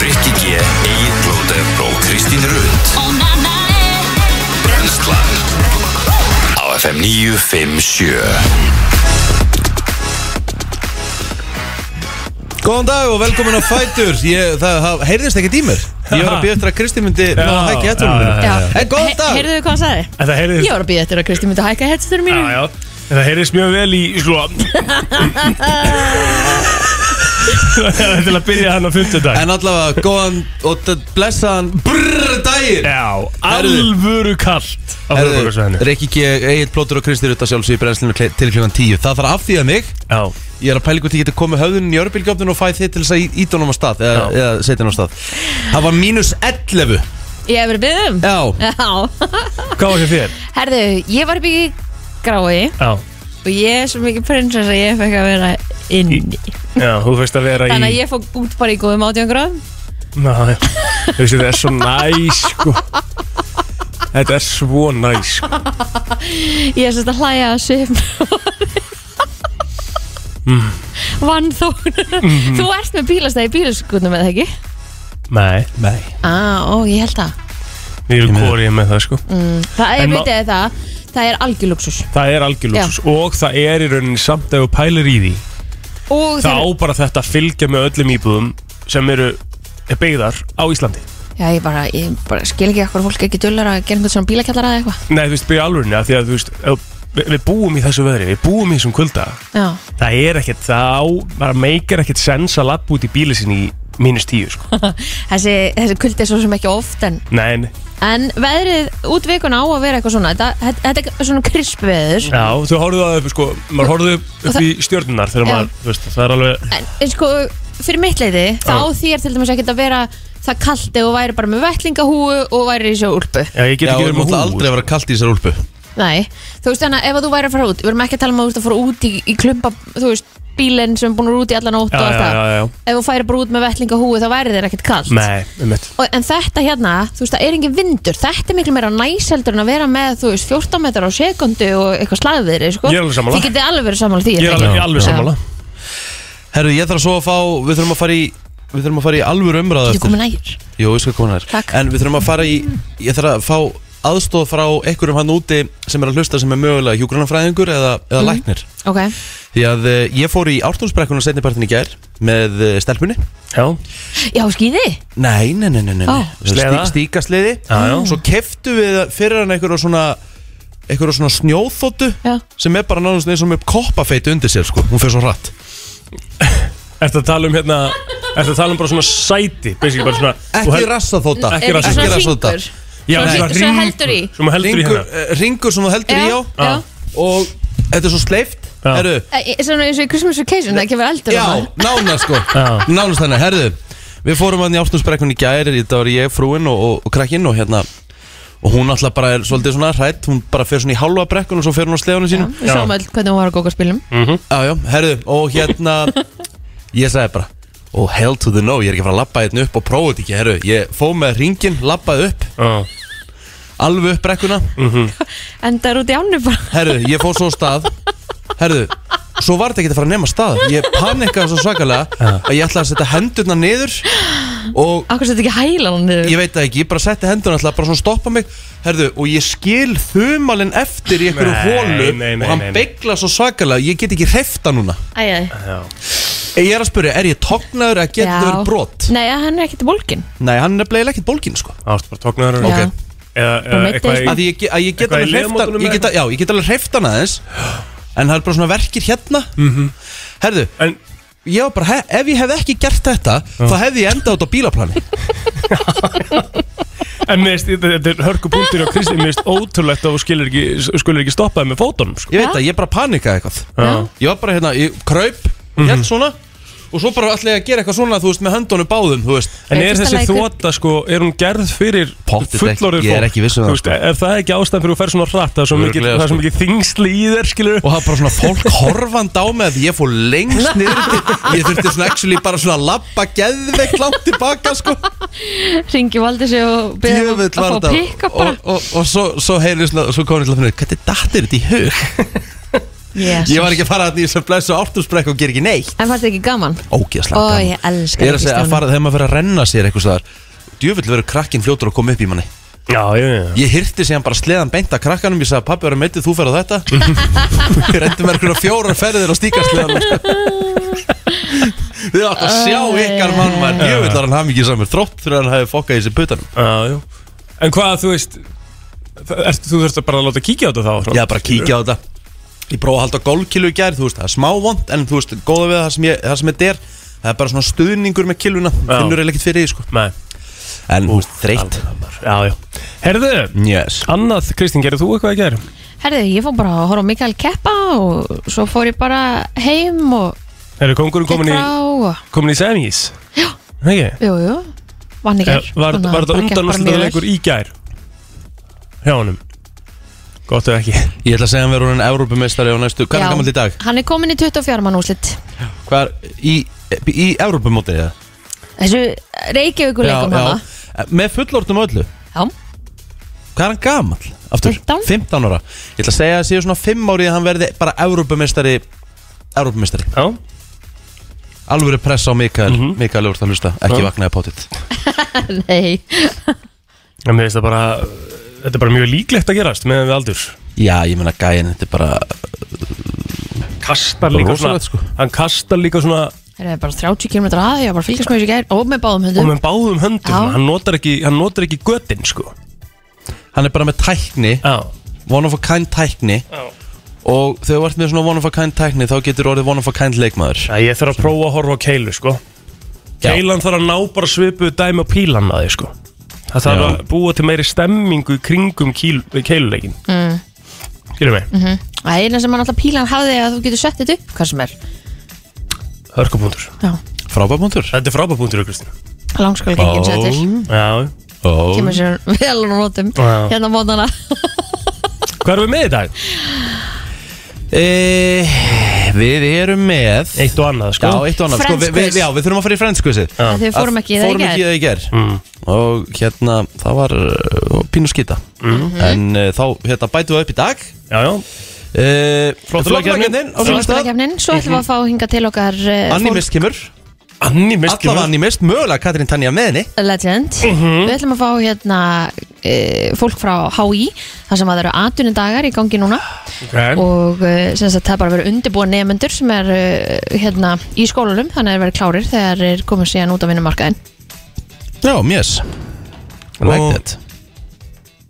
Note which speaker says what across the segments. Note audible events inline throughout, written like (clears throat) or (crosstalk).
Speaker 1: Rikki G, Egil Blóter og Kristín Rund Brenslan Á FM 957
Speaker 2: Góðan dag og velkomin á Fætur ég, Það það heyrðist ekkert í mér Ég var að býja eftir að Kristi myndi ná að hækki hættunum
Speaker 3: já,
Speaker 2: minni
Speaker 3: já.
Speaker 2: En góðan dag
Speaker 4: Heyrðu hvað hann sagði?
Speaker 3: En það
Speaker 4: Ég
Speaker 3: heyrðist
Speaker 4: var að býja eftir að Kristi myndi hækka headsetunum mínu
Speaker 3: Já, já En það heyrðist mjög vel í, sko
Speaker 4: (laughs)
Speaker 3: Það er til að byrja hann á fymtudag
Speaker 2: En allavega góðan og d- blessaðan brrrr dagir
Speaker 3: Já,
Speaker 2: Heyrðu.
Speaker 3: alvöru kallt Á höfuborgarsvæðinu
Speaker 2: Rikki G, Egil Plótur og Kristi Rutta sjálfsög í brennslinu kle- til klukkan 10 Það þarf að afþýða mig
Speaker 3: Já,
Speaker 2: Ég er að pæla hvort ég geti komið höfðunum í örbílgjöfnun og fæ þið til þess að ítónum á stað eða,
Speaker 3: Já.
Speaker 2: eða setja hann á stað Það var mínus 11
Speaker 4: Ég hef verið að byggðum
Speaker 2: Já,
Speaker 4: Já (laughs)
Speaker 3: hvað var ekki þér?
Speaker 4: Herðu, ég var upp í grái
Speaker 3: Já,
Speaker 4: og ég er svo mikið prinsess að ég fekk að vera inni
Speaker 3: já, þú veist að vera í
Speaker 4: Þannig að ég fók út bara í góðum átján gráðum
Speaker 3: Ná, já Þú veist, þetta er svo næs, sko Þetta er svo næs, sko
Speaker 4: Ég er svolítið að hlæja að (laughs) svipn
Speaker 3: Mm.
Speaker 4: Vann þó Þú ert með bílastæði í bílaskutnum eða ekki?
Speaker 3: Nei, nei
Speaker 4: Á, ó, ég held það
Speaker 3: Ég er kórið með það, sko
Speaker 4: Mm, Það er,
Speaker 3: En má-
Speaker 4: veit ég það, það er algjörluxus
Speaker 3: Það er algjörlúsus og það er í rauninni samt ef þú pælir í því
Speaker 4: Og
Speaker 3: Það á
Speaker 4: þeir,
Speaker 3: bara þetta að fylgja með öllum íbúðum sem eru byggðar á Íslandi
Speaker 4: já, ég bara, ég bara skil ekki hvað fólk ekki dullar að gera einhvern svona bílakjallara eða eitthvað
Speaker 3: Nei, þú veist, byrja alvörinni að því að þú veist ef- við, við búum í þessu veðri, við búum í þessum kulda
Speaker 4: Já,
Speaker 3: Það er ekkert, það á, bara meikar ekkert sens að lappa út í bíli sinni í mínus tíu sko.
Speaker 4: (laughs) þessi, þessi kuldi er svo sem ekki oft en,
Speaker 3: Nei, nei.
Speaker 4: en veðrið út vikuna á að vera eitthvað svona Þetta, þetta- þetta er svona krispveður
Speaker 3: já, þú horfðu það upp, sko, maður horfðu upp
Speaker 4: Og
Speaker 3: upp
Speaker 4: það-
Speaker 3: í stjörnunar þegar
Speaker 4: Já.
Speaker 3: maður, þú veist, það er alveg
Speaker 4: En en sko, fyrir mitt leiði þá á þér til dæmis ekkert að vera það kaldi og væri bara með vettlingahúu og væri í sjóúlpu
Speaker 3: Já, ég get
Speaker 2: já
Speaker 3: ekki
Speaker 2: og
Speaker 3: verið með
Speaker 2: náttúrulega
Speaker 3: hús
Speaker 2: aldrei að vera kalt í þessar úlpu
Speaker 4: Nei, þú veist þannig að ef að þú væri að fara út við erum ekki að tala um að þú ert að fara út í, í klumpa þú veist, bílinn sem er búin að vera út í allan ótt
Speaker 3: Já,
Speaker 4: og
Speaker 3: já,
Speaker 4: allt það
Speaker 3: já, já,
Speaker 4: ef þú færi bara út með vettlingahúu þá væri þér ekkert kallt
Speaker 3: nei, um mitt
Speaker 4: og, en þetta hérna, þú veist, það er engin vindur þetta er miklu meira næseldur en að vera með þú veist, 14 metrar á sekundu og eitthvað slæðviðri, sko
Speaker 3: Ég er alveg sammála.
Speaker 4: Þið getið alveg verið sammála því
Speaker 3: Ég er
Speaker 4: það ekki?
Speaker 3: alveg, ég er alveg
Speaker 4: Já.
Speaker 3: sammála
Speaker 2: Herru, ég þarf svo að fá, við þurfum að fara í Við þurfum að fara í alvöru umræðu
Speaker 4: Getur komið nær?
Speaker 2: Jú, ég skal koma þær
Speaker 4: Takk.
Speaker 2: En við þurfum að fara í Ég þarf að fá aðstóð frá einhverjum hann úti sem er að hlusta sem er mögulega hjúgrunafræðingur eða, eða
Speaker 4: Mhm.
Speaker 2: læknir
Speaker 4: Ok,
Speaker 2: Því að eh, ég fór í ártúnsbrekkuna setnipartin í gær með eh, stelpunni
Speaker 3: Já,
Speaker 4: já, skýði
Speaker 2: Nei, nei, nei, nei, nei.
Speaker 4: Ó.
Speaker 3: Sleða?
Speaker 2: Stíkasliði
Speaker 3: Já, já.
Speaker 2: Svo keftu við fyrir hann einhverja svona einhverja svona snjóþóttu
Speaker 4: Já.
Speaker 2: sem er bara náðum eins og með koppafeitu undir sér sko. hún fyrir svo hratt
Speaker 3: (laughs) ertu að tala um hérna Ertu að tala um bara svona sæti, basically bara svona þú
Speaker 2: Ekki
Speaker 3: hel-
Speaker 2: rassaþóta
Speaker 3: Ekki
Speaker 4: Er
Speaker 3: rassi-
Speaker 4: ekki svona
Speaker 2: rassi-
Speaker 4: hringur?
Speaker 3: Já,
Speaker 4: Svo-
Speaker 3: svona
Speaker 4: svo
Speaker 3: hringur.
Speaker 4: heldur í.
Speaker 3: Svo maður heldur í
Speaker 2: ringur,
Speaker 3: hérna
Speaker 2: uh, ringur sem þú heldur í
Speaker 4: Já,
Speaker 2: á
Speaker 4: já
Speaker 2: og þetta er svo sleift
Speaker 3: Já.
Speaker 2: herru,
Speaker 4: E- e- Svona eins og í Christmas Vacation, það kemur eldur
Speaker 2: já, nánar sko
Speaker 3: Já.
Speaker 2: nánast þannig, herru við fórum hann í ártúnsbrekkun í gær þetta var ég, frúin og, og, og krakkinn og hérna og hún alltaf bara er svolítið svona hrætt hún bara fer svona í halva brekkun og svo fer hún á sleðunum sínum
Speaker 4: Við sáum öll hvernig hún var að góka spilum
Speaker 3: Mhm.
Speaker 2: já, já, herru, og
Speaker 3: (laughs)
Speaker 2: hérna ég sagði bara oh hell to the no, ég er ekki að fara að labba hérna upp og prófa þetta ekki, herru, ég fó með ringin labbaði upp,
Speaker 3: Já. Mhm.
Speaker 2: alveg upp brekkuna
Speaker 4: Endar út í ánnu bara
Speaker 2: Herðu, ég fór svo á stað Herðu, svo var þetta ekki að fara að nema stað Ég panikkaði svo svakalega að ég ætlaði að setja hendurna niður og
Speaker 4: Akkur setið ekki hælan hann niður
Speaker 2: ég veit það ekki, ég bara setti hendurna ætlaði bara svona að stoppa mig Herðu, og ég skil þumalinn eftir í einhverju
Speaker 3: Nei,
Speaker 2: hólu
Speaker 3: nei, nei,
Speaker 2: og hann
Speaker 3: nei, nei.
Speaker 2: beigla svo svakalega, ég get ekki hrefta núna
Speaker 4: Æ, æ.
Speaker 3: Já.
Speaker 2: Ég er að spyrja, er ég tognaður að geta
Speaker 4: Já.
Speaker 2: verið brot?
Speaker 4: Nei, hann er ekkert bólkin
Speaker 2: Nei, hann er bleið ekkert bólkin sko
Speaker 3: Það varst bara tóknaður
Speaker 4: Já.
Speaker 3: okay. Eða, eða
Speaker 4: meiddist.
Speaker 3: eitthvað
Speaker 2: að
Speaker 3: í
Speaker 2: því ég, ge- að ég get
Speaker 3: Eitthvað í
Speaker 2: alveg hrefta
Speaker 3: liðamótunum
Speaker 2: ég get, að- Já, ég get alveg hrefta hana aðeins En það er bara svona verkir hérna Herðu,
Speaker 3: Mhm. En
Speaker 2: Ég var bara, he- ef ég hef ekki gert þetta þá hefði ég endað út á bílaplani
Speaker 3: En mér veist, þetta þetta er hörku punktur á Kristi Mér veist ótrúlegt að þú skilur ekki Skulur ekki stoppaði með fótunum sko.
Speaker 2: Ég veit það, ég bara panikaði eitthvað
Speaker 3: Já. Mhm.
Speaker 2: Ég var bara hérna, ég kraup, held svona og svo bara ætla ég að gera eitthvað svona, þú veist, með höndunum báðum, þú veist
Speaker 3: En
Speaker 4: Ég
Speaker 3: er
Speaker 4: fyrsta
Speaker 3: þessi
Speaker 4: lagi-
Speaker 3: þvota sko Er hún gerð fyrir
Speaker 2: Pottþétt ekki,
Speaker 3: fullorðið
Speaker 2: ég er
Speaker 3: fólk?
Speaker 2: ekki viss um
Speaker 3: Þú
Speaker 2: það,
Speaker 3: veist,
Speaker 2: sko.
Speaker 3: Ef það er ekki ástæðan fyrir þú fer svona hratt Það er svo mikið,
Speaker 2: Örugglega,
Speaker 3: það er svo
Speaker 2: sko.
Speaker 3: mikið þingsli í þér skilur
Speaker 2: og það var bara svona fólk horfand á með að ég fór lengst niður til, ég þurfti svona actually bara svona að labba geðveikt langt tilbaka, sko
Speaker 4: Ringi valdi sig og byrði um að,
Speaker 2: Djöfull
Speaker 4: að fá
Speaker 2: var þetta
Speaker 4: pikka
Speaker 2: og,
Speaker 4: bara (laughs)
Speaker 2: og, og, svo, svo heyrði svona, svo kom ég til að finna út, hvernig dattir þetta í hug
Speaker 4: Jesus.
Speaker 2: Ég var ekki að fara að því sem blessu ártúrsbrekk og gera ekki neitt
Speaker 4: En fannst þér ekki gaman?
Speaker 2: Ógeðslega
Speaker 4: Ó,
Speaker 2: gaman.
Speaker 4: ég elska
Speaker 2: Ég er að segja að
Speaker 4: Kristján.
Speaker 2: fara þegar maður fyrir að renna sér eitthvað staðar Djöfull verður krakkin fljótur að koma upp í manni
Speaker 3: Já, já, já
Speaker 2: Ég hirti síðan bara sleðan beint að krakkanum Ég sagði pappi verður meitið, þú ferð á þetta (laughs) Ég rendi mér einhverja fjórar ferðir á stíkarsleðan (laughs) Þið átt að sjá ykkar mann mann Djöfull var hann hamingi samur Þrótt fyrir að hann hefði fokkað í sér putanum
Speaker 3: Já, já En hvað, þú veist það- ertu- Þú þurft að bara láta kíkja á þetta þá
Speaker 2: Ég bara kíkja á þetta Ég prófa að halda gólkilu í gær, þú veist, það er smávond En þú veist, góða við það sem, ég, það sem þetta er Það er bara svona stuðningur með kiluna
Speaker 3: Já.
Speaker 2: Finnur eða ekkert fyrir því, sko
Speaker 3: Nei,
Speaker 2: En þú veist, þreytt
Speaker 3: já, já Herðu,
Speaker 2: Yes
Speaker 3: annað, Kristín, gerir þú eitthvað að gera?
Speaker 4: Herðu, ég fór bara að horfa á Mikael keppa og svo fór ég bara heim og
Speaker 3: Herðu, kongurinn
Speaker 4: gekk
Speaker 3: komin í,
Speaker 4: frá og,
Speaker 3: komin í semis Já Ekki?
Speaker 4: jú, jú, vann í
Speaker 3: Er,
Speaker 4: gær
Speaker 3: Eh, var
Speaker 4: þannig að
Speaker 3: var þetta
Speaker 4: bara gekk bara mjög
Speaker 3: undan
Speaker 4: vel.
Speaker 3: úrslutaleikur í gær? Hjá honum Gott ef ekki
Speaker 2: Ég ætla að segja að hann verður hann Evrópumeistari á næstu Hvað er
Speaker 4: Já,
Speaker 2: hann gammal í dag?
Speaker 4: Hann er komin í 24 mann úrslit
Speaker 2: Hvað er í, í Evrópumótið eða? Eh,
Speaker 4: Þessu Reykjavíkuleikum hana
Speaker 2: Með fullortum og öllu
Speaker 4: Já,
Speaker 2: Hvað er hann gammal? Aftur
Speaker 4: 15.
Speaker 2: 15 ára Ég ætla að segja að séu svona 5 árið að hann verði bara Evrópumeistari Evrópumeistari
Speaker 3: Já Mhm.
Speaker 2: Alvöru press á Mikael mm -hmm. Mikael Úrst að hlusta Ekki
Speaker 3: Já.
Speaker 2: vaknaði pátitt
Speaker 4: (laughs) nei
Speaker 3: En mér finnst það bara Þetta er bara mjög líklegt að gerast með við aldur
Speaker 2: Já, ég meina gæin Þetta er bara
Speaker 3: Kastar
Speaker 2: Bara
Speaker 3: líka svona
Speaker 2: rosalegt, sko.
Speaker 3: Hann kastar líka svona
Speaker 4: Það er bara 30 km að ég var bara að fylgjast með þessu í gær og með báðum
Speaker 3: Og
Speaker 4: hundum
Speaker 3: með báðum höndum
Speaker 4: Já.
Speaker 3: Hann notar ekki, hann notar ekki götin sko
Speaker 2: Hann er bara með tækni
Speaker 3: Já
Speaker 2: One of a kind tækni
Speaker 3: Já.
Speaker 2: Og þegar þú ert með svona one of a kind tækni Þá getur orðið one of a kind leikmaður
Speaker 3: Já, ég þarf að prófa að horfa á keilu sko
Speaker 2: Já.
Speaker 3: Keilan þarf að ná bara svipuð dæmi á pílan að þið sko Það þarf
Speaker 2: Já.
Speaker 3: að búa til meiri stemmingu í kringum kíl, keiluleikin mm. Skilur mig,
Speaker 4: Mhm. Það er eina sem hann alltaf pílan hafði að þú getur sett þetta upp hvað sem er
Speaker 3: hörkupunktur
Speaker 4: Já,
Speaker 2: Frábæpuntur
Speaker 3: Þetta er frábapunktur, Kristín
Speaker 4: langskóla kikkin sér til
Speaker 3: Já,
Speaker 2: oh.
Speaker 4: Kemur sér vel og nótum
Speaker 3: Já.
Speaker 4: hérna á mótana
Speaker 3: hvað erum við með í dag?
Speaker 2: e, Við erum með
Speaker 3: Eitt og annað sko
Speaker 2: Já, eitt og annað sko, við, við,
Speaker 4: Friends quiz.
Speaker 2: Já, við þurfum að fara í frendskvissið
Speaker 3: Já.
Speaker 4: Þegar við fórum ekki í það í
Speaker 2: Fórum ekki í
Speaker 4: gær
Speaker 2: það í ger
Speaker 3: Mm.
Speaker 2: Og hérna, það var uh, pínu skita En uh, þá hérna, bætum við upp í dag
Speaker 3: Mhm. Já, já,
Speaker 2: uh,
Speaker 3: Flottulagkeppnin.
Speaker 2: á sínum stað
Speaker 4: Flottulagkefnin, svo ætlum við að fá hinga til okkar eh, fólk-
Speaker 2: Annimist kemur
Speaker 3: Anni mist
Speaker 2: Allavega Annimist, mögulega Katrín Tanja með henni
Speaker 4: Legend Við ætlum að fá hérna e, fólk frá HÍ þar sem að það eru 18 dagar í gangi núna
Speaker 3: okay.
Speaker 4: og e, sem sagt það er bara að vera undirbúa nefnendur sem er e, hérna í skólanum þannig að það er verið klárir þegar er komið síðan út á vinnumarkaðin
Speaker 2: Já, mjöss I like
Speaker 3: Og-
Speaker 2: that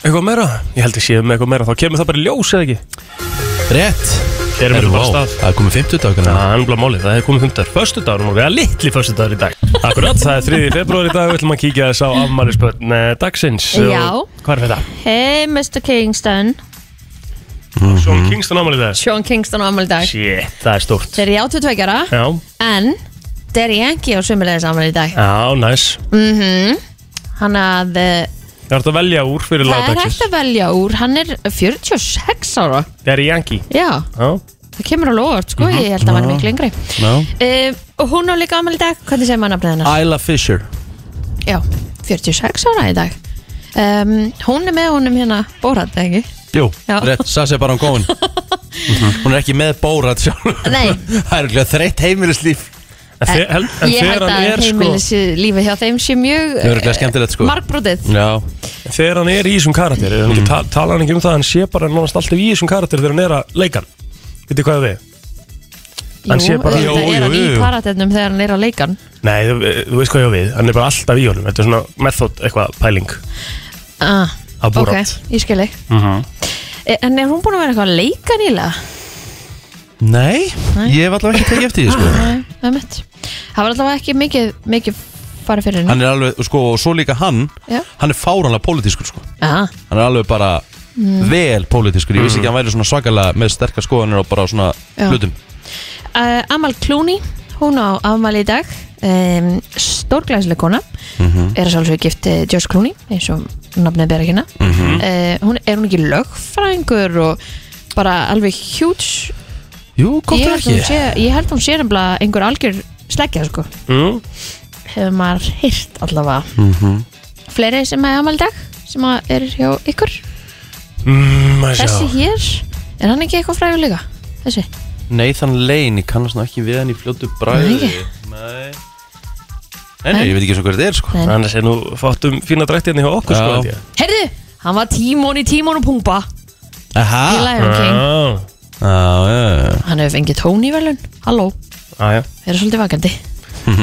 Speaker 3: Eitthvað meira? Ég held ég séð með eitthvað meira Þá kemur það bara í ljós eða ekki
Speaker 2: Rétt
Speaker 3: Erum
Speaker 2: Herru,
Speaker 3: við bara
Speaker 2: vá,
Speaker 3: stað
Speaker 2: Það er komið 50 dagar
Speaker 3: Já, Það er náttúrulega málið, það er komið fymtar Föstudagur og við erum litli föstudagur í dag Akkurat, það er 3. februar í dag Við ætlum að kíkja þess á afmælisbönn eh, dagsins
Speaker 4: Já.
Speaker 3: Og Hvað er þetta?
Speaker 4: Hey Mr. Kingston
Speaker 2: Mhm.
Speaker 3: Sean Kingston afmælið þess
Speaker 4: Sean Kingston á ammali dag
Speaker 3: Shit, það er stórt
Speaker 4: Þeir eru í 82 ára
Speaker 3: Já,
Speaker 4: en þeir eru ekki á sömulegis ammali í dag
Speaker 3: já, næs
Speaker 4: Hann að e,
Speaker 3: Það er hægt að velja úr fyrir
Speaker 4: það er
Speaker 3: lagdagsins
Speaker 4: hægt að velja úr hann er 46 ára
Speaker 3: Það er í Yankee
Speaker 4: Já,
Speaker 3: Já,
Speaker 4: það kemur alveg óvart sko, ég held að hann
Speaker 3: Mhm.
Speaker 4: er miklu yngri
Speaker 2: no.
Speaker 4: Uh, og hún á líka afmæli í dag, hvernig segir maður nafnið hennar?
Speaker 2: Isla Fisher
Speaker 4: Já, 46 ára í dag um, Hún er með honum hérna Bórat, eða ekki?
Speaker 2: Jú,
Speaker 4: Já.
Speaker 2: rétt, Sassi er bara án
Speaker 4: (laughs)
Speaker 2: góðin Hún er ekki með bórat sjálf
Speaker 4: Nei.
Speaker 2: Það er örugglega þreytt heimilislíf
Speaker 3: En þe- hel- en
Speaker 4: Ég held
Speaker 3: þegar hann
Speaker 4: að
Speaker 3: er sko
Speaker 4: heimilis lífið hjá þeim sé mjög eh,
Speaker 2: Það er örugglega skemmtilegt, sko.
Speaker 4: Markbrotið
Speaker 2: Já, Mm.
Speaker 3: Þegar hann er í þessum karakter er hann ekki, ta tala hann ekki um það, hann sé bara nánast alltaf í þessum karakter þegar hann er að leika hann Vitið hvað það er? Hann sé bara-
Speaker 4: jú,
Speaker 3: Jú,
Speaker 4: auðvitað
Speaker 3: jú,
Speaker 4: er hann í
Speaker 3: jú.
Speaker 4: karaternum þegar hann er á leikan
Speaker 3: Nei, þú, eh, þú veist hvað ég á við, hann er bara alltaf í honum Þetta er svona method, eitthvað pæling
Speaker 4: ah,
Speaker 3: Á Borat.
Speaker 4: Ok, ég skil þig Eh, En er hún búin að vera eitthvað að leika nýlega?
Speaker 2: nei,
Speaker 4: Nei. Ah.
Speaker 2: ég hef allavega ekki tekið eftir því sko.
Speaker 4: Nei, það er mitt Það var allavega ekki mikið, mikið farið fyrir henni
Speaker 2: Hann er alveg, sko, og svo líka hann
Speaker 4: Já.
Speaker 2: Hann er fáránlega pólitískur sko.
Speaker 4: ah,
Speaker 2: Hann er alveg bara
Speaker 4: Mm.
Speaker 2: vel pólitískur Ég vissi ekki að hann væri svona svakalega með sterkar skoðanir og bara svona
Speaker 4: Já.
Speaker 2: hlutum
Speaker 4: Uh, Amal Clooney, hún á afmæli í dag um, stórglæsileg kona
Speaker 2: Mhm.
Speaker 4: er að sjálfsög gift uh, Josh Clooney eins og nafnið ber ekki hérna
Speaker 2: Mhm.
Speaker 4: uh, hún, er hún ekki lögfræðingur og bara alveg huge
Speaker 2: Jú, gott
Speaker 4: ég
Speaker 2: er
Speaker 4: held, að hún
Speaker 2: ekki
Speaker 4: sé, ég held að hún sé nefnilega einhver algjör sleggja sko
Speaker 3: mm?
Speaker 4: hefur maður hýrt allavega
Speaker 2: Mhm.
Speaker 4: fleiri sem er afmæli í dag sem að er hjá ykkur
Speaker 3: Mm, maður
Speaker 4: þessi
Speaker 3: sjá.
Speaker 4: hér, er hann ekki eitthvað fræður líka? þessi,
Speaker 2: Nathan Lane, ég kannast nú ekki við hann í fljótu
Speaker 4: Nei.
Speaker 2: bræði Nei Nei, nei, ég veit ekki svona hver þetta er sko
Speaker 4: Nei.
Speaker 3: Annars er nú fóttum fína drætti hérna hjá okkur sko
Speaker 2: Já.
Speaker 3: held ég.
Speaker 4: Herðu, hann var tímón í tímón og pumpa
Speaker 2: Aha
Speaker 4: Í Lion King
Speaker 2: Já, já,
Speaker 3: Já, Ah.
Speaker 2: já
Speaker 4: Hann hefur fengið tón í velun Halló,
Speaker 3: já,
Speaker 2: Ah,
Speaker 3: já.
Speaker 4: þeir eru svolítið vakandi
Speaker 3: Ah,
Speaker 2: (laughs)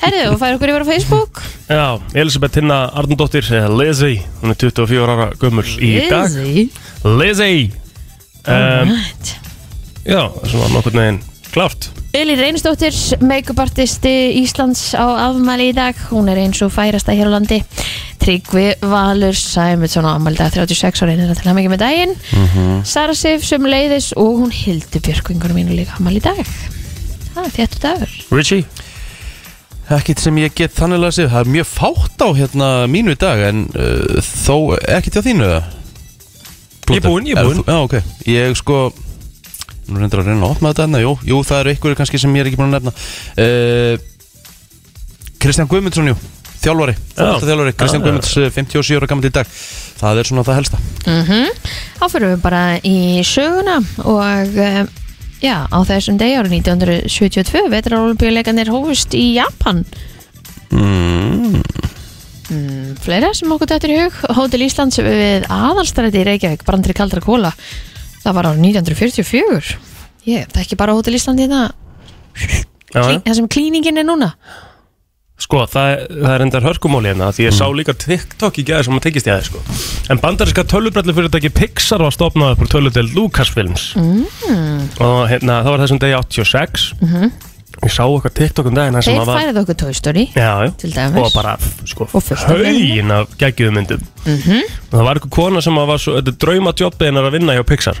Speaker 4: Herðu, og fær okkur yfir á Facebook
Speaker 3: Já, Elisabeth Tinna Arndóttir Lizzy, hún er 24 ára gömul í dag
Speaker 4: Easy.
Speaker 3: Lizzy um,
Speaker 4: Alright.
Speaker 3: Já, svona nokkur neginn klárt
Speaker 4: Eli Reynisdóttir, make-up artisti Íslands á afmæli í dag hún er eins og færasta hér á landi Tryggvi Valur Sæmundsson á afmæli í dag 36 ára innir að tala mikið með daginn Sara Sif sem leiðis og hún hildi björkvingunum mínu líka afmæli í dag það er þéttu dagur
Speaker 3: Richie,
Speaker 2: Ekkert sem ég get þannig að segja, það er mjög fátt á hérna mínu í dag en uh, þó ekkert hjá þínu eða?
Speaker 3: Ég er búinn, ég er
Speaker 2: Er
Speaker 3: búinn.
Speaker 2: þú- Já, ok, ég sko Nú reyndir að reyna að opna þetta hérna, jú, jú, það eru einhverju kannski sem ég er ekki búinn að nefna uh, Kristján Guðmundsson, jú Þjálfari, þjálfari, Kristján Guðmunds eh, 57 ára gammal í dag Það er svona það helsta
Speaker 4: Mhm. þá fyrir við bara í söguna og eh, já, á þessum degi árið 1972 vetrarolubíuleikanir hófust í Japan
Speaker 2: mm,
Speaker 4: fleira sem okkur dættur í hug Hótel Íslands við aðalstræti í Reykjavík brandri kaldra kóla það var árið 1944 ég, það er ekki bara Hótel Ísland hérna
Speaker 3: já, já.
Speaker 4: Klí- það sem klíningin er núna
Speaker 3: Sko, það, er- það er endar hörkumóli hérna Því ég sá
Speaker 4: Mhm.
Speaker 3: líka TikTok í gæði sem að tekist ég aðeins sko En bandarinska tölvubrellu fyrirtæki Pixar var stopnað upp úr tölvudel Lucasfilms mm. Og hérna, það var þessum degi 86 Ég sá eitthvað TikTok um daginn þar sem
Speaker 4: Mhm. þeir
Speaker 3: að var
Speaker 4: færið okkur Toy Story
Speaker 3: Já, já.
Speaker 4: Til dæmis.
Speaker 3: Og bara, sko,
Speaker 4: Og fullt af
Speaker 3: haugin af geggjumyndum mm
Speaker 4: Mhm.
Speaker 3: -hmm. Það var eitthvað kona sem að var svo, þetta er draumadjobbið hennar að vinna hjá Pixar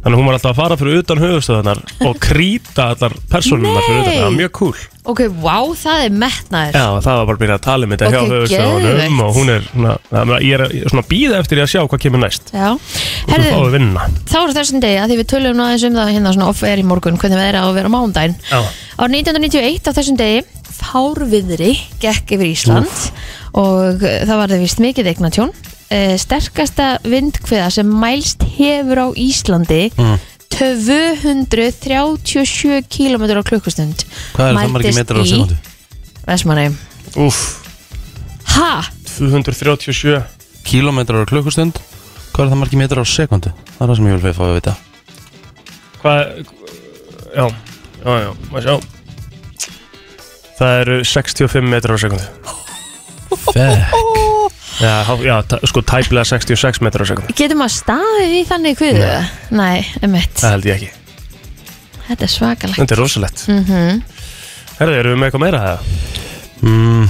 Speaker 3: Þannig að hún var alltaf að fara fyrir utan höfustöðunar og krýta allar persónunar fyrir utan,
Speaker 4: Nei.
Speaker 3: það var mjög cool
Speaker 4: ok, wow, það er metnaður
Speaker 3: Já, það var bara að byrja að tala um þetta
Speaker 4: Ok,
Speaker 3: hjá höfustöðunum
Speaker 4: geðveikt.
Speaker 3: og hún er, svona, það- ég er ég er svona að býða eftir ég að sjá hvað kemur næst
Speaker 4: Já.
Speaker 3: Hún
Speaker 4: herðu,
Speaker 3: fáið vinna
Speaker 4: þá er þessum degi að því við tölum nú aðeins um það hérna svona off er í morgun, hvernig við erum að vera á mándaginn
Speaker 3: Já,
Speaker 4: Árið 1991 á þessum degi fárviðri gekk yfir Ísland og eh, það var það vist mikið eignatjón. Uh, sterkasta vindkviða sem mælst hefur á Íslandi 237 km á klukkustund
Speaker 2: Hvað er það margir metrar á sekundu?
Speaker 4: Vestmanni
Speaker 3: úff,
Speaker 4: Ha?
Speaker 3: 237
Speaker 2: Kilometrar á klukkustund Hvað er það margir metrar á sekundu? Það er það sem ég vil fá að vita
Speaker 3: Hvað Já, já, já, maður sjá Það eru 65 metrar á sekundu
Speaker 2: Fæk
Speaker 3: Já, há- já ta- sko tæplega 66 metrar á sekundu
Speaker 4: Getur maður staðið í þannig kviðu? Nei, um eitt
Speaker 3: Það held ég ekki
Speaker 4: Þetta er svakalegt Mhm.
Speaker 3: Þetta er rosalegt mm -hmm. Herðu, erum við með eitthvað meira það?
Speaker 2: mm,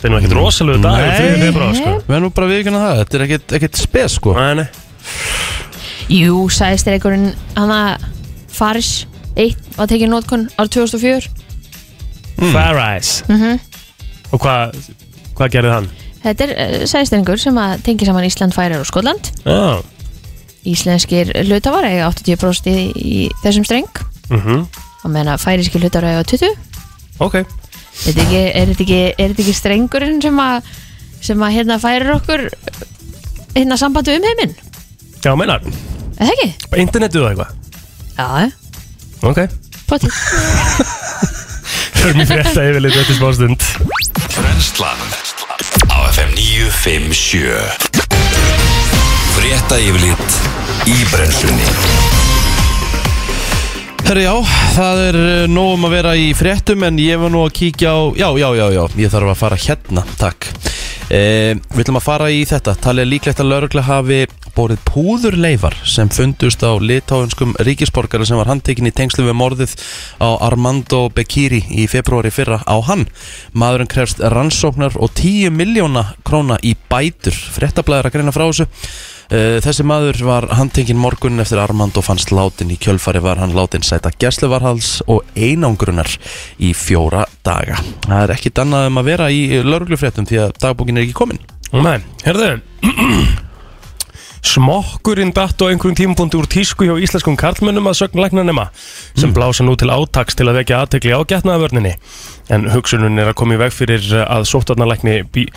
Speaker 3: Það er nú ekkert rosalegu dagur
Speaker 2: Nei.
Speaker 3: fyrir februar, sko
Speaker 2: Við erum nú bara viðkynna það, þetta er ekkert, ekkert spes sko
Speaker 3: Nei, nei
Speaker 4: Jú, sæðist er einhverjum hana Faris 1 var tekið nótkun árið 2004
Speaker 3: Fair Eyes
Speaker 4: Mhm.
Speaker 3: Og hvað, hvað gerði hann?
Speaker 4: Þetta er uh, sæðstæringur sem að tengi saman Ísland, Færar og Skotland.
Speaker 3: Já,
Speaker 4: Íslenskir hlutafar eiga 80% í, í þessum streng
Speaker 3: mhm,
Speaker 4: og meðan að færiski hlutafar eiga 20.
Speaker 3: ok
Speaker 4: Er þetta ekki, er þetta ekki, er þetta ekki strengurinn sem að, sem að hérna færir okkur hérna sambandi um heiminn?
Speaker 3: Já, meinar,
Speaker 4: Er það ekki?
Speaker 3: bara internetið og eitthvað
Speaker 4: Já,
Speaker 3: Ok
Speaker 4: potið.
Speaker 3: (laughs) Förum í frétta yfirleitt eftir smástund
Speaker 1: Brenslan Á FM 957 Frétta yfirlit í brenslunni
Speaker 2: Herra já, það er eh, nóg um að vera í fréttum en ég var nú að kíkja á, já, já, já, já, ég þarf að fara hérna, takk. Eh, við ætlum að fara í þetta, talið er líklegt að laurugla hafi borið púðurleifar sem fundust á litáinskum ríkisborgara sem var handtekinn í tengslu við morðið á Armando Bekiri í februari fyrra á hann. Maðurinn krefst rannsóknar og 10 miljóna króna í bætur, fréttablaður að greina frá þessu. Eh, Þessi maður var handtekinn morgun eftir Armand og fannst látin í kjölfari var hann látin sæta gæsluvarhals og einangrunar í fjóra daga. Það er ekkit annað um að vera í lauruglufréttum því að dagbókin er ekki komin.
Speaker 3: Nei, herðu Smokkurinn datt á einhverjum tímapunkti úr tísku hjá íslenskum karlmönnum að sögn læknanema sem
Speaker 2: Mm.
Speaker 3: blása nú til átaks til að vekja aðtekli á getnaðavörninni en hugsunun er að koma í veg fyrir eh, að sóttvarnalækni bí...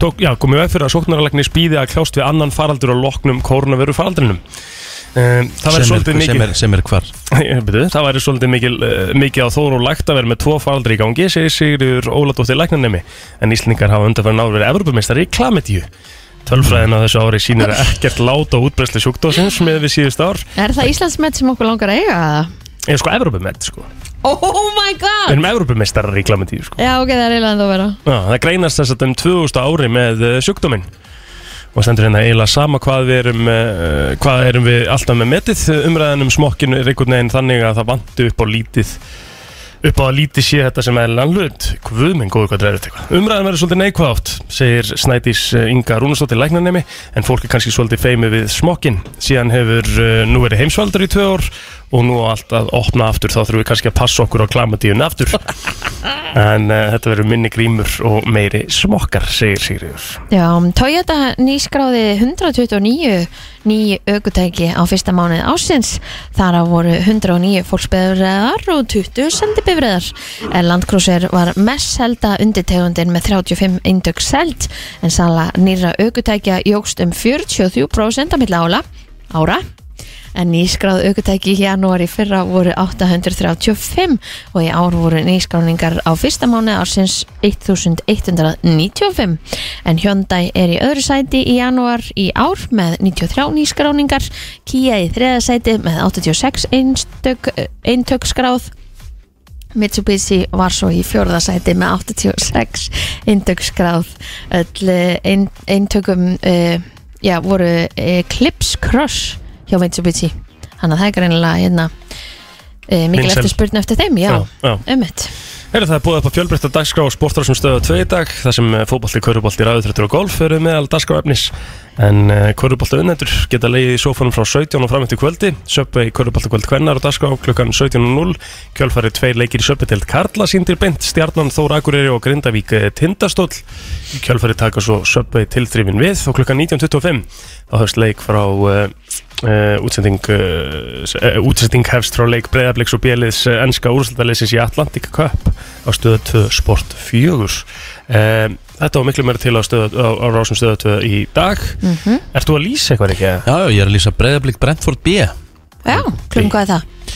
Speaker 3: Tók, já, komið veg fyrir að sóknaralækni spýði að klást við annan faraldur á loknum kórnaveru faraldrinum. um, það væri
Speaker 2: sem er,
Speaker 3: svolítið
Speaker 2: sem,
Speaker 3: mikið
Speaker 2: er, sem er hvar
Speaker 3: Ég veit þið, Það væri svolítið mikil, eh, mikið á þóru og lægt að vera með tvo faraldri í gangi segir Sigurður Óladóttir læknarnemi en Íslendingar hafa undanfærin ári verið Evropamestari í klametíu Tölfræðin á þessu ári sýnir að ekkert lát á útbreysli sjúkdósins með við síðust ár
Speaker 4: Er það Íslandsmet sem okkur langar að eiga það?
Speaker 3: eða sko Evropamest sko
Speaker 4: Oh my
Speaker 3: Við
Speaker 4: god!
Speaker 3: erum Evropamestarar í klametíu sko
Speaker 4: Já, ok, það er eiginlega ennþá vera
Speaker 3: Já, það greinast þess að um 2000 ári með uh, sjúkdóminn og stendur hérna eiginlega sama hvað við erum, uh, hvað erum við alltaf með metið umræðan um smokkinu er einhvern veginn þannig að það vantu upp á lítið upp á að lítið sé þetta sem er landlut Guð minn góður hvað dreifir þetta Umræðan verður svolítið neikvæð átt segir Snædís eh, Inga Rúnastóttir læknarnemi en fólk er kannski svolítið feimið við smokkin síðan hefur eh, nú verið heimsvaldur í tvö ár og nú á allt að opna aftur þá þurfum við kannski að passa okkur á klamadíun aftur En uh, þetta verður minni grímur og meiri smokkar, segir Sigriður.
Speaker 4: Já, Toyota nýskráði 129 ný aukutæki á fyrsta mánuð ásins. Þar á voru 109 fólksbifræðar og 20 sendibifræðar. En Landcruiser var mest selda undirtegundin með 35 eindök seld en sala nýra aukutækja jógst um 43% á milli ála, ára en nýskráð aukutæki í janúar í fyrra voru 835 og í ár voru nýskráningar á fyrsta mánu ársins 1195 en Hyundai er í öðru sæti í janúar í ár með 93 nýskráningar Kia í þriða sæti með 86 einstök, eintök skráð Mitsubishi var svo í fjórðasæti með 86 eintökskráð öll eh, ein- eintökum uh, já, voru uh, Clips Cross hjá Mitsubishi þannig að það er greinilega hérna, uh, mikil
Speaker 3: Vinsæl.
Speaker 4: eftirspurn eftir þeim já,
Speaker 3: já.
Speaker 4: ummitt
Speaker 3: Herra, það er búið upp á fjölbreytta dagskrá og sportar sem stöðu tvei dag, þar sem eh, fótbolti, körubolti, ræðutrættur og golf eru meðal dagskráefnis. En uh, körubolti unnendur geta leiðið í sófanum frá 17 og fram eftir kvöldi, söpbi í körubolti kvöld kvennar og dagskrá klukkan 17.00, kjölfarið tveir leikir í söpbi til Karla síndir beint, stjarnan Þór Akureyri og Grindavík eh, tindastóll. Í kjölfarið taka svo söpbi tilþrifin við og klukkan 19.25 þá höfst leik frá... Uh, Uh, útsending, uh, uh, útsending hefst frá leik breyðabliks og bjeliðs uh, ennska úrslutaleysins í Atlantic Cup á stöðu 2 Sport 4 um, Þetta var miklu meira til á, stöð, á, á rásum stöðu 2 í dag Ert þú að lýsa eitthvað ekki?
Speaker 2: Já, já, ég er að lýsa breyðablík Brentford B
Speaker 4: já, klum hvað er það?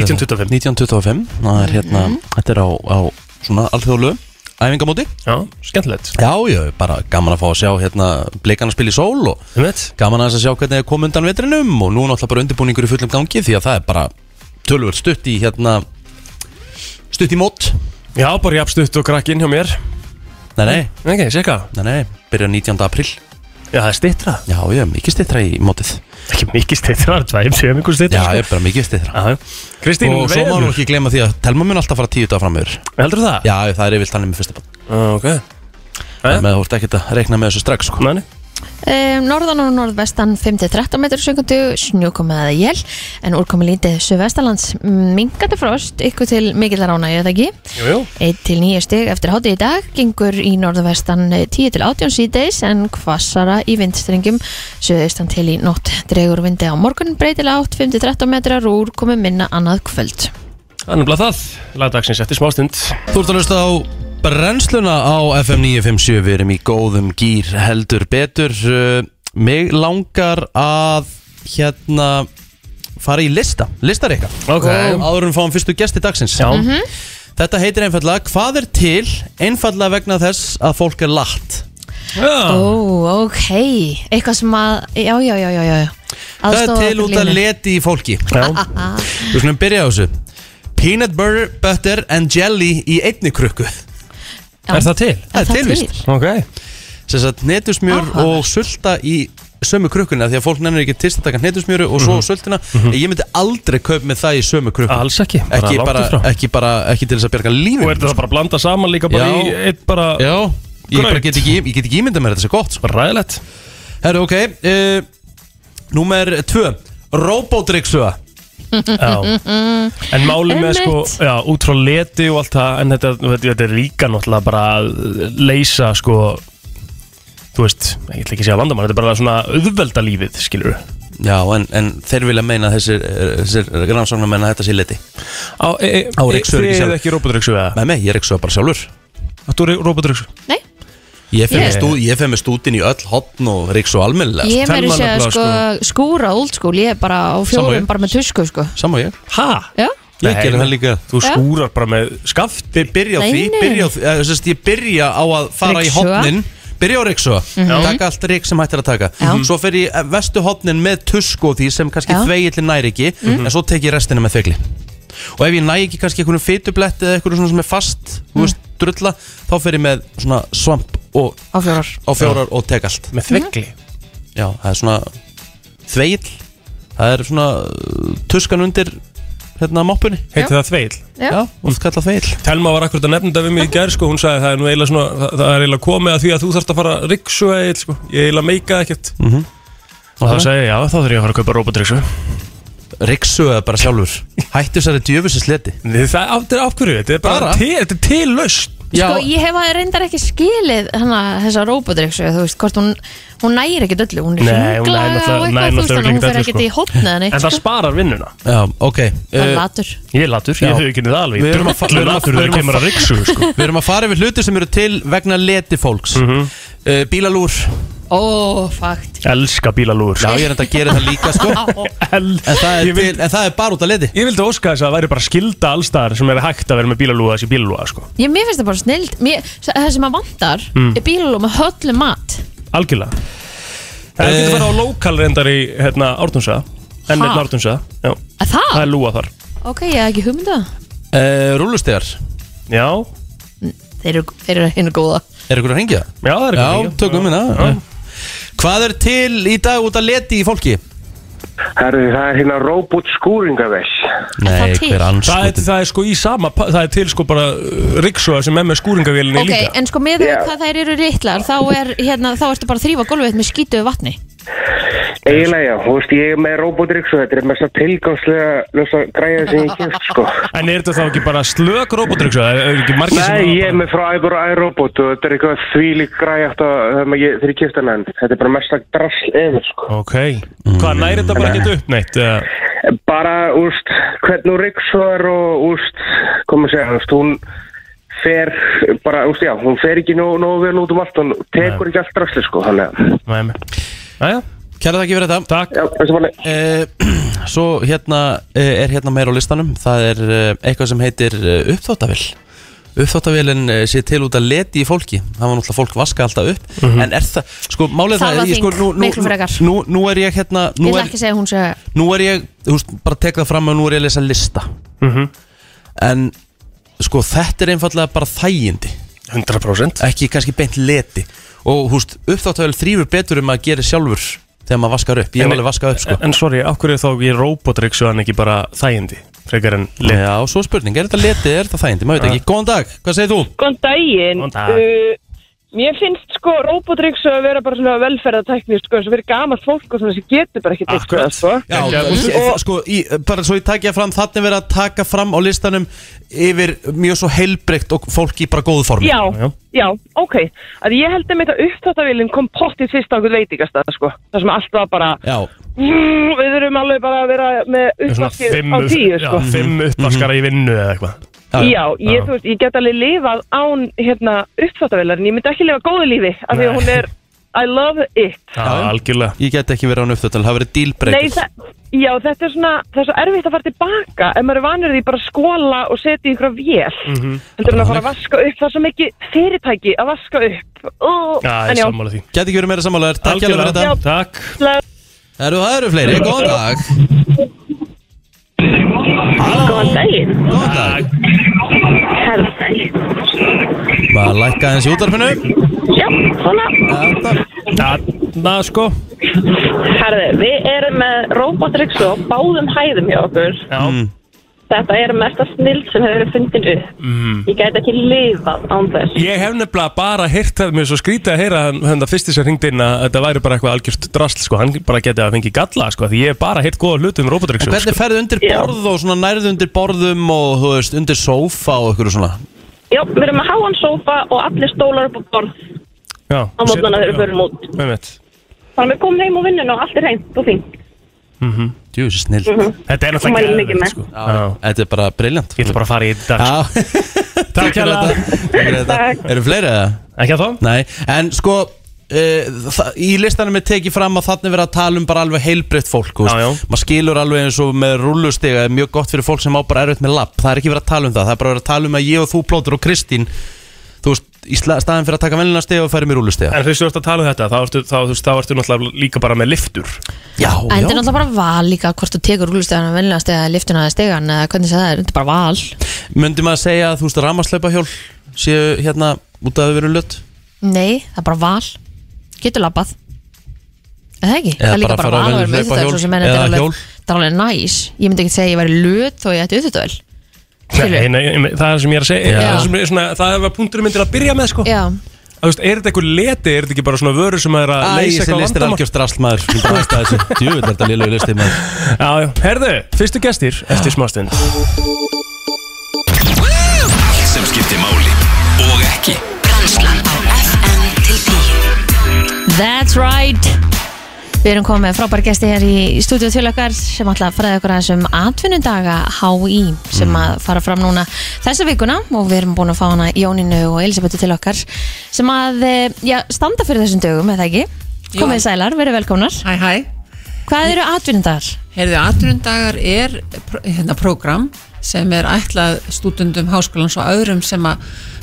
Speaker 3: 1925
Speaker 2: 1925, það er hérna
Speaker 3: Mhm.
Speaker 2: Þetta er á, á svona alþjóðlu Æfingamóti
Speaker 3: Já, skemmtilegt
Speaker 2: Já, já, bara gaman að fá að sjá hérna Blikana spila í sól og
Speaker 3: Þú veit?
Speaker 2: gaman að sjá hvernig það kom undan vetrinum og nú er náttúrulega bara undirbúningur í fullum gangi því að það er bara tölvöld stutt í hérna stutt í mót
Speaker 3: Já, bara jafnstutt og krakkinn hjá mér
Speaker 2: Nei, nei,
Speaker 3: Ok, sérka
Speaker 2: nei, nei, byrja 19. april
Speaker 3: Já, það er stittra
Speaker 2: Já, ég er mikið stittra í mótið
Speaker 3: Ekki mikið stittra, það er 2-7 mikið
Speaker 2: Já,
Speaker 3: stittra
Speaker 2: ég er bara mikið stittra
Speaker 3: Já, já. Kristín,
Speaker 2: Og svo má nú
Speaker 3: veður
Speaker 2: ekki gleyma því að telma mun alltaf fara tíu dag framöver
Speaker 3: Heldur það?
Speaker 2: Já, það er yfirlt þannig með fyrsta bann
Speaker 3: Ah, ok
Speaker 2: Það með þú ert ekkert að reikna með þessu strax sko.
Speaker 3: Næni
Speaker 4: Um, norðan og norðvestan 5-13 metrar sekundu, snjókomi eða jél en úrkomi lítið suðvestalands mingandi frost, ykkur til mikillar ánægju eða ekki?
Speaker 3: Jú, jú
Speaker 4: 1 til 9 stig eftir hátíð í dag gengur í norðvestan 10 til 18 síðdeis en hvassara í vindstrengjum söðaustan til í nótt dregur vindi á morgun breytilega 8 5 til 13 metrar og úrkomi minna annað kvöld
Speaker 3: Það er nefnilega það, lagdagsins eftir smástund
Speaker 2: Þú ert að hlusta á brennsluna á FM 957 Við erum í góðum gýr heldur betur Uh, Mig langar að hérna fara í lista, listarika
Speaker 3: Ok.
Speaker 2: Áður en fáum fyrstu gesti dagsins
Speaker 3: Já,
Speaker 2: Þetta heitir einfallega Hvað er til einfallega vegna þess að fólk er latt?
Speaker 3: já.
Speaker 4: Ó, ok, eitthvað sem að já, já, já, já, já
Speaker 2: Það er
Speaker 4: Aðstoða
Speaker 2: til út að
Speaker 4: línu.
Speaker 2: leti í fólki
Speaker 3: já.
Speaker 2: Við slumum byrja á þessu Peanut butter, butter and jelly í einni krukku
Speaker 4: Já.
Speaker 3: Er það til?
Speaker 4: Já,
Speaker 2: Það er tilvist.
Speaker 3: Ok
Speaker 2: Sem sagt netusmjör
Speaker 4: Áhugavert.
Speaker 2: og sulta í sömu krukkuna Því að fólk nennir ekki til að taka netusmjöru og svo sultina Ég myndi aldrei kaup með það í sömu krukku
Speaker 3: Mhm. Alls ekki, bara
Speaker 2: ekki
Speaker 3: langt
Speaker 2: bara,
Speaker 3: í frá.
Speaker 2: ekki bara, ekki til þess að bjarga lífinu
Speaker 3: Og er þetta bara að blanda saman líka bara
Speaker 2: Já.
Speaker 3: í eitt bara
Speaker 2: Já, ég, bara
Speaker 3: Graut.
Speaker 2: get ekki, ég get ekki ímynda mér að þetta sé gott sko.
Speaker 3: Ræðilegt
Speaker 2: Herru, ok uh, Númer 2 Robodryksuga
Speaker 3: Já En máli með sko
Speaker 4: Einmitt.
Speaker 3: Já, út frá leti og allt það En þetta, þetta, þetta er líka náttúrulega bara að leysa sko Þú veist, ég ætla ekki að segja vandamann Þetta er bara svona auðvelda lífið, skilur
Speaker 2: Já, en, en þeir vilja meina að þessir, eh, þessir rannsóknar meina að þetta sé leti
Speaker 3: Á, e, e,
Speaker 2: Á, ryksugur ekki
Speaker 3: Þið
Speaker 2: sjálf.
Speaker 3: eruð ekki robotryggsu eða?
Speaker 2: Með mig, ég er ekki svo bara sjálfur
Speaker 3: Þú eru robotryggsu
Speaker 4: Nei,
Speaker 2: Ég fer
Speaker 4: Ég-
Speaker 2: með, stú, ég fer með stútin í öll hotn og ríks og almennilega
Speaker 4: Ég meiri sé að
Speaker 3: Telma
Speaker 4: sko,
Speaker 3: nefnilega,
Speaker 4: skúra old school, ég er bara á
Speaker 2: Sama
Speaker 4: fjórum
Speaker 2: ég.
Speaker 4: bara með tusku sko.
Speaker 2: Samma ég
Speaker 3: Ha?
Speaker 4: Já,
Speaker 2: Ég
Speaker 3: Nei,
Speaker 2: gerði
Speaker 3: nei.
Speaker 2: það líka
Speaker 3: Þú
Speaker 4: Já.
Speaker 3: skúrar bara með skafti
Speaker 2: Ég byrja á
Speaker 4: Nei,
Speaker 2: því
Speaker 4: nei.
Speaker 2: byrja á, því- eða, sem sagt, Ég byrja á að fara í
Speaker 4: Ryksuga. Mhm.
Speaker 2: hotnin Byrja á ríksu Taka allt rík sem hættir að taka
Speaker 4: Já. Mhm.
Speaker 2: Svo fer ég eh, vestu hotnin með tusk og því sem kannski
Speaker 4: Já. Mhm.
Speaker 2: þvegillin næri ekki En svo tek ég restina með þegli Og ef ég næ ekki kannski einhvern fitubletti eða einhvern svona sem er fast,
Speaker 4: Mm.
Speaker 2: þú veist, drulla þá fer ég með svona svamp og
Speaker 4: á fjórar
Speaker 2: á fjórar og tek allt Mhm.
Speaker 3: með þvegli
Speaker 2: Já, það er svona þveill Það er svona uh, tuskan undir hérna moppunni
Speaker 3: Heitir það þveil?
Speaker 4: Já.
Speaker 2: Já, oft kallað þveill
Speaker 3: Telma var akkurat að nefna þetta við mig í gær sko, hún sagði það er nú eiginlega svona, það, það er eiginlega komið að því að þú þarft að fara að riksu eiginlega sko, ég eiginlega meika ekkert og
Speaker 2: Og
Speaker 3: þá
Speaker 2: það
Speaker 3: sagði ég já, þá þarf ég að fara að kaupa robotriksu
Speaker 2: riksuða bara sjálfur
Speaker 3: (laughs)
Speaker 2: Hættu þessari djöfusins leti
Speaker 3: það af- þetta er af hverju, þetta er bara,
Speaker 2: Bara?
Speaker 3: til, þetta er til laust
Speaker 4: Sko, ég hef að reyndar ekki skilið hana, þessa robotreiksu, þú veist, hvort hún hún nægir ekkert öllu, hún er
Speaker 3: Nei, hún
Speaker 4: hringlaga og
Speaker 3: nægir náttúrulega-
Speaker 4: eitthvað,
Speaker 3: nægir
Speaker 4: þú veist, þannig að
Speaker 3: náttúrulega
Speaker 4: hún
Speaker 3: ekkert
Speaker 4: fer
Speaker 3: öllu,
Speaker 4: ekkert
Speaker 3: sko.
Speaker 4: í hotnið en
Speaker 3: en
Speaker 4: eitt,
Speaker 3: það
Speaker 4: sko,
Speaker 3: sparar vinnuna
Speaker 2: Já, ok
Speaker 4: það er
Speaker 2: uh,
Speaker 4: latur
Speaker 3: ég er latur,
Speaker 2: Já.
Speaker 3: ég þau ekki niður alveg
Speaker 2: Við
Speaker 3: ég
Speaker 2: erum
Speaker 3: erum
Speaker 2: að fa- við erum að-
Speaker 3: latur
Speaker 2: við
Speaker 3: þegar
Speaker 2: erum að-
Speaker 3: kemur að riksu
Speaker 2: (laughs)
Speaker 3: sko. Mhm.
Speaker 2: Við erum að fara yfir hluti sem eru til vegna leti fólks uh, Bílalúr Já,
Speaker 4: Ó, fakt
Speaker 3: elska bílalúr
Speaker 2: ég er enda að gera það líka sko
Speaker 3: El,
Speaker 2: En það
Speaker 3: ég,
Speaker 2: er,
Speaker 3: vil,
Speaker 2: til, en það er bara út af leti
Speaker 3: ég vildi óska þess að það væri bara skilda allstaðar sem er hægt að vera með bílalúa þessi bílalúa sko.
Speaker 4: Ég, mér finnst það bara snild mér, það sem maður vantar
Speaker 3: Mm.
Speaker 4: er bílalú með höllu mat
Speaker 3: algjörlega það getur
Speaker 2: Eh.
Speaker 3: verið á lokal reyndar í hérna, Ártunsa enn
Speaker 4: Ha?
Speaker 3: einn Ártunsa já,
Speaker 4: að
Speaker 3: það
Speaker 4: það,
Speaker 3: er lúa þar
Speaker 4: ok, ég hef ekki um hugmynda
Speaker 2: uh, Rúlustegar,
Speaker 3: já,
Speaker 4: þeir eru, þeir eru hinn góða
Speaker 2: er ykkur að hringja?
Speaker 3: já það er
Speaker 2: Já, tökum við það Hvað er til í dag út af leti í fólki?
Speaker 5: Herðu, það er hérna robot skúringavess.
Speaker 4: það til?
Speaker 2: hver
Speaker 3: Það er,
Speaker 2: anskotin
Speaker 3: það er sko í sama, pa- það er til sko bara uh, riksuða sem er með skúringavélinni
Speaker 4: Ok,
Speaker 3: líka
Speaker 4: en sko með yeah.
Speaker 5: Já.
Speaker 4: hvað þær eru litlar þá, er, hérna, þá ertu bara að þrýfa gólfið með skítuðu vatni
Speaker 5: Eiginlega, já, þú veist, ég er með robotryggs og þetta er mest að tilgangslega lösa græða sem ég kjöft, sko.
Speaker 3: En er þetta þá ekki bara slök robotriksu? Það eru ekki margir sem
Speaker 5: Nei,
Speaker 3: hafa
Speaker 5: ég er
Speaker 3: bara-
Speaker 5: með frá ægur og æróbot og þetta er eitthvað þvílík græða þegar ég- þegar ég kjöft hann en þetta er bara mest að drasl eða, sko.
Speaker 3: Ok, hvað næri þetta bara að geta uppneitt? eða?
Speaker 5: Bara, úrst, hvernig hún ryggsvar og, úrst, komum að segja, úrst, hún fer, bara, úrst, já, hún fer ekki nógu nóg vel út um allt, hún tekur ekki allt drasli, sko, þannig að,
Speaker 3: Nei, nei Jæja,
Speaker 2: Kæra þakki fyrir þetta
Speaker 3: takk
Speaker 5: já, þessi manni.
Speaker 2: Eh, (clears throat) Svo hérna eh, er hérna meira á listanum Það er eh, eitthvað sem heitir eh, uppþóttavél Uppþóttavélin eh, sé til út að leti í fólki Það var náttúrulega fólk vaska alltaf upp
Speaker 3: Mhm.
Speaker 2: En er það, sko málið er það
Speaker 4: Þarfaþing,
Speaker 2: ég, sko, nú,
Speaker 4: miklu frekar.
Speaker 2: nú, nú, nú er ég hérna
Speaker 4: Ég
Speaker 2: Nú
Speaker 4: ætla
Speaker 2: er,
Speaker 4: ekki að segja að hún sé
Speaker 2: nú er ég, þú veist, bara tek það fram að nú er ég að lesa lista En sko þetta er einfallega bara þægindi
Speaker 3: 100%
Speaker 2: Ekki kannski beint leti Og húst, uppþóttavél þrýfur betur um að gera sjálfur Þegar maður vaskar upp, ég hef
Speaker 3: En-
Speaker 2: alveg vaskað upp sko
Speaker 3: En sorry, af hverju er þá ég robotriksu en ekki bara þægindi? Frekar en lit
Speaker 2: Já, svo spurning, er þetta letið, er þetta þægindi, maður veit ekki Góðan dag, hvað segir þú?
Speaker 6: Góðan daginn.
Speaker 3: Góðan dag.
Speaker 6: Uh, mér finnst sko Robotrix að vera bara svona velferðartækni, sko, sem verið gamalt fólk og svona sem getur bara ekki tekst
Speaker 3: Akkurat.
Speaker 6: það, sko.
Speaker 2: Já,
Speaker 3: Ekki að-
Speaker 2: ég- ég- sko, í, bara svo ég takja fram, þannig verið að taka fram á listanum yfir mjög svo heilbreykt og fólk í bara góðu formi
Speaker 6: Já,
Speaker 3: Já.
Speaker 6: já, ok. Að ég held að mitt að upptáttavillin kom pottið fyrst á einhvern veitingastað, sko. Það sem allt var bara, "Mm,
Speaker 2: Já,
Speaker 6: við erum alveg bara að vera með
Speaker 3: Svona
Speaker 6: upptáttið
Speaker 3: fimm,
Speaker 6: á
Speaker 3: upp-
Speaker 6: tíu,
Speaker 3: já,
Speaker 6: sko.
Speaker 3: fimm uppvaskara í vinnu eða eitthvað
Speaker 2: Mhm. já,
Speaker 6: Já, ég,
Speaker 3: Já.
Speaker 6: þú veist, ég get alveg lifað án hérna, uppþáttavélar en ég myndi ekki lifa góðu lífi af því
Speaker 3: Nei.
Speaker 6: að hún er I love it
Speaker 3: Já, algjörlega
Speaker 2: Ég get ekki verið á nöfnþötal, það verið
Speaker 6: Nei,
Speaker 2: dílbreykt
Speaker 6: það, já, þetta er svona, það er svo erfitt að fara tilbaka ef maður er vanur því bara að skóla og setja í einhverja vél
Speaker 3: Mm. Mhm.
Speaker 6: heldur en að fara að vaska upp, það er svo mikið fyrirtæki að vaska upp oh,
Speaker 3: Já, ég
Speaker 6: en
Speaker 3: er
Speaker 6: já,
Speaker 3: sammála því
Speaker 2: Get ekki verið meira sammálaður, takk hjá fyrir þetta
Speaker 3: Algjörlega, takk
Speaker 2: Eru það eru fleiri, góðan dag
Speaker 7: Góðan daginn.
Speaker 2: Góðan dag
Speaker 7: Herra daginn.
Speaker 2: Maður lækka eins í útarpinu
Speaker 7: Já, svona.
Speaker 3: Þarna sko
Speaker 7: Herði, við erum með robotryksu á báðum hæðum hjá okkur.
Speaker 3: Já,
Speaker 7: Þetta er mesta snild sem hefur verið fundin upp. Mm. Ég gæti ekki lifað án þess.
Speaker 3: Mhm. Ég hef nefnilega bara heyrt það mér er svo skrítið að heyra þannig að fyrsti sem hringdi inn að þetta væri bara eitthvað algjört drasl sko, hann bara getið að fengi galla sko, því ég hef bara heyrt góða hluti um robotryksu
Speaker 2: Hvernig ferðu undir
Speaker 7: Já.
Speaker 2: borð og svona nærðu undir borðum og þú veist, undir sófa og ykkur svona
Speaker 7: Já, við erum með háan sófa og allir stólar upp á borð
Speaker 3: Já,
Speaker 7: á mótnana þegar við förum út.
Speaker 3: Með mitt
Speaker 7: Þannig að við komum heim úr vinnun og allt er reynd og fínt.
Speaker 3: Mhm.
Speaker 2: Jú, þessi snill
Speaker 6: Mhm.
Speaker 3: Þetta er
Speaker 7: Þú mælir
Speaker 3: náttúrulega
Speaker 7: mikið
Speaker 3: geðveikt,
Speaker 7: með.
Speaker 3: sko. Já.
Speaker 2: Þetta er bara briljant
Speaker 3: Ég ætla bara að fara í þetta
Speaker 2: Já, takk fyrir
Speaker 3: Takk
Speaker 2: þetta Takk fyrir þetta
Speaker 7: Takk.
Speaker 2: Eru fleiri eða?
Speaker 3: Ekki að þá?
Speaker 2: Nei, en sko uh, í listanum er tekið fram að þannig verið að tala um bara alveg heilbreytt fólk
Speaker 3: Já, já.
Speaker 2: maður skilur alveg eins og með rúllustiga er mjög gott fyrir fólk sem á bara erfitt með lapp það er ekki verið að tala um það, það er bara verið að tala um að ég og þú plótur og Kristín þú veist, í sla- staðin fyrir að taka velina stiga og færi mér rúllustiga
Speaker 3: En fyrst þú ert að tala um þetta, þá ertu, þá, þú veist, þá ertu náttúrulega líka bara með liftur
Speaker 2: Já,
Speaker 4: En þetta er náttúrulega bara val líka hvort þú tekur rúlustegana venlega stega, liftuna eða stegan eða hvernig sem það er, þetta er bara val
Speaker 2: Myndi maður segja að þú veist, rammarsleipahjól séu hérna út að þau veru lött
Speaker 4: Nei, það er bara val Getur labbað Er það ekki? það er líka bara,
Speaker 2: fara
Speaker 4: val að
Speaker 2: venjulega
Speaker 4: vera með
Speaker 2: hlaupahjól
Speaker 4: auðvitaðvel, svo sem menn, þetta
Speaker 2: eða
Speaker 4: er
Speaker 2: hjól.
Speaker 4: alveg, þetta er alveg næs Ég myndi ekki segja að ég væri löt þó ég ætti auðvitaðvel Skilur.
Speaker 3: Nei, nei, nei, það er sem ég er að segja
Speaker 2: Já.
Speaker 3: það, er sem er svona, það var punkturinn myndir að byrja með sko.
Speaker 4: Já,
Speaker 3: Þú veist, Er þetta eitthvað leti, er þetta ekki bara svona vöru sem er að
Speaker 2: Æ,
Speaker 3: leysa
Speaker 2: þessi
Speaker 3: eitthvað
Speaker 2: listir
Speaker 3: vandamál
Speaker 2: algjörst rast maður Ég bara aðstæða
Speaker 3: (laughs)
Speaker 2: þessu. Djöfull er þetta lélegu listi maður
Speaker 3: Já, já, herðu, fyrstu gestir eftir smástund
Speaker 1: Allt sem skiptir máli og ekki
Speaker 8: Brennslan á FM til 10
Speaker 4: that's right Við erum komið með frábær gesti hér í stúdíu til okkar sem ætla að fræða okkur aðeins um atvinnudaga HÍ sem
Speaker 2: Mm.
Speaker 4: að fara fram núna þessa vikuna og við erum búin að fá hana Jóninu og Elisabetu til okkar sem að, eh, já, standa fyrir þessum dögum, eða ekki?
Speaker 7: Jú.
Speaker 4: Komið sælar, verið velkomnar.
Speaker 7: Hæ, hæ.
Speaker 4: Hvað eru atvinnudagar?
Speaker 7: Herðu, aðrundagar er pr- hérna prógram sem er ætlað stúdendum háskólans og öðrum sem að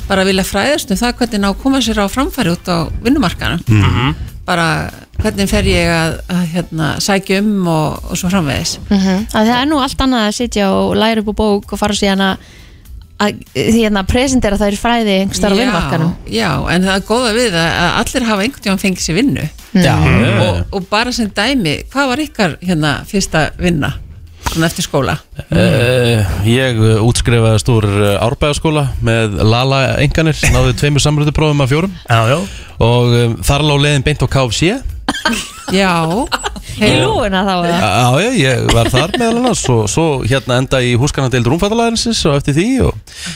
Speaker 7: bara vilja fræðast um það hvernig ná að koma sér á framfæri út á vinnumarkanum. -hmm. Bara hvernig fer ég að, að hérna, sækja um og, og svo framvegis.
Speaker 4: Mm Það er nú allt annað að sitja og læra upp á bók og fara síðan að, að, hérna, að presentera þær fræði einhverstaðar á
Speaker 7: Já,
Speaker 4: vinnumarkanum.
Speaker 7: Já, en það er góða við að, að allir hafa einhvern tímann fengið sér vinnu.
Speaker 2: Já,
Speaker 7: Og, og bara sem dæmi, hvað var ykkar hérna fyrsta vinna? Svona eftir skóla?
Speaker 2: Uh, ég uh, útskrifaðist úr uh, Árbæðaskóla með Lala enganir, náðu tveimur samröðuprófum af fjórum
Speaker 3: Já, já
Speaker 2: og um, þar lá leiðin beint á KFC Já,
Speaker 7: Já.
Speaker 4: (laughs) Í lúuna þá eða?
Speaker 2: já, ég var þar meðal annars og svo hérna enda í húskanandeild rúmfattalæðinsins og eftir því og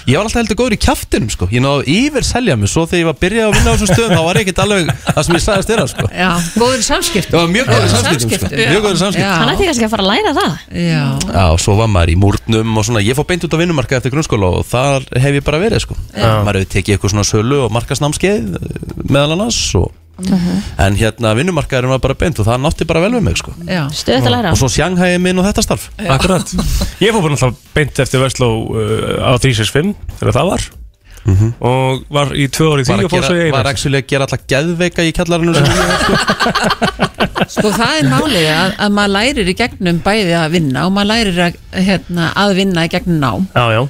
Speaker 2: ég var alltaf heldur góður í kjaftinum sko, ég náðu yfir selja mig svo þegar ég var byrjað að vinna á þessum stöðum þá var ég ekkert alveg það sem ég sagðist þeirra sko
Speaker 7: Já, góður í samskiptum.
Speaker 2: Ég var mjög góður í
Speaker 7: Já.
Speaker 2: samskiptum sko,
Speaker 7: Samskiptum.
Speaker 2: mjög góður í samskiptum
Speaker 7: Já.
Speaker 4: Hann ætti kannski að fara að læra það.
Speaker 7: Já,
Speaker 2: Já, og svo var maður í múrnum og svona, ég fór beint út á vinnumarka eftir grunnskóla og þar hef ég bara verið sko
Speaker 3: Já.
Speaker 2: maður hefur tekið eitthvað svona sölu og markasnámskeið eh, meðal annars og
Speaker 4: Mhm.
Speaker 2: en hérna vinnumarkaðurinn var bara beint og það nátti bara vel við mig sko
Speaker 7: já.
Speaker 4: Stöðt að læra.
Speaker 2: og svo sjanghæði minn og þetta starf
Speaker 3: Akkurat Ég fór bara náttúrulega beint eftir Vestló uh, á 365 þegar það var og var í tvö orði
Speaker 2: Mhm. var
Speaker 3: því
Speaker 2: að
Speaker 3: og fór svo í
Speaker 2: gera, var
Speaker 3: einu
Speaker 2: actually að gera alltaf geðveika í kjallarinu
Speaker 3: (laughs)
Speaker 2: sem ég var sko
Speaker 7: Sko það er málið að, að maður lærir í gegnum bæði að vinna og maður lærir að, hérna, að vinna í gegnum nám
Speaker 3: Já, já,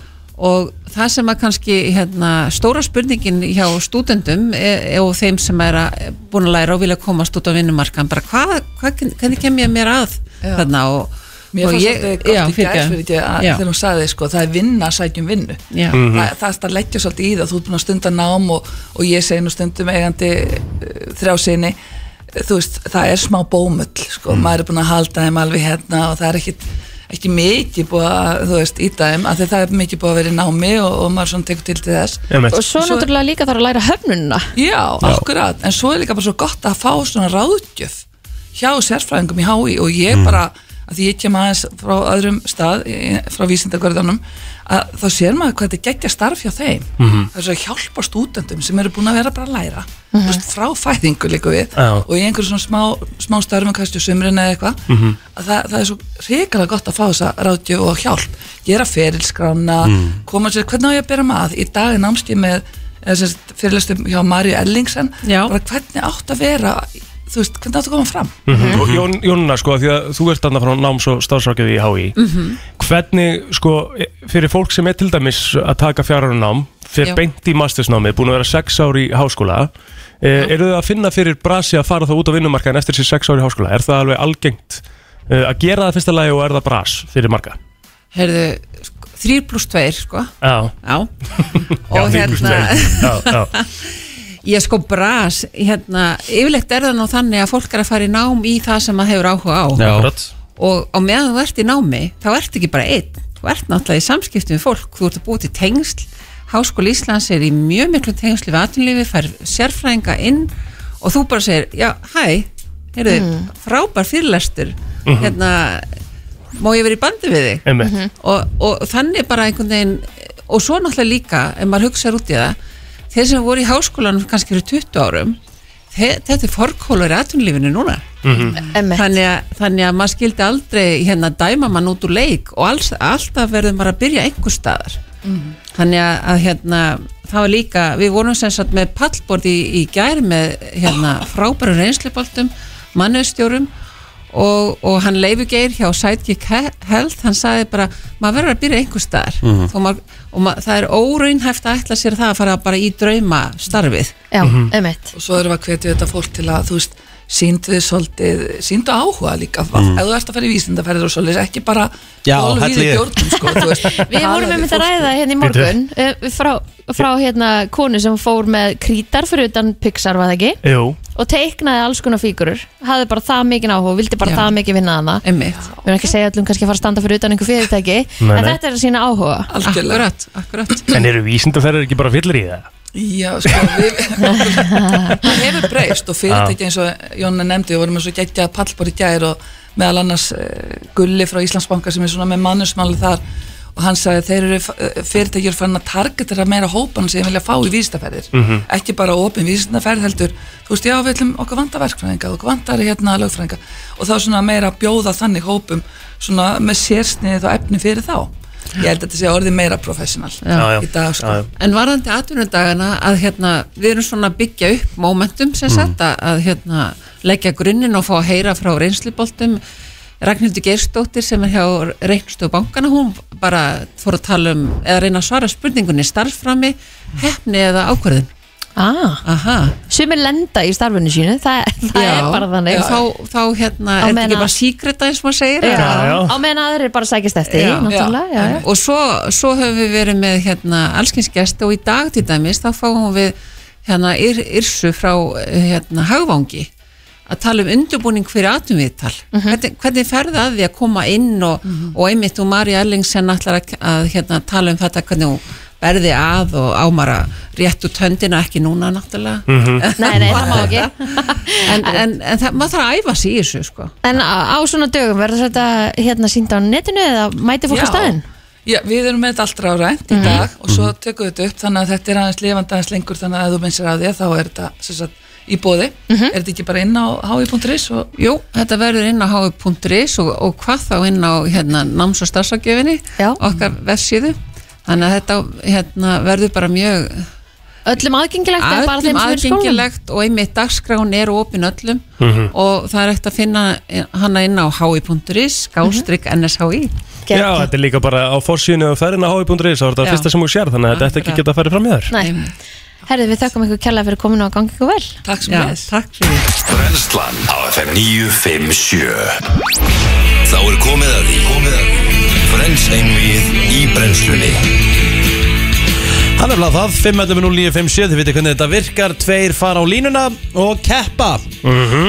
Speaker 7: og það sem að kannski hérna, stóra spurningin hjá stúdendum e, e, og þeim sem er að, búin að læra og vilja komast út á vinnumarkan bara hvað, hvað, hvernig kem ég mér að þarna og
Speaker 9: Mér
Speaker 7: og
Speaker 9: fannst
Speaker 7: ég-
Speaker 9: þetta gott í
Speaker 7: já,
Speaker 9: gær
Speaker 7: fyrirgefðu.
Speaker 9: fyrir ekki að
Speaker 7: Já.
Speaker 9: þegar hún sagði sko, það er vinna að sækja um vinnu
Speaker 7: Já.
Speaker 9: það, það er að leggja svolítið í það þú ert búin að stunda nám og, og ég segi nú stundum eigandi uh, þrjá sinni þú veist, það er smá bómull sko, maður er búin að halda þeim alveg hérna og það er ekkit, ekki mikið búið að, þú veist, í þeim af því það er mikið búið að vera í námi og, og maður svona tekur til til þess
Speaker 3: einmitt
Speaker 4: Og svo
Speaker 9: Svo-
Speaker 4: náttúrulega líka þarf að læra höfnunna.
Speaker 9: Já, akkurat, en svo er líka bara svo gott að fá svona ráðgjöf hjá sérfræðingum í HÍ og ég
Speaker 3: Mm.
Speaker 9: bara að því ég kem aðeins frá öðrum stað eh, frá vísindagörðunum að þá sér maður hvað þetta geggja starf hjá þeim
Speaker 3: Mhm. Mm.
Speaker 9: það er svo að hjálpa stúdendum sem eru búin að vera bara að læra
Speaker 4: Mhm.
Speaker 9: mm -hmm. frá fæðingu líka við
Speaker 3: Já.
Speaker 9: og í einhverjum svona smá, smá starfum kannski sumrin eða eitthvað
Speaker 3: Mhm.
Speaker 9: að það, það er svo hrikalega gott að fá þessa ráðgjöf og hjálp gera ferilskrána
Speaker 2: Mm.
Speaker 3: Mm.
Speaker 9: koma sér, hvernig á ég að bera maður í dag er námskið með eða sem sagt, fyrirlestum hjá Marju Ellingsen
Speaker 7: Já.
Speaker 9: bara hvernig átt að vera þú veist, hvernig átt að koma fram
Speaker 3: Og Jón, Jónuna, sko, því að þú ert þarna frá náms og starfsrákið í HÍ Hvernig, sko, fyrir fólk sem er til dæmis að taka fjárhæru nám fyrir
Speaker 7: Já.
Speaker 3: beint í mastersnámi, búin að vera sex ár í háskóla eh, Eru þið að finna fyrir brasi að fara þá út á vinnumarkaðin eftir sér sex ár í háskóla? Er það alveg algengt eh, að gera það fyrsta lagi og er það bras fyrir marga?
Speaker 7: heyrðu, sko, þrýr pluss tveir sko,
Speaker 3: Já,
Speaker 7: já
Speaker 3: já,
Speaker 7: og hérna
Speaker 3: já, já.
Speaker 7: (laughs) ég sko bras, hérna yfirleitt er það nú þannig að fólk er að fara í nám í það sem maður hefur áhuga á
Speaker 2: Akkurat.
Speaker 7: og á meðan þú ert í námi þá ert ekki bara einn, þú ert náttúrulega í samskiptum við fólk, þú ert að búið til tengsl Háskóli Íslands er í mjög miklu tengslu við atvinnlífi, fær sérfræðinga inn og þú bara segir, já, hæ heyrðu, frábær fyrirlestur hérna má ég vera í bandi við þig
Speaker 3: Einmitt.
Speaker 7: og, og þannig bara einhvern veginn og svo náttúrulega líka, ef maður hugsaður út í það þeir sem voru í háskólanum kannski fyrir 20 árum þe þetta er forkólar í atvinnulífinu núna
Speaker 3: Mhm.
Speaker 7: þannig að, þannig að maður skildi aldrei hérna dæma mann út úr leik og alls, alltaf verður maður að byrja einhver staðar
Speaker 4: Mhm.
Speaker 7: þannig að, að hérna það var líka, við vorum sem sagt með pallbord í, í gær með hérna frábærum reynsluboltum, mannustjórum og, og hann leifugeir hjá Sidekick He- Health, hann sagði bara maður verður að byrja einhver staðar
Speaker 10: Mhm.
Speaker 7: Þó maður, og maður, það er óraunhæft að ætla sér það að fara bara í drauma starfið
Speaker 4: Já, Mhm. einmitt
Speaker 9: og svo erum við að hvetja þetta fólk til að þú veist, síndu þið svolítið síndu áhuga líka,
Speaker 2: Mhm.
Speaker 9: ef þú ert að fara í vísindaferðir og svolítið, ekki bara
Speaker 2: Já,
Speaker 9: golfið í
Speaker 2: hellið í.
Speaker 9: bjórnum, sko, þú veist,
Speaker 4: (laughs) Við
Speaker 9: talaðu
Speaker 4: vorum einmitt að
Speaker 9: fólk.
Speaker 7: sko.
Speaker 4: ræða hérna í morgun eh, frá, frá hérna konu sem fór með krítar fyrir utan Pixar var það ekki
Speaker 3: Jú,
Speaker 4: og teiknaði alls konar fígurur hafði bara það mikið áhuga, vildi bara
Speaker 7: Já.
Speaker 4: það mikið vinna hana
Speaker 7: Einmitt.
Speaker 4: Við erum ekki að segja öllum kannski að fara að standa fyrir utan einhver fyrirtæki
Speaker 3: Nei,
Speaker 4: en
Speaker 3: nei.
Speaker 4: þetta er að sína áhuga
Speaker 7: Akkurat, akkurat
Speaker 3: en eru vísindaferðir ekki bara fyllir í það?
Speaker 9: Já, sko, við
Speaker 7: (laughs)
Speaker 9: það hefur breyst og fyrirtæki eins og Jonna nefndi, við vorum eins og geggjað pallbor í gær og meðal annars uh, Gulli frá Íslandsbanka sem er svona með mannusmáli þar og hann sagði að þeir eru eh, fyrirtæki eru fann að targetera meira hópan sem vilja fá í vísindaferðir
Speaker 6: Mhm.
Speaker 9: ekki bara opin vísindaferð heldur þú veist, já, við ætlum okkur vantar verkfræðinga okkur vantar hérna lögfræðinga og þá svona meira að bjóða þannig hópum svona með sérsnið og efni fyrir þá ég held að þetta sé orðið meira professional
Speaker 7: Já.
Speaker 9: í dag, sko
Speaker 7: En varðandi atvinnudagana að hérna, við erum svona að byggja upp momentum sem sagt að, að hérna, leggja grunninn og fá að heyra frá reynsluboltum Ragnhildur Geirsdóttir sem er hjá Reykjavík bankana, hún bara fór að tala um eða reyna að svara spurningunni starfframi, hefni eða ákvörðun
Speaker 4: ah. Sumir lenda í starfinu sínu það, það
Speaker 7: Já.
Speaker 4: er bara þannig
Speaker 7: Já. Þá- þá hérna, er þetta ekki bara síkreta eins og maður segir
Speaker 4: Já,
Speaker 7: eða? Já, já.
Speaker 4: á meðan aðrir bara sækist eftir
Speaker 7: Já.
Speaker 4: því, náttúrulega já, já.
Speaker 7: og svo, svo höfum við verið með hérna, allskynsgesti og í dag til dæmis þá fáum við hérna, yr, Yrsu frá hérna, Hagvangi að tala um undurbúning fyrir atumviðtal
Speaker 4: Mhm.
Speaker 7: hvernig, hvernig ferði að því að koma inn og, og einmitt og Marja Erlingsen ætlar að, að hérna, tala um þetta hvernig hún verði að og ámara rétt út höndina ekki núna náttúrulega (laughs)
Speaker 3: Mhm.
Speaker 4: Nei, nei, það má ekki (laughs)
Speaker 7: en, en, en það, maður þarf að æfa sig í þessu sko.
Speaker 4: En á, á svona dögum verður þetta hérna sínd á netinu eða mæti fólk á
Speaker 9: Já.
Speaker 4: staðinn? Mhm.
Speaker 9: Já, við erum með þetta allra árænt í dag og svo tökum við þetta upp þannig að þetta er aðeins lifandi aðeins lengur þannig að ef þú minnsir að því þá er þetta sem sagt, í bóði,
Speaker 4: Mhm.
Speaker 9: er þetta ekki bara inn á hi.is og
Speaker 7: Jú, þetta verður inn á hái.is og, og hvað þá inn á hérna, náms- og starfsafgjöfinni okkar vefsíðu þannig að þetta hérna, verður bara mjög
Speaker 4: Öllum aðgengilegt eða bara þeim
Speaker 7: öllum
Speaker 4: sem eru í skólanum?
Speaker 7: aðgengilegt og einmitt dagskráin er opin öllum
Speaker 3: Mhm.
Speaker 7: og það er eftir að finna hana inn á hái.is
Speaker 6: Mhm.
Speaker 7: skástrygg NSHI
Speaker 3: Já, þetta er líka bara á fórsíðinu og ferðin á hái.is, þá er þetta
Speaker 7: Já.
Speaker 3: fyrsta sem þú sér þannig að þetta ekki geta að fara fram í þér
Speaker 4: Nei, herðu við þökkum ykkur kjærlega fyrir komin og gangi ykkur vel
Speaker 9: Takk
Speaker 1: sem leiðis.
Speaker 7: Takk fyrir
Speaker 1: Brennslan á FM 957 Þá er komið að því komið að því. Brenns einvið í brennslunni
Speaker 2: Hann er alveg það, 512957, þið veitir hvernig þetta virkar, tveir fara á línuna og keppa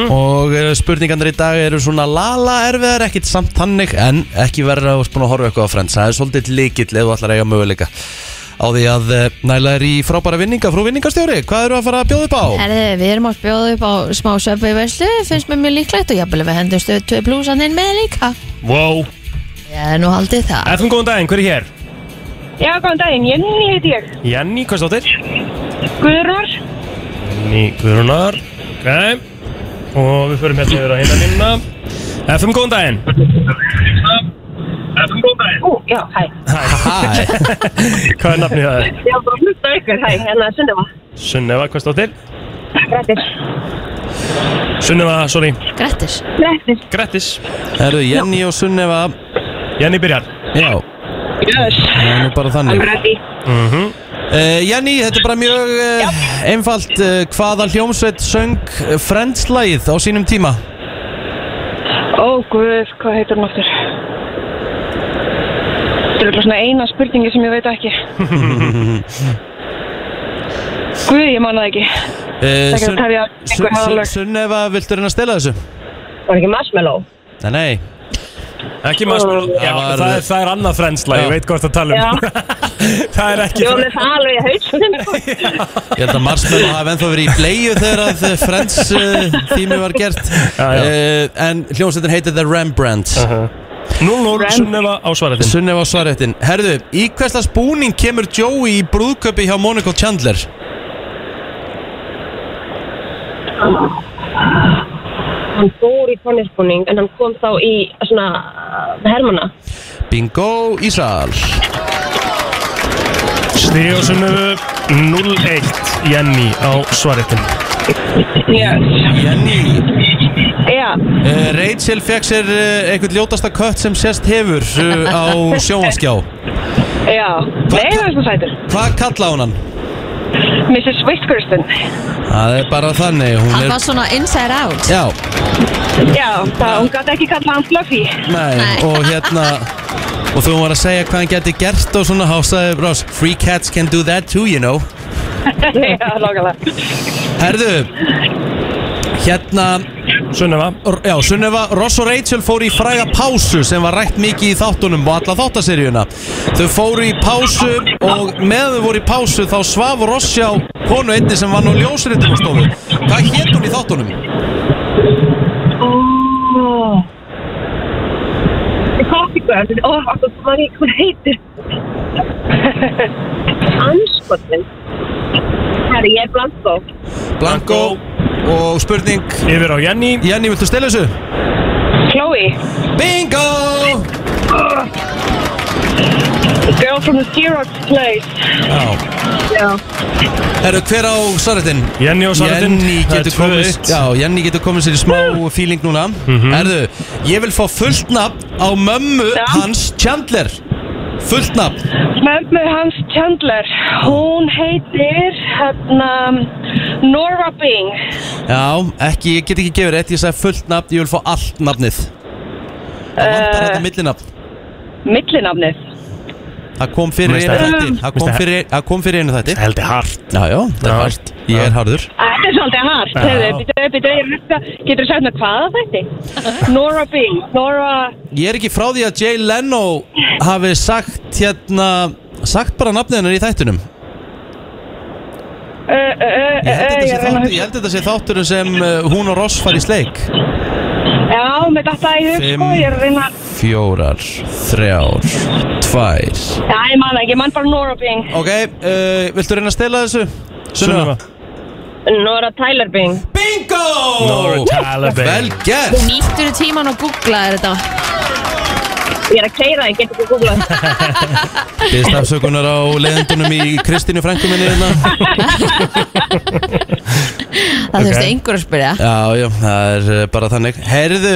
Speaker 2: Og eh, spurningarnir í dag eru svona lala erfiðar, ekkit samt þannig, en ekki verður að spuna að horfa eitthvað á frends Það er svolítið líkill ef þú ætlar að eiga möguleika Á því að eh, næla er í frábæra vinninga, frú vinningastjóri, hvað eru að fara að bjóða upp á?
Speaker 4: Herðu við erum að bjóða upp á smá söpvi verslu finnst mér mjög líklegt og jafnvel við hendum stöð 2 plusan inn með líka
Speaker 3: Wow,
Speaker 4: Ég er nú haldið það
Speaker 3: eftir góðan daginn, hver er hér?
Speaker 6: Já, góðan daginn, Jenny heiti ég
Speaker 3: Jenny, hvað stóttir?
Speaker 6: Guðrúnar
Speaker 3: Jenny Guðrunar Ok, og við förum hérna yfir á hérna minna FM, góðan daginn
Speaker 6: FM góðan daginn Ú, já, hæ
Speaker 3: Hæ (laughs) Hvað er nafnið það?
Speaker 6: Já, bara hlusta á ykkur, hæ, hérna Sundeva
Speaker 3: Sunneva, hvað stóttir?
Speaker 6: Grettir
Speaker 3: Sunneva, sorry
Speaker 4: Grettis
Speaker 6: Grettir
Speaker 3: Grettis Herru, Jenny og Sunneva Jenny byrjar
Speaker 2: Já
Speaker 6: Yes
Speaker 2: Það er nú bara þannig
Speaker 6: I'm ready.
Speaker 2: Mhm. Eh, Jenny, þetta er bara mjög uh, einfalt uh, Hvaða hljómsveit söng Friends-lægið á sínum tíma?
Speaker 6: Ó, guð, hvað heitir hún aftur? Þetta er bara svona eina spurningi sem ég veit ekki Guð, ég man það ekki
Speaker 2: Eh,
Speaker 6: Það getur
Speaker 2: Sun-
Speaker 6: tefja
Speaker 2: Sun-
Speaker 6: einhver
Speaker 2: Sun-
Speaker 6: aðalög.
Speaker 2: Sunneva, viltu reyna að stela þessu?
Speaker 6: Var ekki Marshmallow?
Speaker 2: Nei, nei
Speaker 3: Ekki maður Já, það er, það er annað frensla, ég veit hvort það tala um (laughs) Það er ekki
Speaker 6: Ég var með það alveg í
Speaker 10: sko.
Speaker 2: (laughs)
Speaker 6: hausunum
Speaker 2: Ég held að Marsmenn hafi ennþá verið í bleiðu þegar að eh, Friends uh, tími var gert uh, En hljómsveitin heitir The Rembrandts
Speaker 3: 0-0 Sunneva á svaretin
Speaker 2: Sunneva á svaretin Herðu, í hversla spúning kemur Joey í brúðköpi hjá Monica Chandler?
Speaker 10: Hann fór í konnisbúning en hann kom þá í uh, svona hermana.
Speaker 2: Bingo í sal
Speaker 3: Stíðjósunöfu 0-1 Jenny á svaretinu
Speaker 10: Yes.
Speaker 2: Jenny
Speaker 10: Já.
Speaker 2: Uh, Rachel fekk sér uh, einhvern ljótasta kött sem sérst hefur uh, á sjónvarskjá
Speaker 10: Já. Nei, það er svo sætur.
Speaker 2: Hvað kallaði hún hann?
Speaker 10: Mrs. Whitkerson.
Speaker 2: Það er bara þannig Hún
Speaker 4: Hann
Speaker 2: er,
Speaker 4: var svona inside out
Speaker 2: Já,
Speaker 10: Já, það, hún gæti ekki kallað hann Fluffy. (laughs)
Speaker 2: nei, og hérna Og þú var að segja hvað hann geti gert og svona hásaði Ross Free cats can do that too, you know
Speaker 10: Já, lókala.
Speaker 2: Herðu Hérna
Speaker 3: Sunneva
Speaker 2: Já, Sunneva, Ross og Rachel fóru í fræga pásu sem var rætt mikið í þáttunum og alla þáttaseríuna Þau fóru í pásu og meðan þau voru í pásu þá svaf Ross hjá konu einni sem var nú ljósritum á stofu Hvað hétt hún í þáttunum?
Speaker 10: Oh. Coffee Ó, oh, hvað maður ekki hvað heitir. (laughs) Anskotin. Herri, ég er blanko.
Speaker 2: Blanko og spurning
Speaker 3: Yfir á Jenny
Speaker 2: Jenny, viltu stela þessu?
Speaker 10: Chloe.
Speaker 2: Bingo!
Speaker 10: Girl from the Xerox place.
Speaker 2: Já
Speaker 10: Já.
Speaker 2: Herru, hver á svaretinn?
Speaker 3: Jenny á svaretinn.
Speaker 2: Jenny
Speaker 3: Það er
Speaker 2: getur
Speaker 3: 2-1.
Speaker 2: komið Já, Jenny getur komið sér í smá feeling núna
Speaker 3: Mhm.
Speaker 2: Herðu, ég vil fá fullt nafn á mömmu hans Chandler Fullt nafn
Speaker 6: Mömmu hans Chandler, hún heitir hérna Nora Bing.
Speaker 2: Já, ekki, ég get ekki gefið rétt Ég sagði fullt nafn, ég vil fá allt nafnið Það vantar
Speaker 6: Eh.
Speaker 2: þetta millinafn
Speaker 6: Millinafnið.
Speaker 2: Það kom fyrir einu
Speaker 3: Mér finnst það-
Speaker 2: þætti Það kom
Speaker 3: Mér finnst það-
Speaker 2: fyrir, það kom fyrir einu þætti
Speaker 3: Heldi hart
Speaker 2: Já, já, það er hart Ég er harður
Speaker 6: Þetta er svolítið hart.
Speaker 2: Já.
Speaker 6: Heyrðu, Býtu, býtu, ég hlusta, getur þú sagt með hvaða þetta? Nora Bing, Nora...
Speaker 2: Ég er ekki frá því að Jay Leno hafi sagt hérna Sagt bara nafnið hennar í þættinum
Speaker 6: Uh, uh, uh,
Speaker 2: Ég held þetta
Speaker 6: ég
Speaker 2: sé
Speaker 6: er að reyna
Speaker 2: þáttur-
Speaker 6: að hugsa.
Speaker 2: ég held þetta sé þátturinn sem uh, hún og Ross fari í sleik
Speaker 6: Já, með þetta í hug, sko, ég er að reyna...
Speaker 2: Fjórar, þrjár, tvær
Speaker 6: Já, ég man það ekki, ég man bara Nora Bing.
Speaker 2: Ok, uh, viltu reyna að stela þessu? Sunnum
Speaker 6: Nora Tyler Bing.
Speaker 2: Bingo!
Speaker 3: Nora Tyler Bing.
Speaker 2: Vel gert
Speaker 4: Nýttur í tíman og googlaði þetta
Speaker 6: Ég er að keira, ég get ekki googlað.
Speaker 2: Byrst afsökunar á leiðendunum í Kristínu frænkuminni hérna.
Speaker 4: (laughs) Það þurfti einhver að spyrja
Speaker 2: Já, já, það er eh, bara þannig Herðu,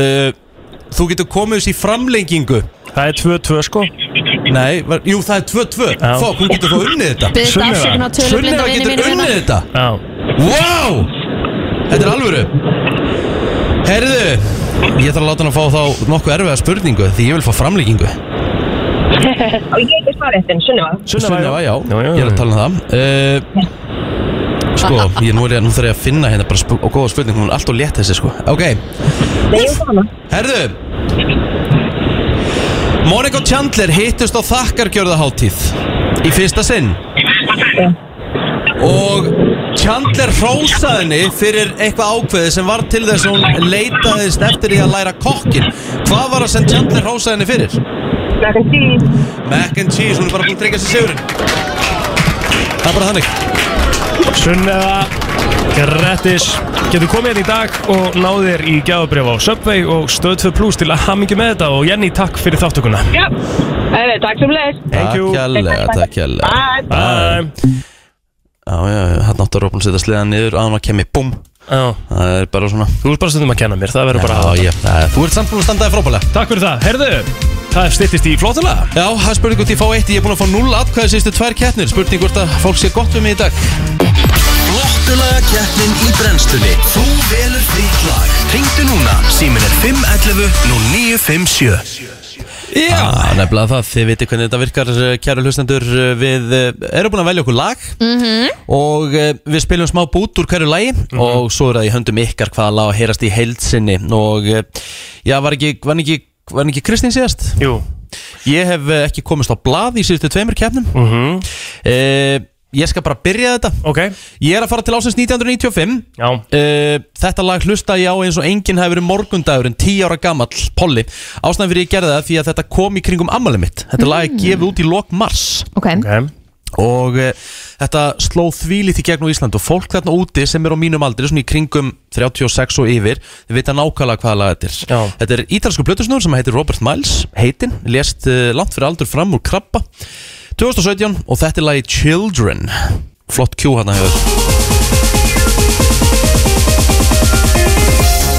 Speaker 2: uh, þú getur komið þessi framlengingu
Speaker 3: Það er 2-2 sko
Speaker 2: Nei, var, jú það er 2-2
Speaker 3: Já.
Speaker 2: Fá, hún getur þá unnið þetta
Speaker 4: Biðst Sunneva. afsökunar á tölublinda
Speaker 2: Sunneva
Speaker 4: vini
Speaker 2: getur
Speaker 4: mínum hérna.
Speaker 2: unnið þetta
Speaker 3: Já
Speaker 2: Wow, þetta er alvöru Herðu, ég þarf að láta hann að fá þá nokkuð erfiða spurningu Því ég vil fá framlengingu
Speaker 6: (laughs) Og ég heiti svarettin, Sunneva.
Speaker 2: Sunneva, já, ég er að tala um það uh, Sko, ég nú er ég, nú þarf ég að finna hérna bara sp- og góða spurning, hún er allt og létt þessi sko Ok,
Speaker 6: Nei, ég fann það.
Speaker 2: herðu Monika og Chandler hittust á þakkargjörðaháttíð í fyrsta sinn og Chandler hrósaði henni fyrir eitthvað ákveði sem var til þess að hún leitaðist eftir því að læra kokkin Hvað var það sem Chandler hrósaði henni fyrir?
Speaker 6: Mac and cheese.
Speaker 2: Mac and cheese, hún er bara búin að tryggja sér sigurinn Það er bara þannig
Speaker 3: Sunneva Grettis Getur komið hérna í dag og náðir í gjáðabrjöf á Subway og Stöð 2 Plus til að hamingi með þetta og Jenny takk fyrir þáttökuna
Speaker 6: Já, Heyrðu, takk sem leist.
Speaker 2: Takk hérlega, takk hérlega Bye Já, já, hann átti að Róbin setja sleðan niður að hann var kemmi, búm
Speaker 3: Já
Speaker 2: Það er bara svona
Speaker 3: Þú ert bara stundum að kenna mér, það verður bara að
Speaker 2: Já,
Speaker 3: hafa þetta.
Speaker 2: ég, það, þú ert samt búin að standa þig frábælega
Speaker 3: Takk fyrir það, herðu, það styttist í flottulega
Speaker 2: Já, það er spurning hvort ég fá eitt, ég er búin að fá null atkvæði síðustu tvær kettnir Spurning hvort að fólk sé gott við mig í dag
Speaker 1: Flottulaga keppnin í brennslunni Þú velur þitt lag Ringdu núna, símin er 511 0957
Speaker 2: Já ah, Nefnilega það, þið viti hvernig þetta virkar, eh, kæru hlustendur eh, Við eh, erum búin að velja okkur lag
Speaker 4: Mhm.
Speaker 2: Og eh, við spilum smá bút úr hverju lagi
Speaker 3: Mhm.
Speaker 2: Og svo er það í höndum ykkar hvaða lag að heyrast í heildsinni Og eh, já, var ekki, var ekki, var ekki Kristín síðast?
Speaker 3: Jú
Speaker 2: Ég hef eh, ekki komist á blað í síðustu tveimur kefnum
Speaker 3: mm -hmm.
Speaker 2: Ég skal bara byrja þetta
Speaker 3: okay.
Speaker 2: Ég er að fara til ásins 1995
Speaker 3: Já.
Speaker 2: Eh, Þetta lag hlusta ég á eins og enginn hefur verið morgundagurinn 10 ára gamall, Polly Ástæðan fyrir ég gerði það því að þetta kom í kringum ammali mitt Þetta lag er gefið út í lok mars
Speaker 4: Ok,
Speaker 3: okay.
Speaker 2: og e, þetta sló þvílít í gegn á Ísland og fólk þarna úti sem er á mínum aldri svona í kringum 36 og yfir þau vita nákvæmlega hvaða lag þetta er Já. þetta er ítalsku blötusnúr sem heitir Robert Miles heitin, lést e, langt fyrir aldur fram úr krabba 2017 og þetta er lagi Children flott Q hann að hefur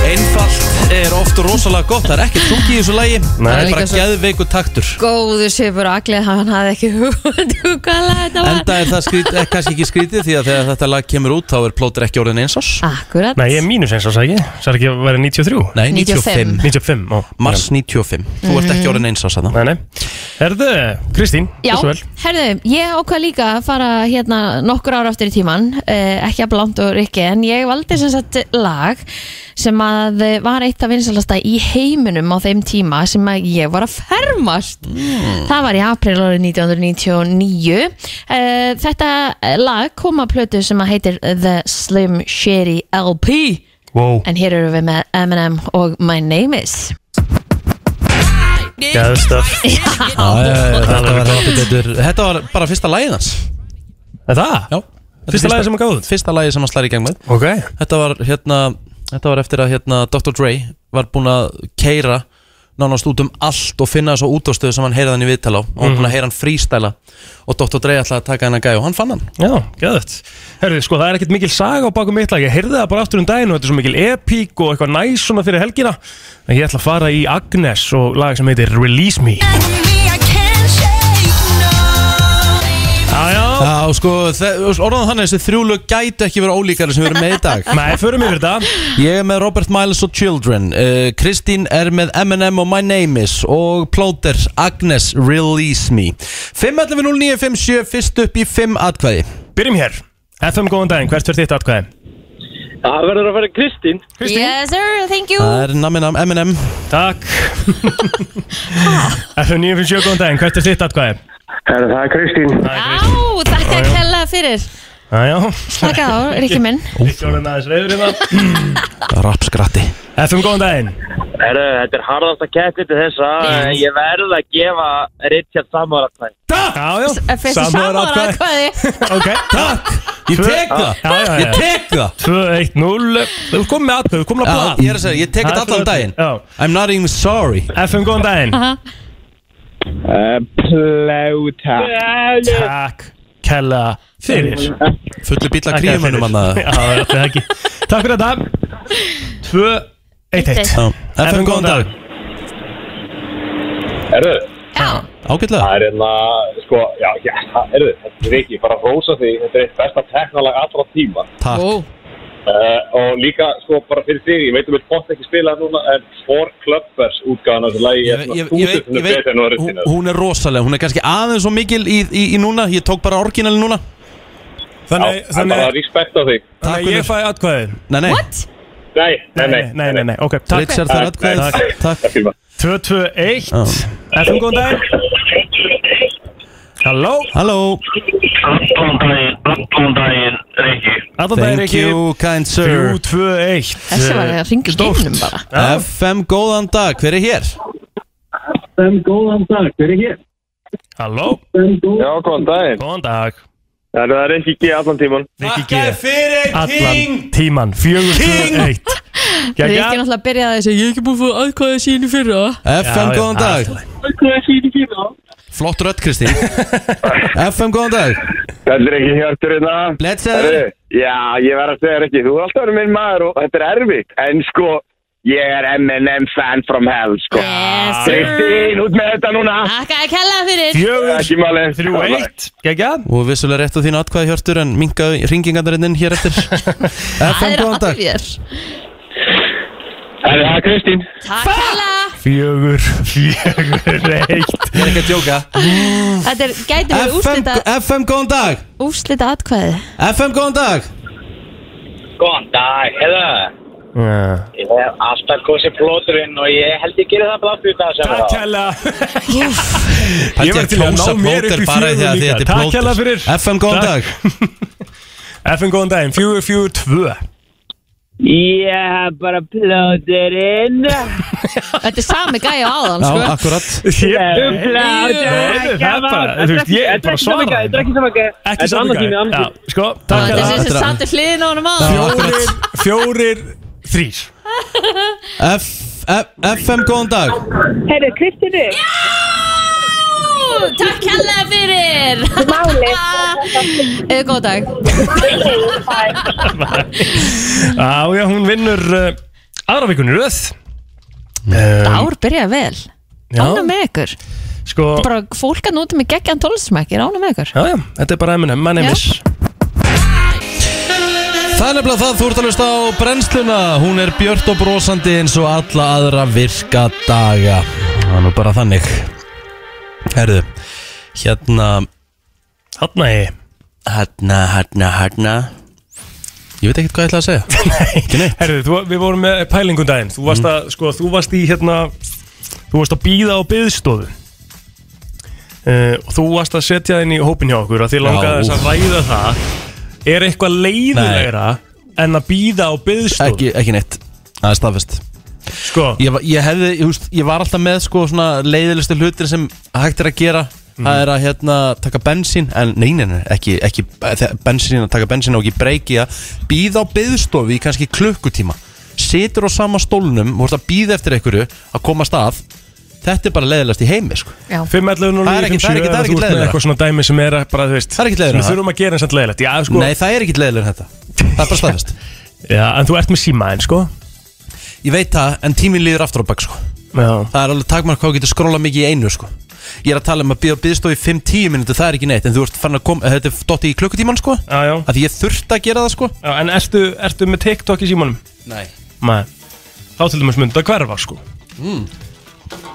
Speaker 2: Einfalt er oft rosalega gott, það er ekkert sungið í þessu lagi það er
Speaker 4: Líka
Speaker 2: bara
Speaker 4: svo-
Speaker 2: geðveiku taktur
Speaker 4: Góðu sifur og allir, hann hafði ekki hugað hvað lag þetta var
Speaker 2: Enda er það skrít, eh, kannski ekki skrítið því að þegar þetta lag kemur út þá er plótur ekki orðin einsás
Speaker 4: Akkurat
Speaker 3: Nei, ég er mínus eins og sagði ekki Sagði ekki að vera 93?
Speaker 2: Nei, 95.
Speaker 3: 95, ó Mm.
Speaker 2: Mars 95 Þú ert ekki orðin eins á sæða
Speaker 3: Nei, nei Herðu, Kristín,
Speaker 4: Já,
Speaker 3: þessu vel
Speaker 4: herðu, ég ákvað líka að fara hérna nokkur ára aftur í tíman eh, ekki að blánt og rikki en ég valdi sem sagt lag sem að eh, var eitt af vinsalasta í heiminum á þeim tíma sem að ég var að fermast það var í april árið 1999 eh, þetta lag kom að plötu sem að heitir The Slim Shady LP
Speaker 3: wow.
Speaker 4: en hér eru við með Eminem og My Name Is
Speaker 3: Geðstöf
Speaker 2: Þetta var heldur betur Þetta var bara fyrsta lagið hans
Speaker 3: Það?
Speaker 2: Já Þetta er
Speaker 3: Fyrsta lagið sem hann gáði
Speaker 2: Fyrsta lagið sem hann slær í gang með
Speaker 3: Ok
Speaker 2: Þetta var hérna Þetta var eftir að hérna Dr. Dre var búinn að keira nánast út um allt og finna þessu útástöðu sem hann heyrði hann í viðtal á og hann
Speaker 3: Mhm.
Speaker 2: búinn að heyra hann frístæla og Dr. Dre ætlaði að taka hennar gæði og hann fann hann
Speaker 3: Já, geðvægt Herðu, sko, það er ekkert mikil saga á bakum mitt lag Ég heyrði það bara aftur um daginn og þetta er svo mikil epík og eitthvað næs svona fyrir helgina En ég ætla að fara í Agnes og lag sem heitir Release Me Já,
Speaker 2: Já, sko, þe- orðan þannig að þessi þrjúlög gæti ekki verið ólíkari sem við erum með í dag
Speaker 3: (laughs) Nei, förum yfir þetta
Speaker 2: Ég er með Robert Miles og Children uh, Kristín er með Eminem og My Name Is Og Plóter, Agnes, Release Me 5.11.09.57, fyrst upp í 5 atkvæði
Speaker 3: Byrjum hér FM, góðan daginn, hvert verður þitt atkvæði?
Speaker 2: Það verður að vera Kristín
Speaker 4: Yes sir, thank you
Speaker 2: Það er nammi nam Eminem
Speaker 3: Takk FM 957, góðan daginn, hvert er þitt atkvæði?
Speaker 11: Herra, það er Kristín
Speaker 4: Ó, þakka
Speaker 3: Já,
Speaker 4: að
Speaker 3: já.
Speaker 4: kella fyrir
Speaker 3: Æjá
Speaker 4: Slaka á, Rikki minn
Speaker 3: Rikki orðin aðeins reyður hérna
Speaker 2: Rapskratti
Speaker 3: FM, góðan daginn
Speaker 12: Herru, þetta er harðasta keppni til þessa en ég verð að gefa Richard Samuel atkvæði.
Speaker 3: Já, já
Speaker 4: Fyrstu samanlega hvaði
Speaker 3: Ok, takk
Speaker 2: Ég tek það. Ég tek það
Speaker 3: 2-1-0 Þú kom með atkvæði, þú kom með
Speaker 2: Já,
Speaker 3: blad
Speaker 2: ég er að segja, ég tek þetta allan daginn. I'm not even sorry
Speaker 3: FM, góðan daginn
Speaker 2: Eh,
Speaker 3: Plóta Takk Kella Fyrir
Speaker 2: Fullu bíll af kríumönnum hann að-
Speaker 3: Já, þetta er ekki Takk fyrir þetta 2-1-1
Speaker 2: Já. FM, góðan dag
Speaker 5: Erðu?
Speaker 4: Já.
Speaker 2: Ágætlega.
Speaker 5: Það er hérna, sko, já, já, það- erðu, þetta er ekki, bara að rósa því, þetta er eitt besta teknalag allra tíma.
Speaker 2: Takk.
Speaker 5: Ó. og líka, sko, bara fyrir þig, ég veit um að bótt ekki spila það núna, en For Clubbers útgáðan af þessu lagi
Speaker 2: Ég,
Speaker 5: er
Speaker 2: ég,
Speaker 5: svona
Speaker 2: ég, veit,
Speaker 5: þúsund
Speaker 2: ég
Speaker 5: sem
Speaker 2: veit,
Speaker 5: betur en orðið
Speaker 2: hún,
Speaker 5: þínu.
Speaker 2: hún er rosalega, hún er kannski aðeins svo mikil í, í, í núna, ég tók bara orginal núna
Speaker 3: Þannig,
Speaker 5: Já, þannig- bara respekt á þig.
Speaker 3: Þannig að ég fæ atkvæði
Speaker 2: Nei, nei
Speaker 5: Nei,
Speaker 3: nei, nei, nei, nei, nei, ok, takk
Speaker 2: Richard þarf atkvæðið. Takk
Speaker 3: 2-2-1 FM, góðan daginn Halló
Speaker 2: Halló
Speaker 12: Allan daginn, allan daginn, Rikki.
Speaker 3: Allan daginn, Rikki.
Speaker 2: you, kind sir
Speaker 3: 3-2-1
Speaker 4: Þessi var að ringa geimnum bara
Speaker 2: FM, góðan dag, hver er hér?
Speaker 12: Sem góðan dag, hver er hér?
Speaker 3: Halló
Speaker 12: Já, góðan daginn.
Speaker 3: Góðan dag.
Speaker 12: Það er Rikki G allan tíman.
Speaker 3: Rikki G Allan tíman, 4-2-1
Speaker 4: Rikki náttúrulega byrjaði þessu Ég er ekki búið að fá aðkvæða sín í fyrra
Speaker 2: FM, góðan dag
Speaker 12: Atkvæði sín í fyrra
Speaker 2: Flott rödd,
Speaker 3: (laughs)
Speaker 2: Kristín FM, góðan dag
Speaker 5: Þetta er ekki hjörtur hérna.
Speaker 2: Blessaður.
Speaker 5: Herru, Já, ég verð að segja þér ekki, þú er alltaf verið minn maður og þetta er erfitt, en sko, ég er M&M fan from hell, sko.
Speaker 2: Ah.
Speaker 5: Yes,
Speaker 4: sir.
Speaker 5: Kristín, út með þetta núna.
Speaker 4: Þakka að kella fyrir
Speaker 5: Ekki máli. Þrjú
Speaker 3: eitt. Gægja
Speaker 2: Og vissulega rétt á þínu atkvæði hjörtur en mingaðu ringingandarinn hér eftir FM, góðan dag
Speaker 5: Það er Kristín
Speaker 4: Takk kella
Speaker 3: Fjögur, fjögur, eitt
Speaker 2: Ég er ekki að djóka
Speaker 4: Þetta er- gæti verið
Speaker 2: FM,
Speaker 4: úrslita
Speaker 2: FM, góðan dag
Speaker 4: Úrslita atkvæði
Speaker 2: FM, góðan dag
Speaker 12: Góðan dag, heða. Ég hef alltaf kosið plóturinn og ég held ég gerir það blátt út af þessu.
Speaker 3: Takk hella.
Speaker 2: Ég var til að ná mér upp í fjögur líka
Speaker 3: Takk hella fyrir
Speaker 2: FM, góðan dag
Speaker 3: (laughs) FM góðan daginn, 442
Speaker 12: Ég hef bara plóturinn.
Speaker 4: Þetta er sami gæja og áðan
Speaker 2: Já,
Speaker 4: sko.
Speaker 2: akkurat
Speaker 3: Nei, það er bara- þú veist, ég er bara að svara
Speaker 6: Þetta er ekki sama gæði
Speaker 3: Ekki saman gæði Já, sko,
Speaker 4: Það
Speaker 3: takk
Speaker 4: er
Speaker 3: fyrir
Speaker 4: þessi sem
Speaker 3: það.
Speaker 4: samt er hliðin á honum áðan
Speaker 2: Fjórir,
Speaker 3: fjórir, þrýr
Speaker 2: F, F, FM, góðan dag
Speaker 6: Herru, Kristinu
Speaker 4: Takk hella fyrir (laughs) Máli Góð dag
Speaker 3: Já, já, hún vinnur uh, aðra vikun í röð um,
Speaker 4: Ár byrjaði vel
Speaker 3: Já.
Speaker 4: Ánum með ykkur
Speaker 3: Sko,
Speaker 4: Þetta er bara fólk að nota með geggjan tónlistsmæk Ég er ánum með ykkur
Speaker 3: já, já, þetta er bara Eminem, my name
Speaker 4: Já.
Speaker 3: is
Speaker 2: Það er nefnilega það, þú ert að hlusta á brennsluna Hún er björt og brosandi eins og alla aðra virka daga Það er nú bara þannig Herðu, hérna
Speaker 3: Hanna ég
Speaker 2: Hanna, hanna, hanna hérna. Ég veit ekkert hvað ég ætla að segja
Speaker 3: Herðu, þú, við vorum með pælingun daginn Þú
Speaker 2: Mm.
Speaker 3: varst, að, sko, þú varst í hérna Þú varst að býða á byðstofu uh, Og þú varst að setja það inn í hópin hjá okkur að Þið
Speaker 2: Já,
Speaker 3: langaði þess
Speaker 2: úff.
Speaker 3: að ræða það Er eitthvað leiðilegra En að býða á byðstofu
Speaker 2: Ekki, ekki neitt, það er staðfest
Speaker 3: Sko
Speaker 2: Ég, va- ég hefði, ég, húst, ég var alltaf með sko svona leiðilegustu hlutir sem hægt er að gera
Speaker 3: Mhm.
Speaker 2: Það er að hérna taka bensín En nei, nei, nei, ekki, ekki þe- bensín að taka bensín og ekki breyki að Býða á byðstofu í kannski klukkutíma Situr á sama stólnum Þú ert að býða eftir einhverju að koma stað Þetta er bara leiðilegast í heimi sko
Speaker 3: 511
Speaker 2: Það er ekki- það er ekki- það er ekki leiðilegra.
Speaker 3: Eitthvað svona dæmi sem er að bara, þú veist Það er ekki
Speaker 2: leiðilegra.
Speaker 3: Sem við þurfum að gera eins og leiðilegt Já, sko
Speaker 2: Nei, það er ekki leiðilegur en þetta Það er bara staðfest
Speaker 3: (laughs) Já, en þú ert með símaðin, sko
Speaker 2: Ég veit það, en tíminn líður aftur á bak, sko
Speaker 3: Já.
Speaker 2: Það er alveg takmark hvað þú getur skróla mikið í einu, sko Ég er að tala um að bíða byðstofi 5-10 minúti, það er ekki neitt En þú ert fann að koma, eh, þetta er dotti í klukkutíman, sko
Speaker 3: Já, já
Speaker 2: Að ég þurfti að gera það, sko
Speaker 3: Já, en ertu, ertu með TikTok í símanum?
Speaker 2: Nei
Speaker 3: Nei Þá til dæmis myndi að hverfa, sko
Speaker 2: mm.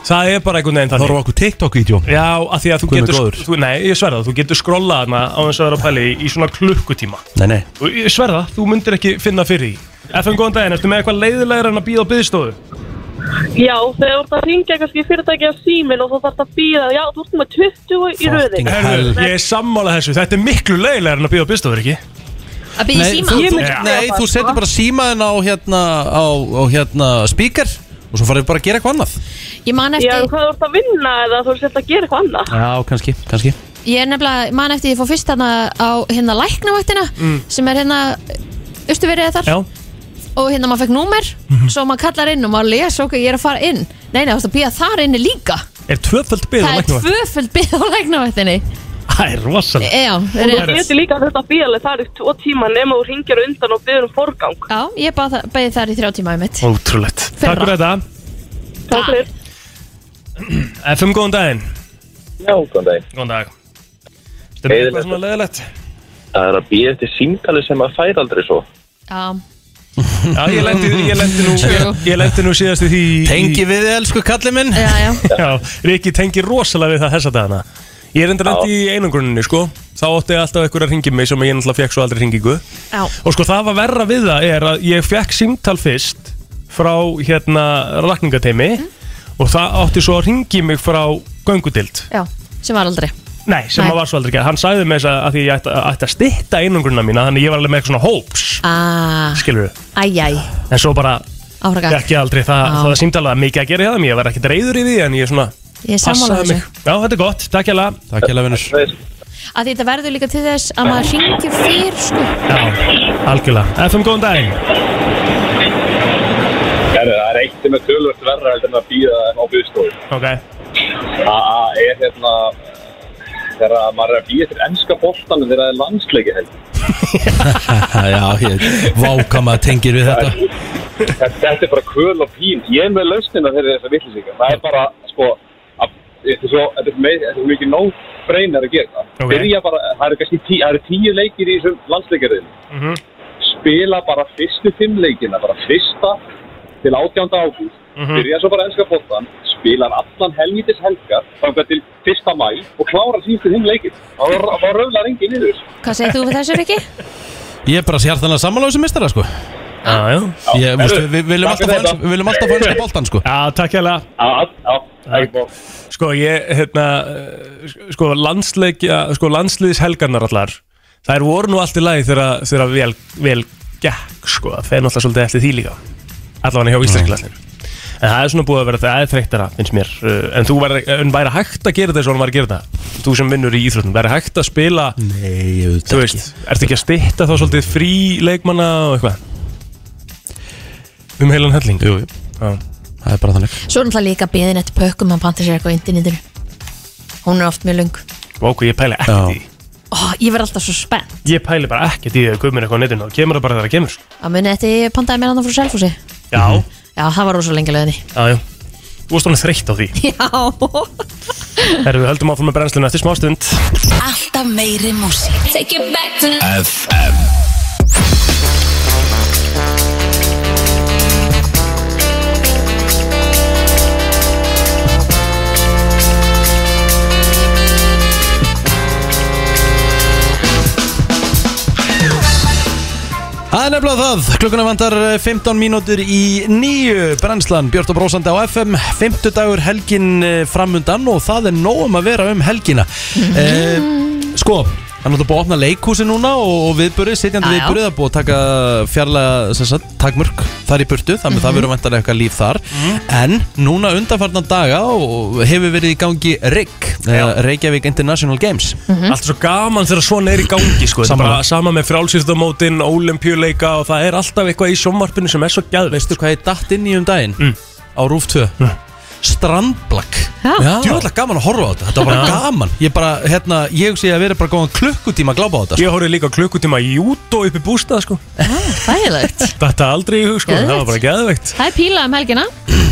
Speaker 3: Það er bara einhvern veginn
Speaker 2: Það
Speaker 3: þannig
Speaker 2: voru okkur TikTok-vídeó
Speaker 3: Já, af því að þú
Speaker 2: Guð minn
Speaker 3: getur
Speaker 2: góður.
Speaker 3: þú, Nei, ég sverða, þú getur skrollað hana á þess að vera að pæli í svona klukkutíma
Speaker 2: Nei, nei
Speaker 3: Og ég sverða, þú myndir ekki finna fyrir því FM, góðan daginn, ertu með eitthvað leiðilegra en að býða á byðstofu?
Speaker 6: Já, þegar þú ert að ringja kannski í fyrirtæki að símin og þú þarft að býða Já, þú ert með 20 í röðin
Speaker 3: Herru, ég er sammála þessu, þetta er miklu leiðilegra en að býða á byðstofu, ekki?
Speaker 4: Að
Speaker 2: Nei, þú,
Speaker 3: Ég
Speaker 2: þú,
Speaker 3: myndi gera
Speaker 2: nei,
Speaker 3: það,
Speaker 2: þú
Speaker 3: sko.
Speaker 2: setur bara símaðin á hérna, á, á hérna speaker Og svo farið bara að gera eitthvað annað
Speaker 4: Ég man eftir
Speaker 6: Já, hvað þú ert að vinna eða þú ert að gera eitthvað annað
Speaker 2: Já, kannski, kannski
Speaker 4: Ég er nefnilega, man eftir ég fór fyrst hérna á hérna læknavaktina
Speaker 2: Mm.
Speaker 4: sem er hérna austurverið þar
Speaker 3: Já.
Speaker 4: og hérna maður fekk númer
Speaker 3: Mhm.
Speaker 4: svo maður kallar inn og maður lesa okkur ég er að fara inn Nei, nei, þú ert að býða þar inni líka
Speaker 3: Er tvöföld byð á
Speaker 4: Það er
Speaker 3: læknum?
Speaker 4: tvöföld býða á læknavaktinni
Speaker 3: Það er rosalega
Speaker 4: Já,
Speaker 6: Og þú getur líka að þetta bíðaleg þar í tvo tíma nema þú ringir á undan og byður um forgang
Speaker 4: Já, ég beði þar í þrjá tíma í mitt
Speaker 3: Ótrúlegt Takk fyrir þetta
Speaker 6: Takk fyrir
Speaker 3: FM, góðan daginn
Speaker 13: Já, góðan dag
Speaker 3: Góðan dag Þetta er eitthvað svona leðilegt
Speaker 13: Það er að býja eftir símtali sem að fær aldrei svo
Speaker 4: Já,
Speaker 3: Já, ég lendi, ég lendi nú ég, ég lendi nú síðast í því
Speaker 2: Tengi við þið, elsku kalli minn
Speaker 4: Já, já
Speaker 3: Já, Riki tengi rosalega við það þessa dagana Ég er enda lendi í einangruninu, sko Þá átti ég alltaf einhver að ringi mig sem ég náttúrulega fekk svo aldrei ringingu
Speaker 4: já
Speaker 3: Og sko, það var verra við það er að ég fekk símtal fyrst frá, hérna, rakningateimi
Speaker 4: Mhm.
Speaker 3: og það átti svo að ringi mig frá göngudild
Speaker 4: já, sem var aldrei
Speaker 3: Nei, sem
Speaker 4: Nei.
Speaker 3: að var svo aldrei gerð Hann sagði með þess að, að því ég ætti, ætti að stytta einangrunina mína Þannig ég var alveg með eitthvað svona hóps,
Speaker 4: Ah,
Speaker 3: skilur
Speaker 4: æjæ,
Speaker 3: En svo bara
Speaker 4: áhraka
Speaker 3: ekki aldrei það, það er símtalega mikið að gera hjá þeim Ég var ekki reyður í því en ég svona
Speaker 4: Ég er sammála
Speaker 3: passaði
Speaker 4: þessu.
Speaker 3: mig. Já, þetta er gott, takk hjá
Speaker 2: Takk hjá vinnur
Speaker 4: að þetta verður líka til þess að maður ringir fyrr sko.
Speaker 3: Já, algjörlega FM, góðan daginn
Speaker 13: Herru, það er eitt sem er tölvöld verra heldur en að býja á byggstofu
Speaker 3: Ok
Speaker 13: Það er hérna þegar að maður er að býja eftir ennska boltanum þegar það er landsleiki heldur
Speaker 2: (laughs) Já, ég vákama tengir við þetta
Speaker 13: þetta, þetta er bara kvöl og pín Ég er með lausnina fyrir þessa vitlisíka Það er bara, sko að, þetta er svo, þetta er með, þetta er mikið nóg breynar að gera það
Speaker 3: Ok.
Speaker 13: Byrja bara, það eru kannski tí, það eru tíu leikir í þessum landsleikarðinu
Speaker 3: Mhm.
Speaker 13: spila bara fyrstu fimm leikina, bara fyrsta til 18. ágúst,
Speaker 3: Mhm.
Speaker 13: byrja svo bara enska bóttan, spilar allan helvítis helgar, þangar til fyrsta mæ og klára síðustu fimm leikin. Það var- það röflar engin í þessu.
Speaker 4: Hvað segir þú við þessu, Riki?
Speaker 2: Ég er bara sérþanlega sammála á þessum mistara, sko
Speaker 3: Já,
Speaker 2: já Ég, veistu, við, við viljum
Speaker 13: Takk
Speaker 2: alltaf
Speaker 13: fyrir
Speaker 2: fá
Speaker 13: þetta.
Speaker 2: enska- við viljum alltaf fá einska boltan, sko
Speaker 3: Já, takk hjá
Speaker 13: Já,
Speaker 3: Sko, ég, hérna eh, Sko, landsleikja, sko, landsliðis helgarnar allar Þær voru nú allt í lagi þegar, þegar vel, vel gekk, sko Það fer náttúrulega svolítið eftir því líka Allavega hjá íslenskilastin En það er svona búið að vera það aðþreyttara, finnst mér Uh, En þú væri, en væri hægt að gera þetta eins og hann var að gera þetta Þú sem vinnur í íþróttum, væri hægt að spila
Speaker 2: Nei, ég veit
Speaker 3: Þú veist, ertu ekki að stytta þá svolítið frí leikmanna og eitthvað Um heilan helling
Speaker 2: Jú, jú Það er bara þannig
Speaker 4: Svo er náttúrulega líka beðin eftir pökkum að panta sér eitthvað á internetinu Hún er oft mjög lung
Speaker 3: Váku, ég pæli ekkert í því.
Speaker 4: Ó, Ég verð alltaf svo spennt
Speaker 3: Ég pæli bara ekkert í því að kaup mér eitthvað á netinu og kemur það bara þegar það kemur sko.
Speaker 4: Það muni eftir ég pantaði mér andan frá Selfossi
Speaker 3: Já,
Speaker 4: Já, það var rosa lengi löðinni
Speaker 3: já, já Þú varst hann þreytt á því
Speaker 4: (laughs) Já
Speaker 3: Erum við höldum áfram með brennsluna eftir smástund
Speaker 9: Alltaf meiri músík Take it back to
Speaker 14: FM
Speaker 2: Það er nefnilega það, klukkuna vandar eh, 15 mínútur í nýju brennslan Björn og Brósandi á FM 50 dagur helgin eh, framundan og það er nóg um að vera um helgina eh, Sko, það er náttúrulega búið að opna leikhúsi núna og og viðburði,
Speaker 14: Já,
Speaker 2: sitjandi
Speaker 14: já.
Speaker 2: viðburði það er búið að taka fjarlæga sem sagt, takmörk þar í burtu, þannig
Speaker 14: Mhm.
Speaker 2: að það verður vantarlega eitthvað líf þar en núna undanfarnan daga og hefur verið í gangi RIG eh, Reykjavík International Games
Speaker 14: Mhm.
Speaker 3: Allt er svo gaman þegar svona er í gangi sko. Þetta er bara sama með frálsýrðamótin, ólimpíuleika og það er alltaf eitthvað í sjónvarpinu sem er svo sko. gæð
Speaker 2: Veistu hvað ég datt inn í um daginn? Mm. Á Rúf 2
Speaker 3: Mm.
Speaker 2: Strandblakk
Speaker 14: Já.
Speaker 2: Djúvallega gaman að horfa á þetta Þetta var bara
Speaker 14: Já.
Speaker 2: gaman Ég bara, hérna, ég sé að vera bara góðan klukkutíma að glápa á þetta sko.
Speaker 3: Ég horfði líka klukkutíma í jútó upp í bústað sko.
Speaker 4: Þægilegt
Speaker 3: Þetta aldrei í hug sko. það var bara gæðveikt
Speaker 4: Það er píla um helgina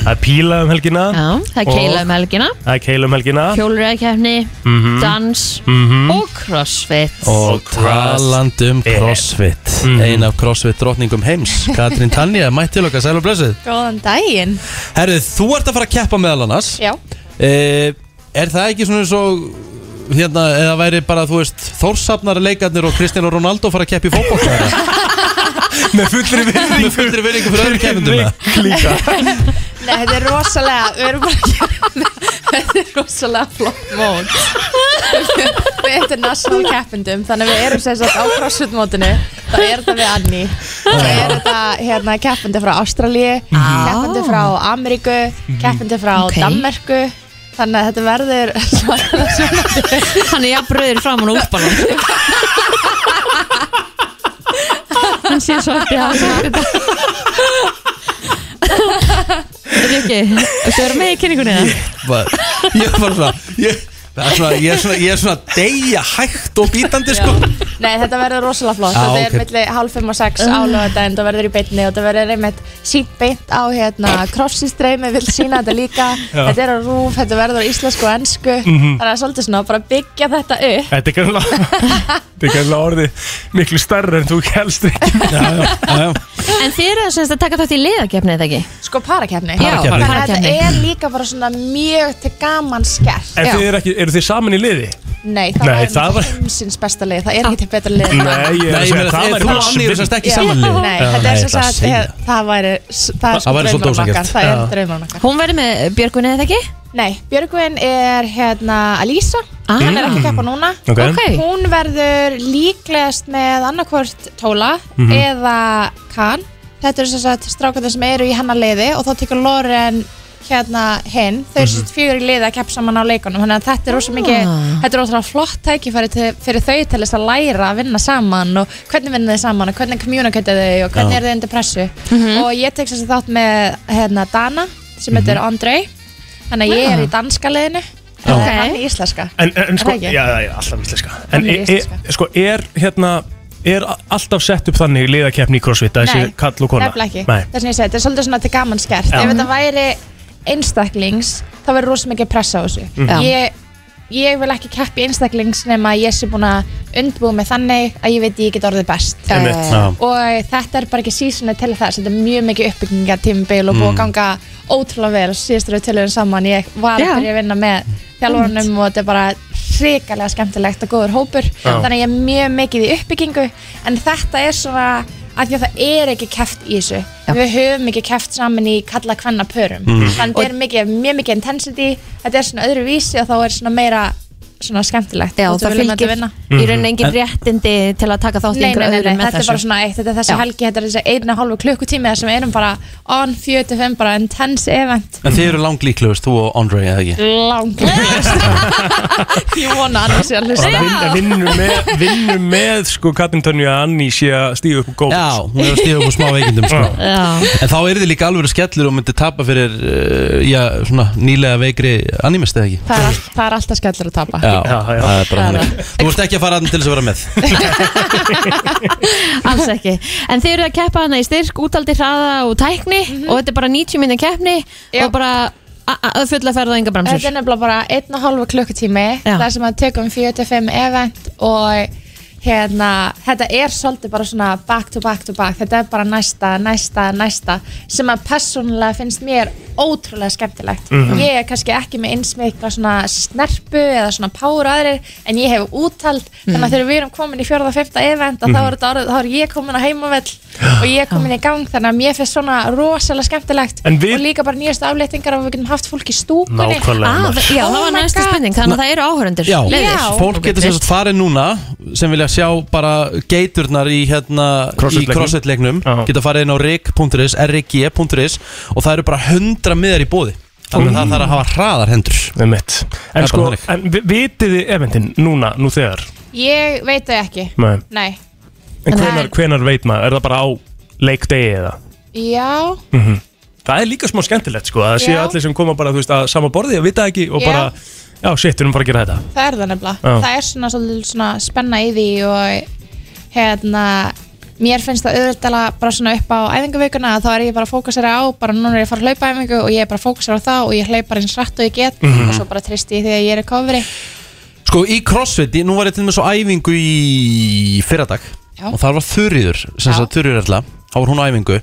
Speaker 3: Það er píla um helgina
Speaker 4: Já, Það er keila um helgina
Speaker 3: Það er keila um helgina
Speaker 4: Kjólræðkefni
Speaker 3: Mhm.
Speaker 4: Dans
Speaker 3: Mhm.
Speaker 4: Og crossfit
Speaker 2: Og Mhm. taland um crossfit Ein af crossfit drottningum (laughs) heims Katrín Tanja, mætt til okkar, sæl og blessuð
Speaker 15: Góðan daginn
Speaker 2: Herðu, þú ert að fara að keppa meðal annars
Speaker 15: Já.
Speaker 2: Eh, Er það ekki svona eins og Hérna, eða væri bara, þú veist Þórsafnar leikarnir og Kristján og Ronaldo fara að keppa í fótbolta (laughs) Með fullri virðingu Með fullri virðingu fyrir öðrum keppendum Líka
Speaker 15: (laughs) Nei, þetta er rosalega Við erum bara að gera Þetta er rosalega flott mót Við erum national keppendum Þannig að við erum sem sagt á crossfit mótinu Það er þetta við Anni Það er þetta hérna, keppandi frá Ástralíu Keppandi frá Ameríku Keppandi frá
Speaker 4: Ok.
Speaker 15: Danmerku Þannig að þetta verður (laughs)
Speaker 4: Hann er jafnbröður fram og útbalum (laughs) Hann sé svo eftir að Rikki, þú eru með í kynningunni eða?
Speaker 2: (laughs) Bara- Ég var svona Ég það er svona, ég er svona, ég er svona að deyja hægt og bítandi sko
Speaker 15: Nei, þetta verður rosalega flott
Speaker 2: Já,
Speaker 3: Ah,
Speaker 15: Þetta er
Speaker 2: ok.
Speaker 15: milli hálf fimm og sex uh. álöðan Það verður í beinni og þetta verður einmitt sínt beint á hérna krossistreimi Vill sína þetta líka
Speaker 3: Já.
Speaker 15: Þetta er á rúf, þetta verður á íslensku og ennsku
Speaker 3: Mhm.
Speaker 15: Það er svolítið svona bara að byggja þetta upp
Speaker 3: Þetta
Speaker 4: (laughs)
Speaker 3: er kannski Þetta er kannski orðið miklu starra en þú helst ekki
Speaker 4: En þið eru semst að taka þátt í liðakefni eða ekki?
Speaker 15: Sko parakefni
Speaker 4: Já,
Speaker 3: Parakeppni.
Speaker 15: Þannig að
Speaker 4: Parakeppni.
Speaker 15: þetta er líka bara svona mjög til gaman skert
Speaker 3: En þið eru ekki, eru þið saman í liði?
Speaker 15: Nei, það
Speaker 3: Nei,
Speaker 15: Nei,
Speaker 3: það
Speaker 15: var
Speaker 3: var-
Speaker 15: heimsins besta lið Það er ekki til betra lið
Speaker 3: Nei, ég er að
Speaker 2: Nei, ég
Speaker 3: segja
Speaker 2: meina,
Speaker 3: það
Speaker 2: þið-
Speaker 3: væri
Speaker 2: þú
Speaker 3: bara
Speaker 2: og Anni eru
Speaker 3: svindl.
Speaker 2: sem sagt ekki
Speaker 15: Já. Nei, þetta er
Speaker 2: Nei,
Speaker 15: sem
Speaker 2: það
Speaker 15: sagt
Speaker 2: segja.
Speaker 15: eh, Það væri Það er
Speaker 2: Það
Speaker 15: sko
Speaker 2: væri svolítið
Speaker 15: draumurinn okkar
Speaker 2: ósanngjarnt.
Speaker 15: Það er
Speaker 2: Já.
Speaker 15: draumurinn okkar
Speaker 4: Hún verður með eh, Björgvinni eða ekki?
Speaker 15: Nei, Björgvin er hérna Alisa,
Speaker 4: Ah.
Speaker 15: hann er ekki að
Speaker 4: Mm.
Speaker 15: keppa núna
Speaker 4: Ok. Ok.
Speaker 15: Hún verður líklegast með annarkvort Tóla
Speaker 4: Mhm.
Speaker 15: eða Kan Þetta eru sem sagt strákarnir sem eru í hennar liði og þá tekur Loren hérna hinn, þau eru sem sagt fjögur í liði að keppa saman á leikunum, þannig að þetta er rosa mikið
Speaker 4: Ah.
Speaker 15: þetta er ótrúlega flott tækifæri til, fyrir þau til þess að læra að vinna saman og hvernig vinna þau saman og hvernig kommunikata þau og hvernig
Speaker 4: Já.
Speaker 15: er þau undir pressu og ég tek sem sagt þátt með hérna Dana sem heitir Andrei Þannig að ég er í danska liðinu
Speaker 3: Já.
Speaker 15: og hann í íslenska
Speaker 3: En, en, en sko,
Speaker 15: Er það
Speaker 3: já,
Speaker 15: ekki?
Speaker 3: já, já, alltaf íslenska En
Speaker 15: Hún er
Speaker 3: er, er, sko, er hérna Er a- alltaf sett upp þannig liðakeppni í crossfit að
Speaker 15: Nei,
Speaker 3: Þessi kall og kona
Speaker 15: nefnilega ekki
Speaker 3: Nei.
Speaker 15: Þess að ég segi, þetta er svolítið svona til gaman skert
Speaker 3: Já.
Speaker 15: Ef þetta væri einstaklings þá verður rosa mikið pressa á þessu
Speaker 3: Mhm. Já.
Speaker 15: ég, ég vil ekki keppi einstaklings nema að ég sé búin að undbúið mig þannig að ég veit ég get orðið best Eh,
Speaker 3: Einmitt. Já.
Speaker 15: og þetta er bara ekki sísunni til þess þetta er mjög mikið uppbygginga tímbil og búið að
Speaker 3: Mm.
Speaker 15: ganga ótrúlega vel og síðustur við tölum saman ég var
Speaker 4: Já.
Speaker 15: að byrja að vinna með þjálfurunum og þetta er bara hrikalega skemmtilegt og góður hópur
Speaker 4: Já.
Speaker 15: þannig að ég er mjög mikið í uppbyggingu en þetta er svona að því að það er ekki keft í þessu við höfum ekki keft saman í kalla hvenna pörum
Speaker 4: Mhm.
Speaker 15: þannig að þetta er mikið, mjög mikið intensity þetta er svona öðruvísi og þá er svona meira svona skemmtilegt
Speaker 4: Já,
Speaker 15: Þú
Speaker 4: það
Speaker 15: viljum þetta
Speaker 4: fylgir
Speaker 15: vinna.
Speaker 4: í raun engin réttindi til að taka þátt í
Speaker 15: Nei, nei,
Speaker 4: einhverju
Speaker 15: nei,
Speaker 4: öðru
Speaker 15: nei,
Speaker 4: með
Speaker 15: þetta er bara svona eitt, þetta er þessi
Speaker 4: Já.
Speaker 15: helgi, þetta er þessi einu og hálfu klukkutími þar sem við erum bara on 45, bara intense event
Speaker 2: En þið eru langlíklegust, þú og Andre, eða ekki?
Speaker 15: langt (laughs) Ég vona annars ég að hlusta
Speaker 3: Vinn- vinnur með, vinnu með sko Katrin Tönju að Anni sé að stíða upp og góð
Speaker 2: Já, hún er að stíða upp úr smá veikindum sko.
Speaker 4: Já.
Speaker 2: En þá er þið líka alveg skellur og myndi tapa fyrir uh, já, svona, nýlega veikri animist eða ekki
Speaker 15: Það er, all, það er alltaf skellur að tapa
Speaker 2: Já, það er bara þannig Þú vorst ekki að fara hann til þess að vera með
Speaker 4: Alls ekki En þið eru að keppa hana í styrk, útaldi hraða og tækni
Speaker 15: Mhm.
Speaker 4: og þetta er bara 90 minni keppni og bara a- a- að fulla ferða enga bremsur
Speaker 15: Þetta er nefnilega bara einn og hálfu klukkutími
Speaker 4: Já.
Speaker 15: þar sem að tökum 45 event og hérna, þetta er svolítið bara svona back to back to back, þetta er bara næsta, næsta, næsta sem að persónulega finnst mér ótrúlega skemmtilegt
Speaker 4: Mhm.
Speaker 15: ég er kannski ekki með eins einsmikla svona snerpu eða svona power aðrir en ég hef úttald,
Speaker 4: Mhm.
Speaker 15: þannig að þegar við erum komin í fjörða og fymta event að þá, er, þetta orðið- þá er ég komin á heimavell og ég er komin í gang þannig að mér finnst svona rosalega skemmtilegt
Speaker 4: En við-
Speaker 15: og líka bara nýjastu afleitingar og við getum haft fólk í stúku Nei.
Speaker 2: Nákvæmlega,
Speaker 15: Ah,
Speaker 2: maður.
Speaker 15: það-
Speaker 4: Já, það var
Speaker 15: my
Speaker 4: næsta
Speaker 15: God.
Speaker 4: spurning, þannig að það eru áhörundur
Speaker 2: Já, fólk getur sem sagt farið núna sem vilja sjá bara geiturnar í hérna í
Speaker 3: Crossfit-leiknum.
Speaker 2: crossfit-leiknum geta farið inn á rig.is, rig.is og það eru bara 100 miðar í bóði þannig að
Speaker 3: Mm.
Speaker 2: það þarf að hafa hraðar hendur
Speaker 3: Með mitt En
Speaker 2: er
Speaker 3: sko,
Speaker 2: bara
Speaker 3: en vi- vitið þið eventin núna, nú þegar
Speaker 15: Ég veit það ekki
Speaker 3: Nei.
Speaker 15: Nei.
Speaker 3: En
Speaker 15: Nei.
Speaker 3: hvenar, hvenar veit maður, er það bara á leikdegi eða?
Speaker 15: Já,
Speaker 3: -hmm. Það er líka smá skemmtilegt sko að það séu
Speaker 15: Já.
Speaker 3: allir sem koma bara þú veist að sama borði að vita ekki og
Speaker 15: Já.
Speaker 3: bara já, shit, við erum bara að gera þetta
Speaker 15: það er það nefnilega
Speaker 3: Já.
Speaker 15: Það er svona, svona, svona spenna í því og hérna Mér finnst það auðvitað bara svona upp á æfingaveikuna að þá er ég bara að fókusera á bara núna er ég að fara að hlaupa æfingu og ég er bara að fókusera á það og ég hlaup bara eins rætt og ég get
Speaker 2: Mhm.
Speaker 15: og svo bara tristi ég því að ég er í kofri
Speaker 2: Sko í crossfit, ég- nú var ég til með svo æfingu í fyrradag
Speaker 15: Já.
Speaker 2: og þar var Þurriður, sem sagt Þurriður erla þá var hún á æfingu,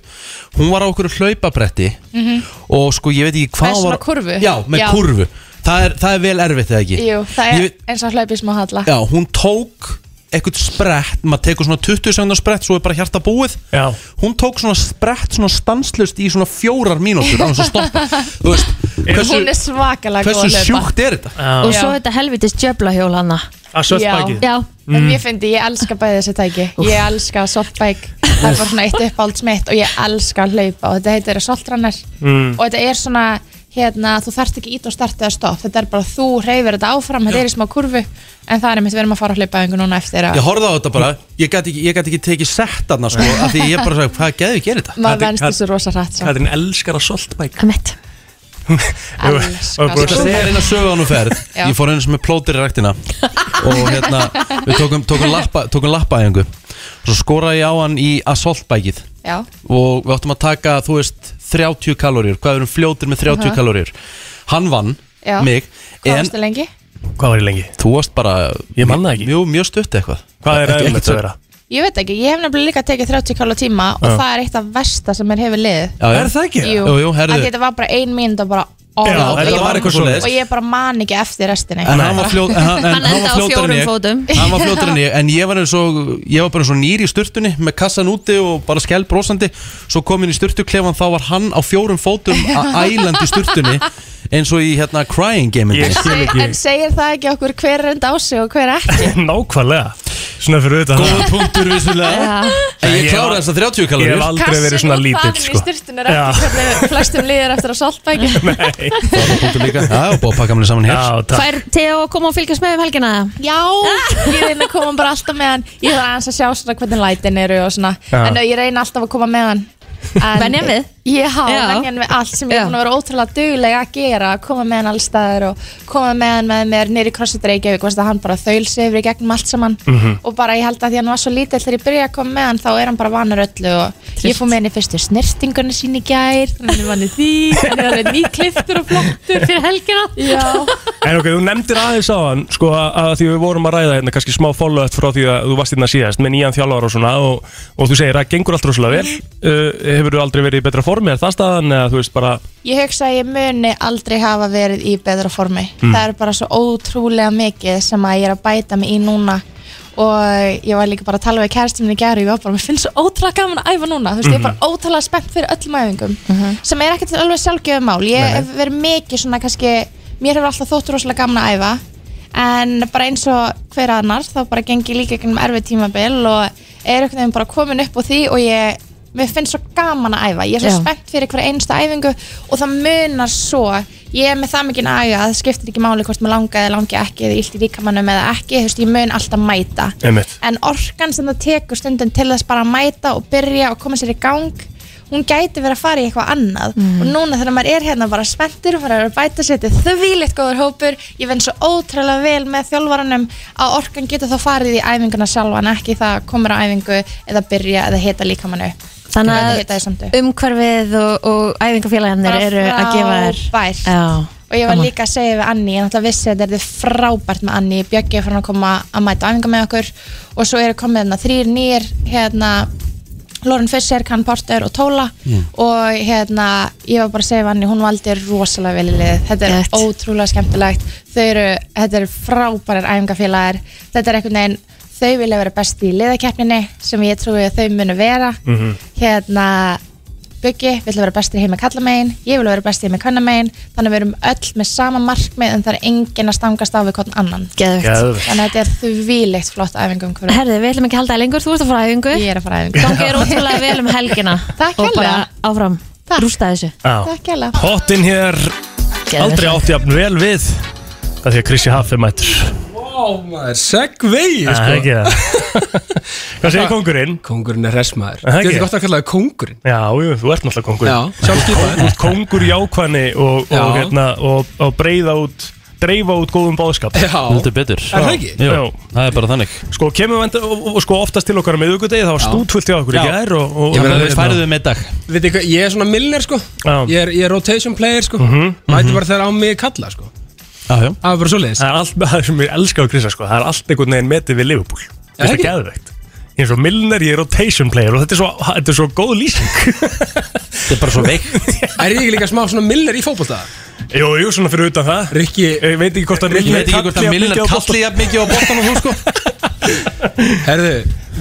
Speaker 2: hún var á okkur hlaupabretti
Speaker 15: Mhm.
Speaker 2: og sko ég veit ekki hvað
Speaker 15: Með
Speaker 2: hún
Speaker 15: svona
Speaker 2: var
Speaker 15: kúrfu?
Speaker 2: Já, með
Speaker 15: Já.
Speaker 2: kurvu, það er, það er vel erfitt eða ekki
Speaker 15: Jú, það er
Speaker 2: Ég veit-
Speaker 15: eins og að hlaupa í smá halla
Speaker 2: Já, hún tók eitthvað sprett, maður tekur svona 20 sekundar sprett svo er bara hjarta búið
Speaker 3: Já.
Speaker 2: hún tók svona sprett, svona stanslust í svona fjórar mínútur, án þess að stoppa þú veist, hversu,
Speaker 15: (laughs) Hún er svakalega góð
Speaker 2: hversu
Speaker 15: að hlaupa.
Speaker 2: sjúkt er þetta
Speaker 4: Og svo þetta helvitis djöflahjól hana
Speaker 2: Ah,
Speaker 3: Að
Speaker 15: Já, já. en
Speaker 2: Mm.
Speaker 15: ég fyndi, ég elska bæði þessi tæki Ég elska softbike Það er bara svona eitt uppáhalds mitt og ég elska að hlaupa og þetta heitir soltrannar
Speaker 3: Mm.
Speaker 15: og þetta er svona, hérna, þú þarft ekki ít og starta eða stopp, þetta er bara þú reyfir þetta áfram, þetta er í smá kurvu en það er einmitt, við erum að fara að hlaupa einhver núna eftir að
Speaker 2: Ég horfði á þetta bara, ég gæti ekki, ég gat ekki tekið sett aðna sko, af því ég bara sagði, hvað geðu ég gerir þetta?
Speaker 15: maður venst þessu rosa hratt svo.
Speaker 3: Katrin elskar að soltbæk
Speaker 4: Emmett
Speaker 2: (laughs) Ég ætla að segja eina sögu á nú ferð
Speaker 15: Já.
Speaker 2: Ég fór einu sem er plótir í ræktina Og hérna, við tókum, tókum lappa tókum lappaæfingu Svo skoraði ég á hann í assaultbækið
Speaker 15: Já.
Speaker 2: Og við áttum að taka, þú veist, 30 kaloríur Hvað við erum fljótir með 30
Speaker 15: Aha.
Speaker 2: kaloríur Hann vann,
Speaker 15: Já.
Speaker 2: mig
Speaker 15: Hvað
Speaker 2: en-
Speaker 15: varstu lengi?
Speaker 3: Hvað var ég lengi?
Speaker 2: Þú varst bara
Speaker 3: Ég manna ekki
Speaker 2: Mjög, mjög stutt eitthvað
Speaker 3: Hvað er
Speaker 2: Ekki-
Speaker 3: eðlilegt
Speaker 2: ekkert
Speaker 3: að vera?
Speaker 15: Ég veit ekki, ég hef nefnilega líka tekið 30 kalla tíma og
Speaker 2: Já.
Speaker 15: það er eitt af versta sem mér hefur liðið
Speaker 2: Já, já. Er það ekki?
Speaker 15: Jú,
Speaker 2: Jú, jú, herðu.
Speaker 15: að þetta var bara ein mínúnd og bara
Speaker 2: Já,
Speaker 15: all out.
Speaker 2: þetta
Speaker 15: Ég
Speaker 2: var eitthvað svoleiðis.
Speaker 15: Og ég bara man ekki eftir restinni
Speaker 2: En hann var fljót- en hann- en Hann hann var endaði á fljótari en fjórum ég.
Speaker 4: fótum
Speaker 2: Hann var fljótur en ég, en ég var eins og ég var bara eins og nýr í sturtunni með kassan úti og bara skell brosandi svo kom inn í sturtuklefan þá var hann á fjórum fótum að ælandi í sturtunni eins og í hérna crying game
Speaker 3: (laughs) Ég skil ekki.
Speaker 15: En segir það ekki okkur hver er enda á sig og hver ekki
Speaker 3: (laughs) Nákvæmlega Svona fyrir auðvitað
Speaker 2: Góð punktur vissulega En Sko, ég kláraði þessa 30 kaloríur.
Speaker 3: Ég hef aldrei verið svona lítill
Speaker 15: Kassin og
Speaker 3: sko
Speaker 15: farin í styrtun er ekki hvernig flestum liðir eftir að saltbækja
Speaker 3: (laughs)
Speaker 2: punktur líka Já, og búið að pakka mér saman hér Já,
Speaker 4: Fær Teo að koma og fylgjast með um helgina
Speaker 15: Já, ég reyna að koma bara alltaf með hann Ég þarf aðeins að sjá svona hvernig lætin eru og svona
Speaker 4: Já.
Speaker 15: En ég reyna alltaf að koma með hann En-
Speaker 4: Venjan við?
Speaker 15: Já,
Speaker 4: Já.
Speaker 15: venjan við allt sem ég er búin að vera ótrúlega dugleg að gera að koma með hann alls staðar og koma með hann með mér nýri crossfit Reykjavík veist að hann bara þaulsi yfir í gegnum allt saman
Speaker 4: Mhm.
Speaker 15: og bara ég held að því að hann var svo lítill þegar ég byrjaði að koma með hann þá er hann bara vanur öllu og ég fór með hann í fyrstu snirtingunni sín í gær þannig að hann er vanur því, hann er vanur nýkliftur
Speaker 6: (laughs)
Speaker 15: og flottur fyrir helgina Já,
Speaker 3: En ok, þú nefndir aðeins á hann sko að að því við vorum að ræða hérna kannski smá follow-up frá því að þú varst hérna síðast með nýjan þjálfar og svona og, og þú segir að gengur allt rosalega vel uh, Hefur þú aldrei verið í betra formi, er það staðan eða þú veist bara
Speaker 15: Ég hugsa að ég muni aldrei hafa verið í betra formi.
Speaker 3: Mm.
Speaker 15: Það er bara svo ótrúlega mikið sem að ég er að bæta mig í núna og ég var líka bara að tala við kærastinn minn í gæri og ég var bara, mér finnst svo ótrúlega gaman að æfa núna, þú veist, ég er bara ótrúlega spennt fyrir öllum æfingum sem er ekkert alveg sjálfgjöfum mál. Ég
Speaker 4: Mhm. Nei.
Speaker 15: hef verið mikið svona kannski, mér hefur alltaf þótt rosalega gaman að æfa en bara eins og hver annar þá bara gengi líka ekki um erfið tímabil og er einhvern veginn bara komin upp á því og ég, mér finnst svo gaman að æfa ég er svo
Speaker 4: Já.
Speaker 15: spennt fyrir hverja einsta æfingu og það munar svo ég er með það mikið að það skiptir ekki máli hvort maður langa eða langi ekki eða illt í líkamannum eða ekki, þú veist, ég mun alltaf mæta
Speaker 3: Einmitt.
Speaker 15: en orkan sem það tekur stundum til þess bara að mæta og byrja og koma sér í gang hún gæti verið að fara í eitthvað annað
Speaker 4: Mm.
Speaker 15: og núna þegar maður er hérna bara spenntur og maður er að bæta sér til þvílitt góður hópur ég vinn svo ótrúlega vel með þjálfaranum að orkan getur þá farið í æfinguna sjálfa en ekki það að komur á æfingu eða byrja eða hita líkamann upp
Speaker 4: Þannig
Speaker 15: Eða
Speaker 4: að
Speaker 15: hita í samt upp.
Speaker 4: umhverfið og, og æfingafélagarnir
Speaker 15: Bara
Speaker 4: eru að gefa þér
Speaker 15: frábært.
Speaker 4: Já,
Speaker 15: og ég var
Speaker 4: gaman.
Speaker 15: líka að segja við Anni, ég náttúrulega vissi að þetta er frábært með Anni, Bjöggi er frá að koma að mæta á æfinga með okkur og svo eru komið hérna þrýr nýr hérna Lauren Fischer, Kann Porter og Tóla
Speaker 4: Mm.
Speaker 15: og hérna ég var bara að segja við Anni, hún valdi rosalega vel í liðið, þetta er
Speaker 4: Gett.
Speaker 15: ótrúlega skemmtilegt þau eru, þetta eru frábærar æfingafélagar, þetta er einhvern veginn þau vilja vera best í liðakeppninni sem ég trúi að þau munu vera
Speaker 16: Mhm.
Speaker 15: hérna Buggi vill vera bestur heima kallamegin, ég vil vera bestur heima kannamegin, þannig að við erum öll með sama markmið en það er engin að stangast á við hvern annan.
Speaker 4: Geðvegt. Geðvegt.
Speaker 15: Þannig að þetta er þvílegt flott æfingum hverju.
Speaker 4: Herði, við ætlum ekki að halda það lengur, þú ert að fara á æfingu
Speaker 15: Ég er að fara á æfingu.
Speaker 4: Gangi er ótrúlega vel um helgina
Speaker 15: (laughs) Takk
Speaker 4: Og bara áfram, rústa þessu
Speaker 3: Já.
Speaker 15: Takk hella
Speaker 3: Hottinn hér Aldrei átti jafn vel við Það því að Krissi Haff er mættur
Speaker 17: Ó maður, segvegi sko.
Speaker 3: Það er ekki það
Speaker 17: (laughs)
Speaker 3: Hvað segir kongurinn?
Speaker 17: Kongurinn er resmaður
Speaker 3: Það er
Speaker 17: Þetta
Speaker 3: ekki.
Speaker 17: er gott að kalla það kongurinn
Speaker 3: Já, jú, þú ert náttúrulega kongur
Speaker 17: Já, sjálfskipaður.
Speaker 3: Þú ert kongur í ákvæðni og,
Speaker 17: Já.
Speaker 3: og, hérna, og, og breyða út dreifa út góðum báðskap Já
Speaker 2: Heldur betur
Speaker 3: Er það ekki?
Speaker 2: Jú, það er bara þannig
Speaker 3: Sko, kemur venda, og, og, og sko oftast til okkar á miðugudegi Það var stútvöld hjá okkur í
Speaker 17: Já.
Speaker 3: gær og, Mhm. og
Speaker 17: Ég meina,
Speaker 3: og-
Speaker 17: færðu
Speaker 2: með um dag
Speaker 17: Veit ekki, ég er svona millner sko ég er, ég er rotation player
Speaker 3: Mhm,
Speaker 17: sko Mæti bara þegar á mig kalla sko
Speaker 2: Það er
Speaker 17: bara svoleiðis
Speaker 3: Það er allt það sem ég elska á Krissa sko Það er allt einhvern veginn metið við Liverpool Þetta er
Speaker 17: ekki?
Speaker 3: geðveikt Ég er svo Milner, ég er rotation player og þetta er svo, þetta er svo góð lýsing Þetta
Speaker 2: er bara svo
Speaker 3: (laughs)
Speaker 2: veik
Speaker 17: Er ég ekki líka smá svona millner í fótbolta?
Speaker 3: Jú, jú, svona fyrir utan það
Speaker 17: Rikki
Speaker 3: Ég veit ekki hvort að
Speaker 2: Ég veit ekki hvort að
Speaker 3: jafn
Speaker 2: Milner
Speaker 3: mikið á bolta.
Speaker 2: kalli jafn mikið á boltan og þú sko
Speaker 17: Herðu,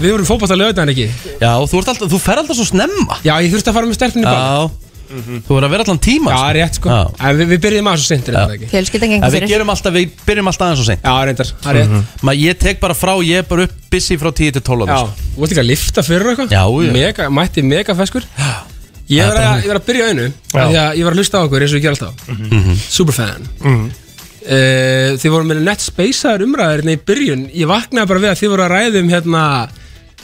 Speaker 17: við vorum fótbolta lögðan ekki
Speaker 2: Já, þú, ert alltaf, þú fer alltaf svo snemma
Speaker 17: Já, ég þurfti að fara með stelpunni í
Speaker 2: Já,
Speaker 3: Mhm.
Speaker 2: þú voru að vera allan tíma
Speaker 17: Já, rétt sko En við, við byrjum aðeins og sentir þetta ekki
Speaker 4: Fjölskyldan
Speaker 2: Ja,
Speaker 4: gengur
Speaker 2: við
Speaker 4: fyrir
Speaker 2: gerum alltaf, við byrjum alltaf aðeins og seint Mhm.
Speaker 17: Já, reyndar, það er rétt.
Speaker 2: Ég tek bara frá, ég er bara upp busy frá 10 til 12
Speaker 17: Já, þú veist ekki að lifta fyrir eitthvað
Speaker 2: Já, já.
Speaker 17: mega, Mætti mega feskur
Speaker 2: Það er
Speaker 17: Ég var,
Speaker 2: bara
Speaker 17: að,
Speaker 2: þannig.
Speaker 17: ég var að byrja á einu
Speaker 2: Já.
Speaker 17: af Því að ég var að hlusta á okkur eins og ég ger alltaf
Speaker 2: Mhm.
Speaker 17: Superfan
Speaker 2: Mhm.
Speaker 17: uh, Þið voru með nett speysaðar umræðir hérna í byrjun Ég vaknaði bara við að þið voru að ræða um hérna,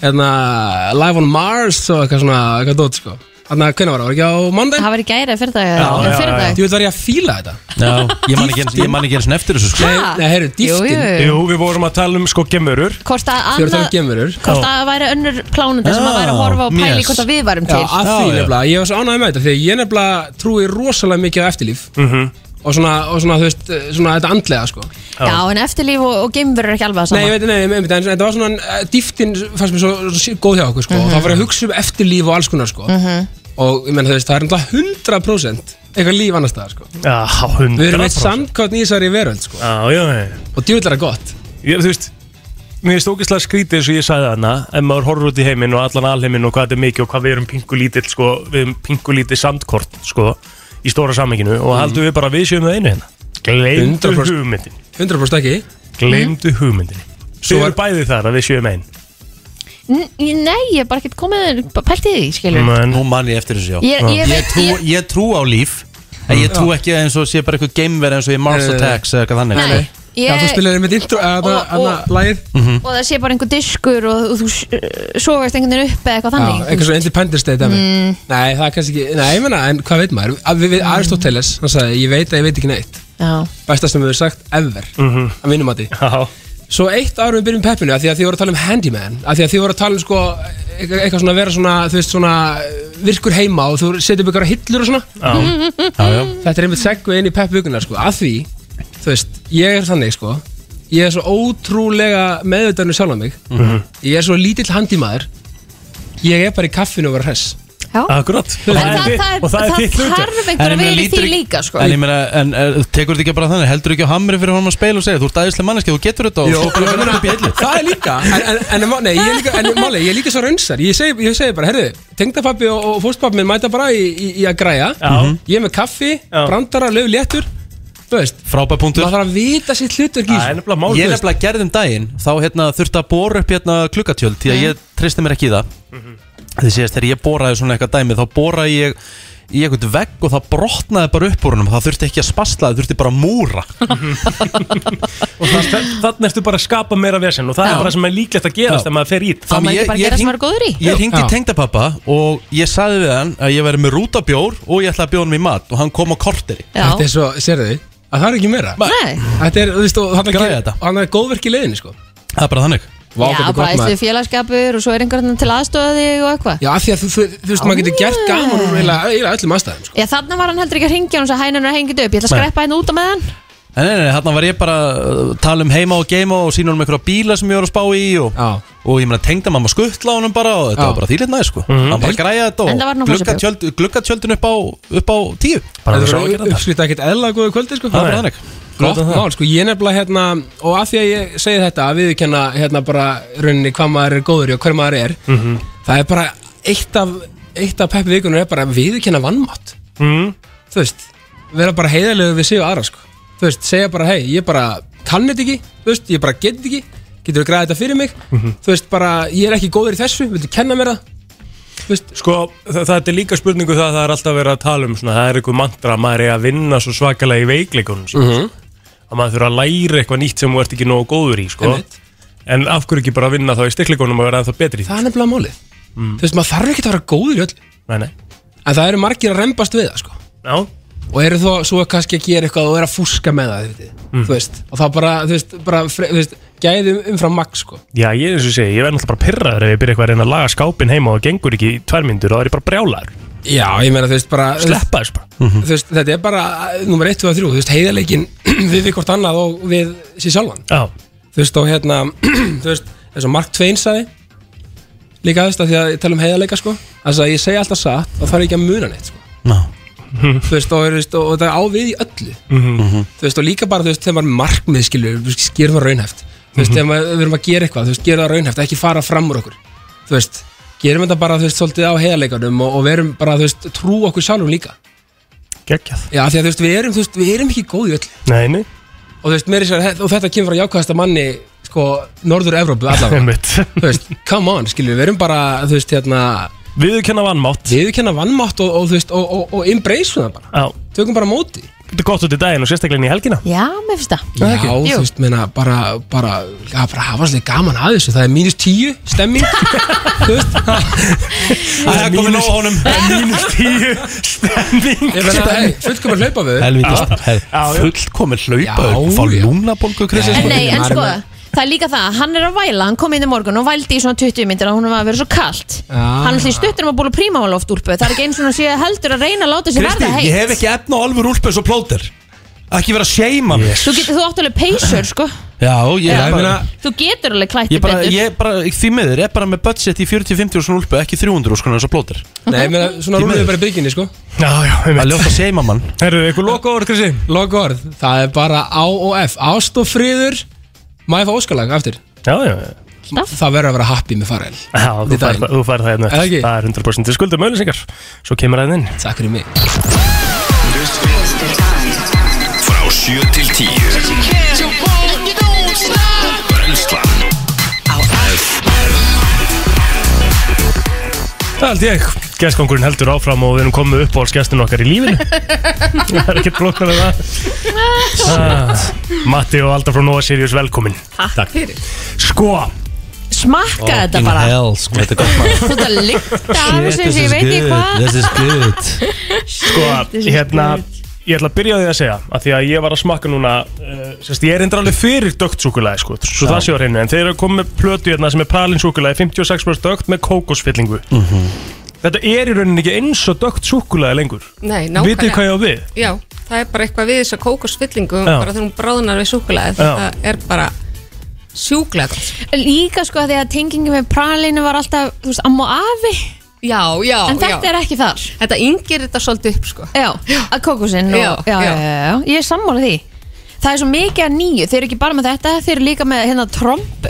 Speaker 17: hérna Live on Mars og eitthvað svona eitthvað dót sko Þannig að hvernig var það? Var ekki á mándaginn?
Speaker 4: Það var í gæri fyrir dag
Speaker 17: Já, já,
Speaker 4: fyrir
Speaker 17: Þú veit var ég að fíla þetta
Speaker 2: Já, ég man ekki einu- ég man ekki eins og eftir þessu sko
Speaker 4: Ha? Nei, nei, heyrðu, Jú, dýptin. jú.
Speaker 3: Jú, við vorum að tala um sko gemurur
Speaker 4: Hvort að
Speaker 17: Þið voru að tala um
Speaker 4: annað
Speaker 17: gemurur
Speaker 4: Hvort að það væri önnur plánandi sem að væri að horfa og pæli hvort að við varum til
Speaker 17: Já, að því nefnilega, ég var svo ánægð með þetta Þegar ég nefnilega trúi rosalega mikið á eftirlíf
Speaker 3: -hmm.
Speaker 17: og, svona, og svona, þú veist, eh, svona þetta andlega sko.
Speaker 4: Já, en eftirlíf og, og geimverur er ekki alveg að
Speaker 17: Nei,
Speaker 4: sama
Speaker 17: ég veit, nei, nei, nei, þetta var svona eh, dýftin fannst mér svo, svo sí- góð hjá okkur sko. og
Speaker 4: Mhm.
Speaker 17: það var að hugsa um eftirlíf og alls konar sko.
Speaker 4: Mhm.
Speaker 17: og ég menn, þú veist, það er náttúrulega 100% eitthvað líf annars staðar sko.
Speaker 3: Já, 100%
Speaker 17: Við erum eitt samkvæmt í þessari veröld sko.
Speaker 3: Já, já, já
Speaker 17: Og djúvill er það gott
Speaker 3: Ég, þú veist Mér finnst ógeðslega skrítið eins og ég sagði þarna ef maður horfður út í heiminn og allan alheiminn og hvað þetta er mikið og hvað við erum pingulítill sko, við erum pingulítið sandkort sko, í stóra saminginu
Speaker 17: Mhm.
Speaker 3: og haldum við bara að við séum það einu hérna Gleimdu
Speaker 17: 100%
Speaker 3: hugmyndin
Speaker 17: 100% ekki
Speaker 3: Gleimdu hugmyndin Svo eru bæði þar að við séum ein
Speaker 4: N- Nei, ég er bara ekkert komið pælt í því, skilur
Speaker 2: Nú man ég eftir þessu, já
Speaker 4: Ég- ég
Speaker 2: ég,
Speaker 4: veit-
Speaker 2: trú,
Speaker 4: ég-
Speaker 2: ég trú á líf En ég trú ekki eins og sé bara eitthvað gameverð eins og í Mars
Speaker 17: Mm. Nei, nei, nei.
Speaker 2: Attacks eða eitthvað þannig
Speaker 4: Nei,
Speaker 2: sko.
Speaker 17: Mm.
Speaker 4: ég- Já, þú spilaðir
Speaker 17: einmitt intro eða annað lagið
Speaker 2: Mhm.
Speaker 4: og það sé bara einhver diskur og, og þú s- sogast einhvern veginn upp eða eitthvað
Speaker 17: Já,
Speaker 4: þannig
Speaker 17: eitthvað svona Independence Day dæmi
Speaker 4: Mm.
Speaker 17: Nei, það er kannski ekki, nei, ég menna, en hvað veit maður Að Við, við Aristoteles, hann sagði, ég veit að ég veit ekki neitt
Speaker 4: Já.
Speaker 17: Besta sem við hefur sagt ever
Speaker 3: Mhm.
Speaker 17: Að minnum að
Speaker 3: því
Speaker 17: Svo eitt árum við byrjum peppinu, að því að þið voru að tala um handyman Að því að þið voru að tala um sko Eitthvað eitthvað svona að vera svona, þú veist, svona e, Virkur heima og þú setjum upp ykkur hillur og svona
Speaker 3: Já. Já, já.
Speaker 17: Þetta er einmitt seggu inn í peppvikunar sko Að því, þú veist, ég er þannig sko Ég er svo ótrúlega meðvitaðinu sjálf á mig
Speaker 3: Mhm.
Speaker 17: Ég er svo lítill handímaður Ég er bara í kaffinu og vera hress
Speaker 4: Já.
Speaker 3: Akkurat
Speaker 4: En það, það, það,
Speaker 2: En
Speaker 4: þarf einhver
Speaker 2: ég meina,
Speaker 4: að vilja því
Speaker 2: lítur ekki-
Speaker 4: líka sko.
Speaker 2: En ég meina, en er, tekur þetta ekki bara þannig Heldur ekki á hamri fyrir honum að speila og segja Þú ert æðislega manneski, þú getur þetta og
Speaker 17: Jó,
Speaker 2: svo bara
Speaker 17: ég
Speaker 2: verður
Speaker 17: meina,
Speaker 2: upp í hillu
Speaker 17: það er líka En, en, en, en, nei, ég er líka, en máli, ég er líka svo raunsar Ég segi, ég segi bara, herðu, tengdapappi og,
Speaker 2: Mhm.
Speaker 17: og fóstpappi minn mæta bara í, í, í að græja
Speaker 3: Já.
Speaker 17: Ég er með kaffi, brandara, lög léttur þú veist
Speaker 2: Frábær punktur
Speaker 17: Maður þarf að vita sitt hlutverk í
Speaker 2: Ég er
Speaker 17: mál, þú veist.
Speaker 2: nefnilega gerðum daginn Þá hérna, þurfti að bóra upp hérna klukkatjöld Því að
Speaker 17: Mhm.
Speaker 2: ég treysti mér ekki í það Þið séðast þegar ég bóraði svona eitthvað dæmi Þá bóraði ég í einhvern vegg og það brotnaði bara upp úr húnum Það þurfti ekki að spasla, það þurfti bara að múra
Speaker 3: og það, þannig ertu bara að skapa meira vesen og það
Speaker 2: Já.
Speaker 3: er bara sem er líklegt að gerast
Speaker 2: Já.
Speaker 3: þegar maður fer í þetta.
Speaker 2: Þannig ég- ég hring- Ég ringdi í tengdapappa og ég sagði við hann að ég væri með rútabjór og ég ætlaði að bjóða hann í mat og hann kom á korteri
Speaker 4: Já.
Speaker 17: Þetta er svo, sérðu þið, að það er ekki meira
Speaker 4: Nei.
Speaker 17: Þetta er, þú veist, og hann er,
Speaker 2: Græja
Speaker 17: ekki- hann er góðverk í leiðinni, sko
Speaker 2: Það er bara þannig
Speaker 17: Vá,
Speaker 4: Já,
Speaker 17: hvernig gott
Speaker 4: bara
Speaker 17: maður-
Speaker 4: æstu félagskapur og svo er einhvern til aðstofa þig og eitthvað
Speaker 17: Já, af því að þú, þú, þú veist, maður getur gert gaman úr eiginlega eiginlega öllum aðstæðum, sko.
Speaker 4: Já, þarna var hann heldur ekki að ringja hann og sagði hænun er hengið upp, ég ætla að
Speaker 2: Nei.
Speaker 4: skreppa hérna út á með hann
Speaker 2: En nei, nei, þarna var ég bara að tala um heima og geima og sína honum einhverja bíla sem ég var að spá í og, og ég meina tengda mamma skuttla honum bara og þetta
Speaker 17: Já. Mhm.
Speaker 2: var bara þýlitt næði sko hann bara græja
Speaker 4: Enda var
Speaker 2: þetta
Speaker 4: hann
Speaker 2: og
Speaker 4: að fá sér
Speaker 2: glugga, tjöld, glugga tjöldin upp á, upp á tíu
Speaker 17: Bara
Speaker 2: Þetta
Speaker 17: það
Speaker 2: var
Speaker 17: var uppskrift ekkert eðla góðu kvöldi, sko
Speaker 2: Það er bara þannig.
Speaker 17: Gott
Speaker 2: Gott að það.
Speaker 17: mál, sko, ég nefnilega hérna Og af því að ég segi þetta, að viðurkenna hérna bara rauninni hvað maður er góður í og hver maður er
Speaker 4: (laughs)
Speaker 3: Mhm.
Speaker 17: Það er bara, eitt af, eitt af peppi vikunum er bara að viðurkenna vannmátt
Speaker 3: Mm.
Speaker 17: Þú veist, vera bara heiðarlegu við sig og aðra, sko Þú veist, segja bara, hei, ég bara kann þetta ekki Þú veist, ég bara get þetta ekki Getur við græðið þetta fyrir mig
Speaker 3: Mm.
Speaker 17: Þú veist, bara, ég er ekki góður í þessu, viltu kenna mér það
Speaker 3: Sko, það, það er líka spurningu það að það er alltaf verið að tala um svona, það er einhver mantra að maður er að vinna svo svakalega í veikleikunum mm
Speaker 17: Mhm.
Speaker 3: að maður þurfa að læra eitthvað nýtt sem þú ert ekki nógu góður í sko.
Speaker 17: Einmitt.
Speaker 3: en af hverju ekki bara að vinna þá í styrkleikunum og vera ennþá betri í því?
Speaker 17: Það er nefnilega málið Þú veist, maður þarf ekki að vera góður í öllu
Speaker 3: mm. Nei, nei.
Speaker 17: En það eru margir að rembast við það, sko
Speaker 3: Já.
Speaker 17: Og eru þó svo kannski að gera eitthvað og eru að fúska með það, þið vitið.
Speaker 3: Mm.
Speaker 17: þú veist Og það bara, þú veist, bara, fre- þú veist, gæði umfram max, sko
Speaker 3: Já, ég eins og segi, ég verð náttúrulega bara pyrraður ef ég byrja eitthvað að reyna að laga skápin heima og það gengur ekki í tvær myndur og það er ég bara brjálaður
Speaker 17: Já, ég meina, þú veist, bara
Speaker 3: Sleppa þess bara
Speaker 17: Þú veist, þetta er bara eh, nummer 1, 2 og 3 Þú veist, heiðarleikin (clears throat) við við hvort annað og við sér sjálfan
Speaker 3: Já.
Speaker 17: Þú veist, og hérna, (clears throat) þú veist, eins og Mark Twain sagði Líka, þú veist, að því að ég tala um heiðarleika, sko Þannig að ég segi alltaf satt og þarf ég ekki að muna neitt, sko Þú veist, og, þú veist, og, og það á við í öllu þú veist, og líka bara, þú veist, þegar maður er markmið skilur, skýrðum það raunhæft þú veist, þegar maður, við erum að gera eitthvað, þú veist, gera það raunhæft ekki fara fram úr okkur, þú veist gerum þetta bara, þú veist, svolítið á heiðarleikanum og, og verum bara, þú veist, trú okkur sjálfum líka
Speaker 3: Gekkjað
Speaker 17: Já, af því að þú veist, við erum, þú veist, við erum ekki góð í öllu
Speaker 3: Nei, nei
Speaker 17: og þú veist, meiri sér, og þetta kemur frá jákvæðasta manni sko,
Speaker 3: (laughs)
Speaker 17: Norður-Evrópu allavega
Speaker 3: Einmitt.
Speaker 17: þú veist, come on, skilur, við erum bara þú veist, hérna
Speaker 3: Viðurkenna vannmátt
Speaker 17: Viðurkenna vannmátt og, og, þú veist, og, og, og embrace það bara,
Speaker 3: Já.
Speaker 17: tökum bara á móti
Speaker 3: Þetta er gott út í daginn og sérstaklega inn í helgina
Speaker 4: Já, mér finnst það
Speaker 17: Já, þú
Speaker 4: Jú.
Speaker 17: veist, meina, bara, bara, að bara hafa svolítið gaman að þessu, það er mínus tíu (laughs) stemming, þú veist Það er komið nóg honum
Speaker 3: Mínus tíu stemming
Speaker 17: Ég meina, hei, fullkomar hlaupa við
Speaker 2: Helvítast, fullkomin hlaupa Fá lúnabólgu krisið
Speaker 4: En nei, en sko, það er líka það, hann er að væla, hann kom inn í morgun og vældi í svona 20 myndir að hún var að vera svo kalt
Speaker 2: Ah.
Speaker 4: Hann er því stuttur um að búla prímavaloft úlpu, það er ekki eins og hann sé heldur að reyna að láta sér
Speaker 2: Kristi,
Speaker 4: verða
Speaker 2: ég
Speaker 4: heitt
Speaker 2: hef ekki efna á alveg rúlpa eins og plóter Ekki vera að seima mig
Speaker 4: Þú getur, þú átt alveg peysur, sko
Speaker 2: Já, ég,
Speaker 4: Já.
Speaker 2: ég meina
Speaker 4: Þú getur alveg
Speaker 2: Ég
Speaker 4: klætt þig
Speaker 2: bara,
Speaker 4: betur
Speaker 2: ég bara, ég- því miður, ég er bara með budget í 40-50 og svona úlpu, ekki 300 og svona eins og plóter
Speaker 17: Nei, ég meina, svona rúlum við bara bygginni, sko
Speaker 3: Já, já,
Speaker 2: Það er ljótt að seima mann
Speaker 3: Herru, eitthvað loka orð, Krissi?
Speaker 17: Loka orð, það er bara á og F Ást og friður, maður fá óskalag aftur
Speaker 3: Já, já, já
Speaker 17: Það verður að vera happy með farel
Speaker 3: Já,
Speaker 17: Í
Speaker 3: þú fær,
Speaker 17: daginn.
Speaker 3: það- þú fær það hérna
Speaker 17: Er það ekki?
Speaker 3: eftir. Það er 100% Þið skuldum öllisingar Svo kemur það inn
Speaker 17: Takk fyrir mig
Speaker 1: Frá 7 til 10 Brenslan
Speaker 3: Það held ég Gæstkongurinn heldur áfram og við erum komið upp á skæstin okkar í lífinu
Speaker 4: (laughs)
Speaker 3: Það er ekkert blokkar með það ah, Matti og Alda frá Nova Sirius, velkomin
Speaker 2: Takk
Speaker 4: fyrir
Speaker 3: Sko
Speaker 4: Smakka þetta bara
Speaker 2: hell, sko, þetta er gott maður
Speaker 4: Þú ert að lykta af þessu eins og ég veit ekki hvað
Speaker 2: This is good
Speaker 4: (laughs)
Speaker 3: Sko, hérna Ég ætla að byrja á því að segja að Því að ég var að smakka núna uh, sérst, Ég er endur alveg fyrir dögt súkulæði sko, Svo
Speaker 2: Já.
Speaker 3: það séu á hreinu En þeir eru komið með plötu hérna sem er pralin súkulæði 56% dögt með kókosfyllingu Þetta er í rauninni ekki eins og dögt súkulæði lengur
Speaker 16: Nei, nákvæmlega.
Speaker 3: Vitið hvað ég á við?
Speaker 16: Já, það er bara eitthvað við þess að kókosfyllingu
Speaker 3: Já.
Speaker 16: bara þegar hún bráðnar við súkulæðið
Speaker 3: Já.
Speaker 16: það er bara sjúklega gott
Speaker 4: Líka sko að því að tengingin með pralinu var alltaf, þú veist, amma og afi
Speaker 16: Já, já,
Speaker 4: En þetta
Speaker 16: já.
Speaker 4: er ekki þar
Speaker 16: Þetta yngir þetta svolítið upp sko
Speaker 4: Já, að kókusinn og,
Speaker 16: Já,
Speaker 4: já, já,
Speaker 16: já.
Speaker 4: já, já, ég er sammála því Það er svo mikið að nýju, þeir eru ekki bara með þetta Þeir eru líka með hérna tromp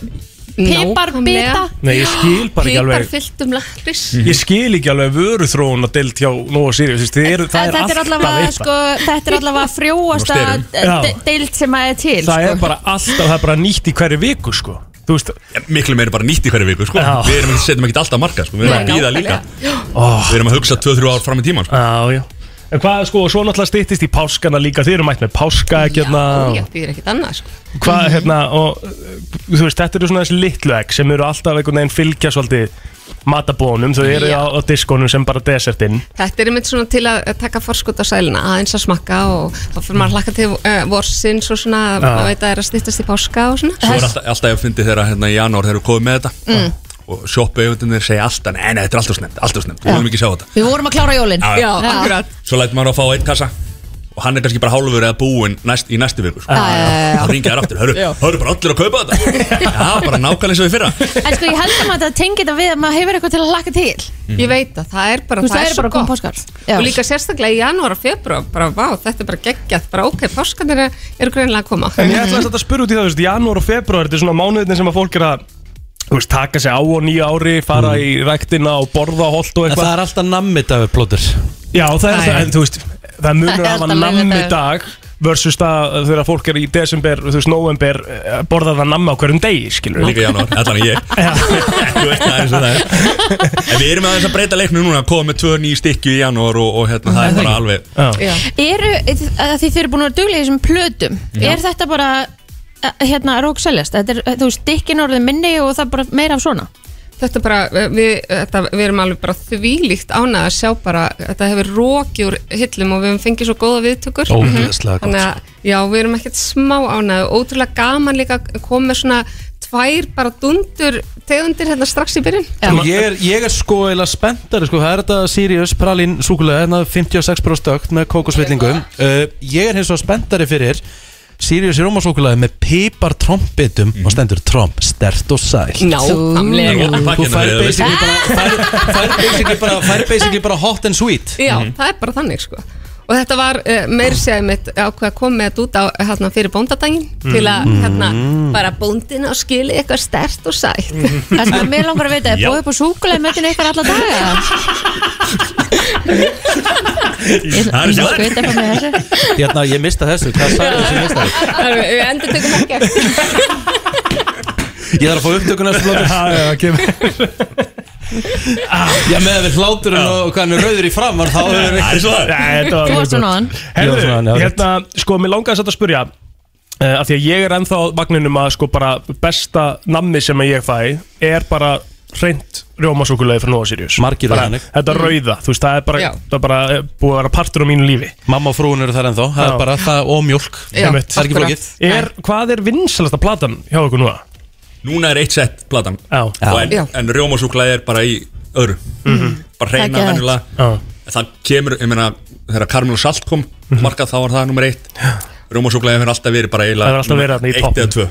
Speaker 16: Piparbita
Speaker 3: Nei, ég skil bara ekki alveg Mhm.
Speaker 16: Piparfyllt um lakris
Speaker 3: Ég skil ekki alveg vöruþróun að deilt hjá Nóa Sirius Þið eru- Það
Speaker 18: þetta
Speaker 3: er
Speaker 18: er
Speaker 3: alltaf
Speaker 18: allavega,
Speaker 3: eitthvað
Speaker 18: sko, þetta er
Speaker 3: (laughs)
Speaker 18: allavega frjóasta
Speaker 3: Á sterum.
Speaker 18: de-
Speaker 3: Já.
Speaker 18: de- deild sem að er til
Speaker 3: Það
Speaker 18: sko.
Speaker 3: er bara alltaf, það er bara nýtt í hverju viku sko Þú veist
Speaker 19: Miklu meira bara nýtt í hverju viku sko.
Speaker 3: Já.
Speaker 19: Við erum ekki, setjum ekkert alltaf marka sko. Við erum að
Speaker 3: Nei,
Speaker 19: býða líka
Speaker 3: nákvæmlega.
Speaker 19: Við erum að hugsa 2-3 ár fram í tíman sko.
Speaker 3: Já, já En hvað, sko, og svo náttúrulega styttist í páskana líka Þið eru mætt með páska, ekki hérna
Speaker 16: Já, býður ekkert annað sko.
Speaker 3: Hvað, hérna, og uh, Þú veist, þetta eru svona þessi litlu egg Sem eru alltaf einhvern veginn fylgja svolítið Matabónum, þau eru
Speaker 16: Já.
Speaker 3: á, á diskonum Sem bara desertinn
Speaker 16: Þetta er einmitt svona til að taka forskot á sælina aðeins að smakka og þá fyrir maður að hlakka til uh, vorsins og svona
Speaker 19: Já.
Speaker 16: maður veit að það er að stýttast í páska og svona
Speaker 19: Svo er alltaf, alltaf ég að fyndi þegar að, hérna, í janúar þegar við komum með þetta
Speaker 16: Mm.
Speaker 19: og sjoppu auðvitaðnir segja alltaf Nei, nei, þetta er alltaf snemt, alltaf snemt, við viljum ekki sjá þetta
Speaker 18: Við vorum að klára jólin
Speaker 19: Já, já. Já, akkurat. Svo lætur maður að fá einn kassa og hann er kannski bara hálfur eða búinn næst, í næstu viku sko.
Speaker 18: Já, já, já, já.
Speaker 19: Þá ringja þær aftur, hörru, hörru bara allir að kaupa
Speaker 18: (laughs)
Speaker 19: þetta Já, bara nákvæmlega eins og við fyrra
Speaker 18: En sko, ég held að maður þetta tengi þetta við að maður hefur eitthvað til að laka til
Speaker 16: Ég veit að það er bara,
Speaker 18: Þú veist, það eru
Speaker 16: svo
Speaker 18: bara
Speaker 16: gott
Speaker 18: góð páskar. Já.
Speaker 16: Og líka sérstaklega í janúar og februar bara, vá, þetta er bara geggjað, bara ok, páskarnir eru- eru greinlega að koma
Speaker 3: En ég ætla samt að spyrja út í það, þú veist, janúar og februar Þetta er svona mánuðin sem að fólk er að Þú veist, taka sig á og nýja ári Fara í ræktina og borða holt og
Speaker 2: En
Speaker 3: eitthvað
Speaker 2: það er alltaf nammið dagir plótur
Speaker 3: Já, það er
Speaker 2: Æ.
Speaker 3: alltaf, en þú veist, það munur
Speaker 2: Það er
Speaker 3: að hafa
Speaker 2: alltaf
Speaker 3: nammi
Speaker 2: laugardagur.
Speaker 3: dag versus það þegar fólk er í desember, þú veist, november eh, borðar það nammi á hverjum degi, skilur
Speaker 19: Líka í janúar, allan
Speaker 18: (laughs)
Speaker 19: ég Þú veist það er eins og það er En við erum aðeins að breyta leiknum núna Komum með tvö nýju stykki í janúar og, og hérna, það er bara alveg
Speaker 3: Já,
Speaker 18: Eru, að því þið eru búin að duglega í þessum plötum
Speaker 19: Já.
Speaker 18: Er þetta bara eh, hérna, rók seljast? Þetta er, þú veist, dikkin orðið minni og það er bara meira af svona
Speaker 16: Þetta bara, eh, við, þetta, við erum alveg bara þvílíkt ánað að sjá bara þetta hefur rokið úr hillum og við höfum fengið svo góða viðtökur
Speaker 2: Ógeðslega gott.
Speaker 16: Þannig að, já, við erum ekkert smá ánað og ótrúlega gaman líka að koma með svona tvær bara dundur tegundir hérna strax í byrjun
Speaker 2: Og ég er, ég er sko eða spenntari sko, það er þetta Sirius pralín súkulega, hérna 56% stökt með kókosvillingum. Uh, ég er hins og spenntari fyrir Sirius rómasúkulega með pipar trombitum og stendur tromb, stert og sæl.
Speaker 16: Nákvæmlega.
Speaker 19: Það er opið
Speaker 2: Þú
Speaker 19: pakkinn
Speaker 2: fær
Speaker 19: að við-
Speaker 2: basically bara, fær, fær basically bara, fær basically bara hot and sweet. Mhm.
Speaker 16: Já,
Speaker 19: Mhm.
Speaker 16: það er bara þannig sko og þetta var uh, meir sér mitt ákveð að koma með þetta út á hérna, fyrir bóndadaginn til að
Speaker 18: Mm.
Speaker 19: Mhm.
Speaker 16: hérna bara bóndin á skili eitthvað stert og sætt
Speaker 19: Mhm.
Speaker 16: (laughs)
Speaker 18: Það er svona, mér langar að vita, er
Speaker 16: Já.
Speaker 18: búið upp á súkulega mötinu ykkar alla daga?
Speaker 2: Það er
Speaker 19: (laughs)
Speaker 18: Ég veit eitthvað með þessu
Speaker 2: Hérna, ég mista þessu, hvað sagði þessu mista þessu?
Speaker 16: (laughs) Við endur tökum ekki
Speaker 2: Ég þarf að fá upptökun að (laughs) slóta
Speaker 3: Já, já, kemur
Speaker 2: Ah, Já, með að við hláturinn og hvað hann er rauður í framar þá
Speaker 3: Það er svo það. Nei, þetta var Þú mjög varst gott. svona áðan.
Speaker 2: Ég var svona áðan,
Speaker 3: Herðu,
Speaker 2: já,
Speaker 3: hérna, sko, mér langaði satt að spyrja uh, af því að ég er ennþá á vagninum að sko bara besta nammi sem að ég fæ er bara hreint rjómasúkulegi frá Nóa Sirius
Speaker 2: Margir
Speaker 3: Bara
Speaker 2: eru þannig.
Speaker 3: Þetta rauða, þú veist, það er bara,
Speaker 2: Já.
Speaker 3: það er bara eh, búið að vera partur á mínu lífi
Speaker 2: Mamma og frúin eru þar ennþá, það er
Speaker 3: Já.
Speaker 2: bara það og mjölk
Speaker 3: Já,
Speaker 2: Það er ekki
Speaker 3: akkurat.
Speaker 2: flókið
Speaker 3: er, Hvað er vinsalasta platan hjá okkur núna?
Speaker 19: Núna er eitt sett platan
Speaker 3: Já.
Speaker 19: Og En,
Speaker 3: Já.
Speaker 19: en rjómasúklaði er bara í öðru Bara
Speaker 3: Það
Speaker 19: reyna
Speaker 3: er
Speaker 19: venjulega
Speaker 3: Mhm. Já.
Speaker 19: En Það kemur, ég meina, þegar Karmel og Salt kom
Speaker 3: Mhm.
Speaker 19: Markað þá var það nummer eitt Rjómasúklaði hefur alltaf verið bara eiginlega
Speaker 3: Það hefur alltaf verið þarna í
Speaker 19: eitt eða tvö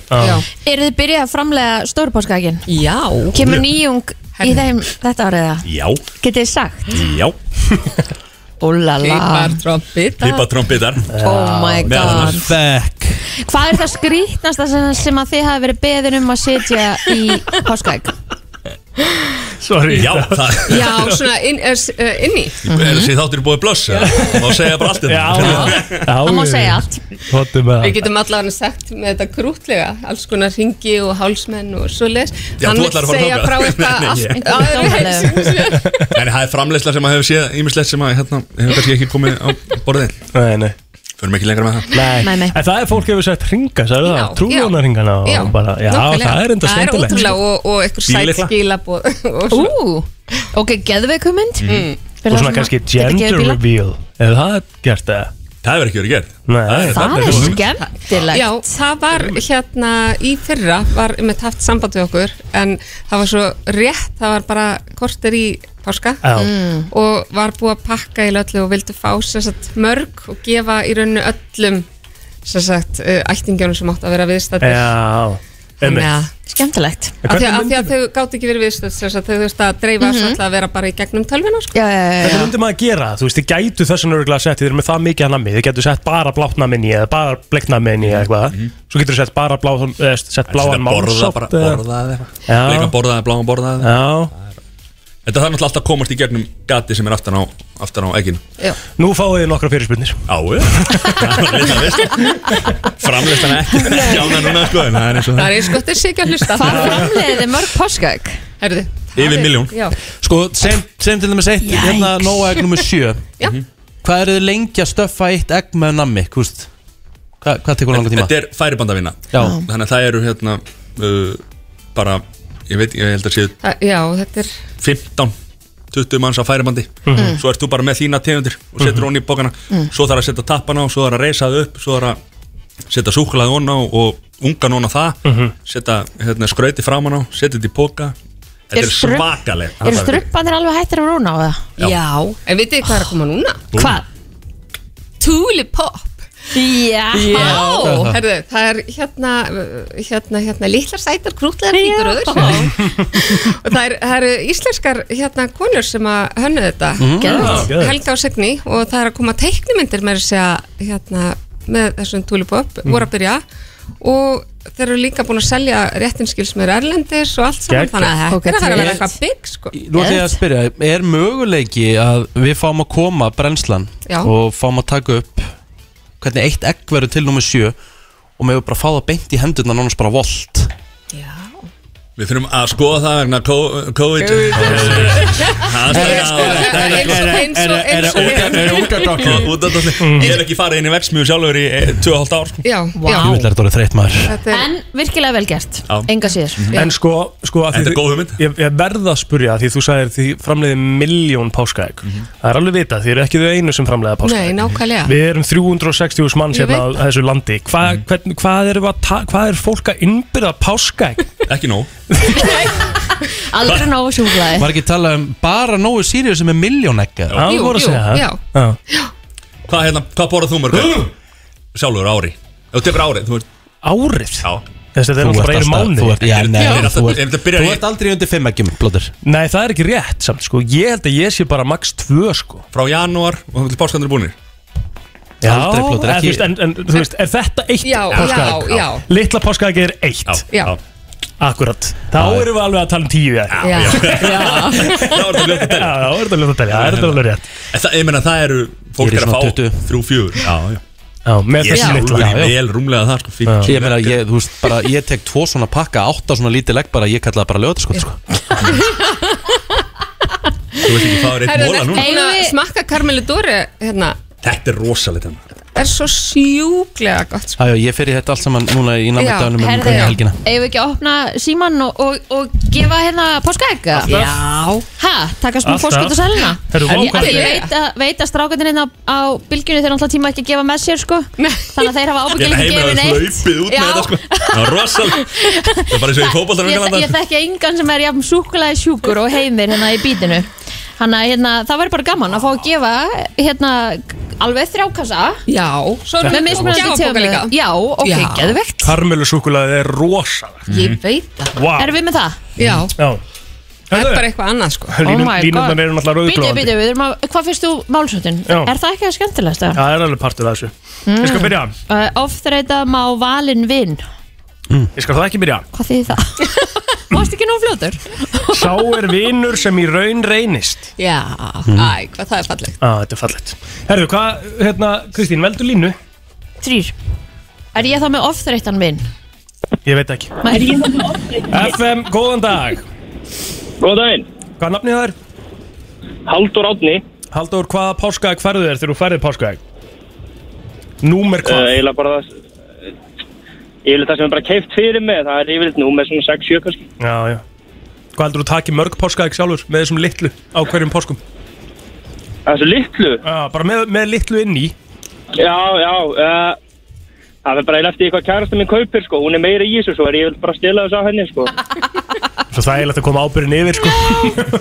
Speaker 18: Eru þið byrjað að framlega stórpáskaækin?
Speaker 16: Já
Speaker 18: Kemur nýjung í þeim þetta árið það?
Speaker 19: Já,
Speaker 18: Getið þið sagt?
Speaker 19: já
Speaker 18: Úlala
Speaker 16: Pipartrombitar
Speaker 19: Pipartrombitar
Speaker 18: Oh my god.
Speaker 2: Fekk
Speaker 18: Hvað er það skrítnasta sem, sem að þið hafi verið beðin um að setja í páskaæk?
Speaker 3: Sorry
Speaker 19: Já, það
Speaker 16: Já, svona inn, uh, inni
Speaker 19: (laughs) Er þessi þáttur búið blöss? eða? Má segja bara allt hérna. þetta
Speaker 16: Það má segja allt
Speaker 3: Hottum
Speaker 16: Við getum allavega sagt með þetta krútlega alls konar ringi og hálsmenn og svoleiðis
Speaker 19: Já,
Speaker 16: Hann
Speaker 19: þú
Speaker 16: vill
Speaker 19: ætlar að fara
Speaker 16: segja
Speaker 19: þangað.
Speaker 16: frá
Speaker 19: (laughs) Nei,
Speaker 16: eitthvað
Speaker 19: ég-
Speaker 16: allt aðra heimsins
Speaker 19: En það er framleysla sem að hefur séð Ímislegt sem að hérna, hefur kannski ekki komið á borðið
Speaker 3: Nei, nei
Speaker 19: Förum ekki lengra með það
Speaker 3: Nei, nei. En það er fólk hefur sett ringa, sagði það, trújónarringana
Speaker 16: Já,
Speaker 3: og bara, já,
Speaker 16: nákvæmlega.
Speaker 3: það er
Speaker 16: Það
Speaker 3: enda
Speaker 16: er
Speaker 3: skemmtilegt
Speaker 16: ótrúlega og, og eitthvað sæt
Speaker 3: Bílykla.
Speaker 16: skilabóð
Speaker 18: Ú, ok, geðveikumind mm.
Speaker 3: Mhm. Og svona kannski gender reveal Ef það er gert eða
Speaker 19: Það hefur ekki verið gert
Speaker 3: Nei,
Speaker 18: Það er skemmtilegt
Speaker 16: Já, það var hérna í fyrra var með haft samband við okkur en það var svo rétt, það var bara korter í páska
Speaker 3: Já. Mm.
Speaker 16: og var búið að pakka í öllu og vildi fá sem sagt, mörg og gefa í rauninu öllum sem sagt, eh, ættingjónum sem átt að vera viðstættir
Speaker 3: Já
Speaker 16: Þannig að-
Speaker 4: Skemmtilegt
Speaker 16: Af því, að- af því að þau gátt ekki verið viðstöðs þess að þau þurftu að dreifa mm -hmm. að vera bara í gegnum tölvina sko.
Speaker 4: Mhm. já, já,
Speaker 3: Hvernig myndi maður gera það? Þú veist, þið gætu þessan örgulega að setja þið eru með það mikið að nammi Þið gætu sett bara blátt namminni eða bara bleikt namminni eða eitthvað Svo getur þið sett bara blá, eh, sett bláan
Speaker 19: Mhm. Þetta borða
Speaker 3: málsátt
Speaker 19: bara, borða eða eitthvað Leika borða eða bláma borða eða
Speaker 3: Já
Speaker 19: Þetta þarf náttúrulega alltaf að komast í gegnum gati sem er aftan á, aftan á eginn
Speaker 3: Nú fáið þið nokkra fyrirspurnir
Speaker 19: Á, (laughs) Framleyslan ekki Jána núna sko en það er eins og
Speaker 16: Það
Speaker 19: það
Speaker 16: er eins gott að sé ekki að hlusta
Speaker 4: Hvað framleiðið þið mörg páskaegg?
Speaker 16: Herðu
Speaker 19: Yfir miljón
Speaker 16: Já,
Speaker 2: Sko, sem, sem til dæmis eitt Hérna nóa egg nummer 7
Speaker 16: Já.
Speaker 2: Hvað eru þið lengi að stöffa eitt egg með nammi? Húst? Hva, hvað tekur langa tíma?
Speaker 19: Þetta er færibandavinna
Speaker 2: Já.
Speaker 19: Þannig að það eru hérna uh, bara, ég veit, ég held að séu
Speaker 16: það- já, þetta er
Speaker 19: 15 20 manns á færibandi
Speaker 16: Mhm.
Speaker 19: svo ert þú bara með þína tegundir og setur mm í bókana
Speaker 16: Mhm.
Speaker 19: svo þarf að setja tappan á, svo þarf að reysa það upp svo þarf að setja súklaði onna á og ungan onna á það
Speaker 3: Mhm.
Speaker 19: setja hérna, skrauti framan á, setja þetta í póka þetta er,
Speaker 4: Er strupp-
Speaker 19: svakaleg
Speaker 4: Eru struppanir alveg hættir að rúna á það?
Speaker 16: Já, en vitið þið hvað er að koma núna?
Speaker 4: Hvað?
Speaker 16: Tulipop
Speaker 4: Já,
Speaker 16: Já, herðu, það er hérna, uh, hérna, hérna, litlar sætar krútlegar fíkuröður og það er- það eru íslenskar hérna konur sem að hönnu þetta
Speaker 4: Mm, Geðveikt. geðveikt.
Speaker 16: Helga og Signi og það er að koma teiknumyndir með þess að hérna, með þessum tulipop
Speaker 4: Mm.
Speaker 16: voru að byrja og þeir eru líka búin að selja réttinskils með erlendis og allt saman
Speaker 2: Geggjað.
Speaker 16: þannig að
Speaker 2: Ok,
Speaker 16: þetta er að fara að vera
Speaker 2: til-
Speaker 16: eitthvað bygg sko
Speaker 2: Nú ætlum ég að spyrja, er möguleiki að við fáum að koma brennslan
Speaker 16: Já.
Speaker 2: og fáum að taka upp hvernig eitt egg verður til nummer 7 og meðum bara að fá það beint í hendurna nánast bara volt
Speaker 19: Við þurfum að skoða það vegna co- (laughs) COVID Það er Ég er ekki farið inn í verksmiðu sjálfur í eh, 2,5 ár sko.
Speaker 16: Já,
Speaker 4: já.
Speaker 2: Ég vil að þetta orðið þreytt maður
Speaker 4: En virkilega vel gert
Speaker 19: Já.
Speaker 4: Enga síður
Speaker 2: Mhm.
Speaker 19: Mhm.
Speaker 3: En sko, sko Þetta er góð hugmynd Ég, ég verða að spurja því þú sagðir því framleiði miljón páskaegg
Speaker 19: Mhm.
Speaker 3: Það er alveg vitað, þið eru ekki þau einu sem framleiða páskaegg
Speaker 16: Nei, nákvæmlega
Speaker 3: Við erum 360 þúsund manns
Speaker 16: Ég
Speaker 3: hérna á
Speaker 16: veit.
Speaker 3: þessu landi Hva,
Speaker 19: Mm.
Speaker 3: hvern, hvað, er að ta, hvað er fólk að innbyrða páskaegg?
Speaker 19: (laughs) Ekki nóg
Speaker 2: sko-
Speaker 4: Aldrei nógu sjúklaði
Speaker 2: Var ekki að tala um bara nógu sírið sem er miljón egg eða?
Speaker 19: Jú,
Speaker 3: voru að segja það.
Speaker 19: já. Hvað, hérna, hvað borðað þú mörg? Sjálfur á ári Ef Þú tekur árið, þú veist
Speaker 3: Árið?
Speaker 19: Já
Speaker 3: Þessi, þetta er
Speaker 2: Þú
Speaker 3: náttúrulega
Speaker 2: ert
Speaker 3: bara einu
Speaker 2: alltaf-
Speaker 3: mánuði.
Speaker 2: þú ert- já,
Speaker 3: Þetta er-
Speaker 2: nei,
Speaker 3: þetta er
Speaker 2: þú
Speaker 3: alltaf-
Speaker 2: ert-
Speaker 3: þetta byrjar
Speaker 2: Þú
Speaker 3: í-
Speaker 2: ert aldrei undir 5 eggjum, blóður
Speaker 3: Nei, það er ekki rétt samt sko Ég held að ég sé bara max 2 sko
Speaker 19: Frá janúar og þannig til páskandur búinir
Speaker 3: Já,
Speaker 19: Aldrei, Plóter,
Speaker 3: en,
Speaker 19: ekki-
Speaker 3: þú veist, en, en þú veist, er þetta eitt
Speaker 16: Já,
Speaker 3: páskaegg?
Speaker 16: já, já.
Speaker 3: Litla páskaegg er eitt
Speaker 16: Já. Já.
Speaker 3: Akkurat, þá
Speaker 16: Já.
Speaker 3: erum við alveg að tala um tíu Já,
Speaker 16: Já,
Speaker 3: Já, þá er þetta ljótt að telja, það er þetta alveg rétt
Speaker 19: En það, ég meina, það eru Fólk
Speaker 2: Ég er í
Speaker 19: er að
Speaker 2: svona
Speaker 19: fá 3-4 Já, já
Speaker 3: Já, með
Speaker 19: þessi
Speaker 2: þessi litla.
Speaker 19: litla
Speaker 2: Já, já.
Speaker 19: Vel rúmlega það, sko fínt.
Speaker 2: Ég meina, ég, þú veist, bara, ég tek tvo svona pakka, átta svona lítið legg bara, ég kalla það bara lögðarskot, sko.
Speaker 19: Þú veist ekki hvað er eitt móla núna
Speaker 16: Eigum við smakka Carmelu Dóri hérna,
Speaker 19: Þetta er rosalit hennar
Speaker 16: er svo sjúklega gott
Speaker 2: Já, já, ég fer í þetta allt saman núna í
Speaker 4: Já,
Speaker 2: námiðdagunum um
Speaker 4: herðu,
Speaker 2: hvernig helgina.
Speaker 4: eigum við ekki að opna síman og, og, og gefa hérna páskaegg?
Speaker 2: Alltaf.
Speaker 4: Já Hæ, takast nú
Speaker 2: Alltaf.
Speaker 4: fórskot og selina
Speaker 2: Herru, vá,
Speaker 4: Ég
Speaker 2: hvað
Speaker 4: ég
Speaker 2: er-
Speaker 4: veit, að, veit að strákarnir hérna á bylgjunni þeir náttúrulega tíma ekki að gefa með sér sko Þannig að þeir hafa
Speaker 19: Ég
Speaker 4: ábyggilega
Speaker 19: held að
Speaker 4: ekki gefið neitt
Speaker 19: heimir að hlaupið út með
Speaker 4: Já.
Speaker 19: þetta sko Það var rosalega Það er bara eins og í fótboltanum hérna
Speaker 4: (laughs) Ég,
Speaker 19: í gamla
Speaker 4: ég
Speaker 19: daga.
Speaker 4: þekki engan sem er jafn súkulega sjúkur og heimir hérna í bítinu Þannig að hérna, það væri bara gaman að fá að gefa hérna alveg þrjákassa
Speaker 16: Já, svo
Speaker 4: erum
Speaker 3: erum við
Speaker 4: við
Speaker 3: með
Speaker 4: mismunandi
Speaker 16: gjafabóka líka.
Speaker 4: tegum Já, ok,
Speaker 16: Já.
Speaker 4: geðvegt
Speaker 3: Karmelu súkulaði er rosalegt
Speaker 19: Mhm.
Speaker 16: Ég veit það
Speaker 3: Vá.
Speaker 4: Erum við með það?
Speaker 16: Já,
Speaker 3: Já,
Speaker 16: það er bara eitthvað annað sko
Speaker 4: Oh
Speaker 3: Línun- línurnar eru náttúrulega rauðglóðandi.
Speaker 4: Býtu, býtu, hvað finnst þú málsöndin?
Speaker 3: Já.
Speaker 4: Er það ekki að skemmtilegast það?
Speaker 3: það er alveg partur af þessu Ég skal byrja,
Speaker 4: Uh, Ofþreita má valin vinn
Speaker 19: Mm.
Speaker 3: ég skal það ekki byrja
Speaker 4: Hvað þýðir
Speaker 16: (laughs)
Speaker 4: það? Mást ekki nú fljótur?
Speaker 3: Sá er vinur sem í raun reynist
Speaker 16: Já,
Speaker 3: Mm.
Speaker 16: æ, hvað það er fallegt
Speaker 3: Á, þetta er fallegt Herðu, hvað, hérna, Kristín, veldu línu?
Speaker 4: Þrýr Er ég þá með ofþreitan vinn?
Speaker 3: Ég veit ekki
Speaker 4: Er ég þá með ofþreitan
Speaker 3: FM, góðan dag
Speaker 20: Góðan daginn
Speaker 3: Hvað er nafnið það er?
Speaker 20: Haldur Átni
Speaker 3: Haldur, hvaða páskaðeg færðu þér þegar þú færðir páskaðeg? Númer hvað?
Speaker 12: Eh,
Speaker 20: Eila bara það Eila það sem er bara keift fyrir mig Það er yfirleitt nú með svona 6-7 kannski
Speaker 3: Já, já Hvað heldur þú taki mörg páskaðeg sjálfur með þessum litlu á hverjum páskum?
Speaker 20: Þessu litlu?
Speaker 3: Já, bara með, með litlu inn í
Speaker 20: Já, já uh, Það er bara eila eftir eitthvað kærasta minn kaupir sko Hún er meira í þessu svo er ég vil bara stila þessu að henni sko
Speaker 3: Svo það er eitthvað að koma ábyrðin yfir, (laughs) sko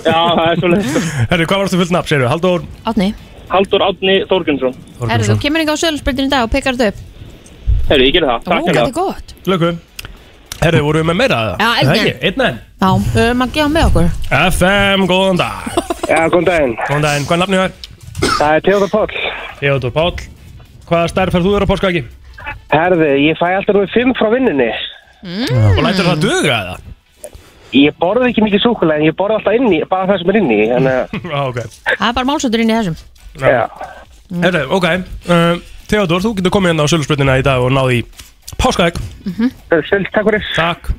Speaker 20: Já, það er svolítið
Speaker 3: Herðu, hvað varstu fullt nafn, segir Haldur
Speaker 4: Átni
Speaker 20: Haldur Átni Þorgunnsson
Speaker 4: Erðu, þú kemur ekki á sölursbyrðin í dag og pekar þetta upp
Speaker 20: Herru, ég gerði það
Speaker 4: Ó,
Speaker 20: Takk
Speaker 4: þetta
Speaker 20: hérna
Speaker 4: er gott
Speaker 3: Lökum Herðu, vorum við með meira að það?
Speaker 18: Já, einn enn.
Speaker 3: Einn enn
Speaker 18: Já, um að gefa með okkur
Speaker 3: FM, góðan dag Já, góðan daginn Góðan daginn, hvað er nafnið þér? Það er Theodor Páll Theodor Páll Hvaða stærð færð þú vera á páskagi?
Speaker 11: Herði, ég fæ alltaf nú fimm frá vinninni
Speaker 3: Og lætur það duga eða?
Speaker 11: Ég borði ekki mikið súkulega en ég borði alltaf inni, bara það sem er inni Þannig
Speaker 3: (laughs)
Speaker 11: að
Speaker 3: Já, ok
Speaker 4: Það er bara málsöndur inn í þessum
Speaker 3: Já Herðu, ok uh, Theodor, þú getur komið hérna á sölusbrutina í dag og náði í páskag Sjöld, Mhm. takk fyrir Takk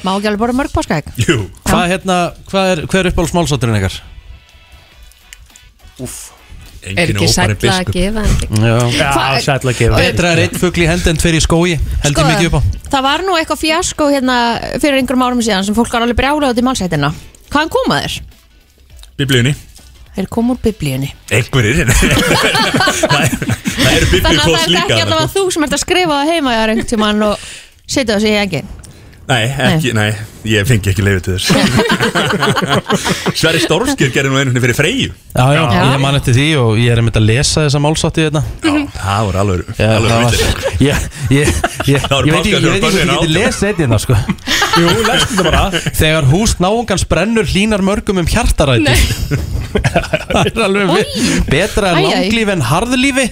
Speaker 4: Má ekki alveg bara mörg páskaegg
Speaker 3: Jú
Speaker 2: Hvað hérna, hvað er, hver er uppáhalds málsátturinn ykkar?
Speaker 18: Er ekki sætla að gefa
Speaker 2: Já,
Speaker 4: Hvað-
Speaker 3: sætla gefa
Speaker 2: Betra er einn fugl í hendi en tveir í skói Heldur
Speaker 4: Skoðum.
Speaker 2: mikið upp á
Speaker 4: Það var nú eitthvað fjasko hérna fyrir einhverjum árum síðan sem fólk var alveg brjálega út í málsættina Hvaðan koma þeir?
Speaker 19: Biblíunni
Speaker 4: Þeir koma úr biblíunni
Speaker 19: Einhverjir (laughs) Það eru
Speaker 4: Þannig að það
Speaker 19: biblíukóðs
Speaker 4: er
Speaker 19: líka
Speaker 4: ekki
Speaker 19: þarna,
Speaker 4: allavega
Speaker 19: sko.
Speaker 4: þú sem ert að skrifa það heima í einhvern tímann og setja þessi í engin
Speaker 19: sko. Nei, ekki, nei, ég fengi ekki leiði
Speaker 4: (laughs)
Speaker 19: til þess Sverri Stórskir gerði nú einu sinni fyrir Freyju
Speaker 2: Já, já,
Speaker 19: Já.
Speaker 2: ég man eftir því og ég er einmitt að lesa þessa málsátti hérna
Speaker 19: Það voru alveg,
Speaker 2: Já,
Speaker 19: alveg
Speaker 2: það var-
Speaker 19: vitleysur.
Speaker 2: (laughs) Ég, ég, ég,
Speaker 19: Það voru
Speaker 2: ég veit ekki, ég veit ekki
Speaker 19: páskar, það voru
Speaker 2: hvort ég geti
Speaker 19: páskar
Speaker 2: lesið þetta hérna, sko Jú, lestu þetta bara Þegar hús náungans brennur hlínar mörgum um hjartaræti (laughs) Það er alveg við Betra
Speaker 4: Æ, æ.
Speaker 2: er langlífi en harðlífi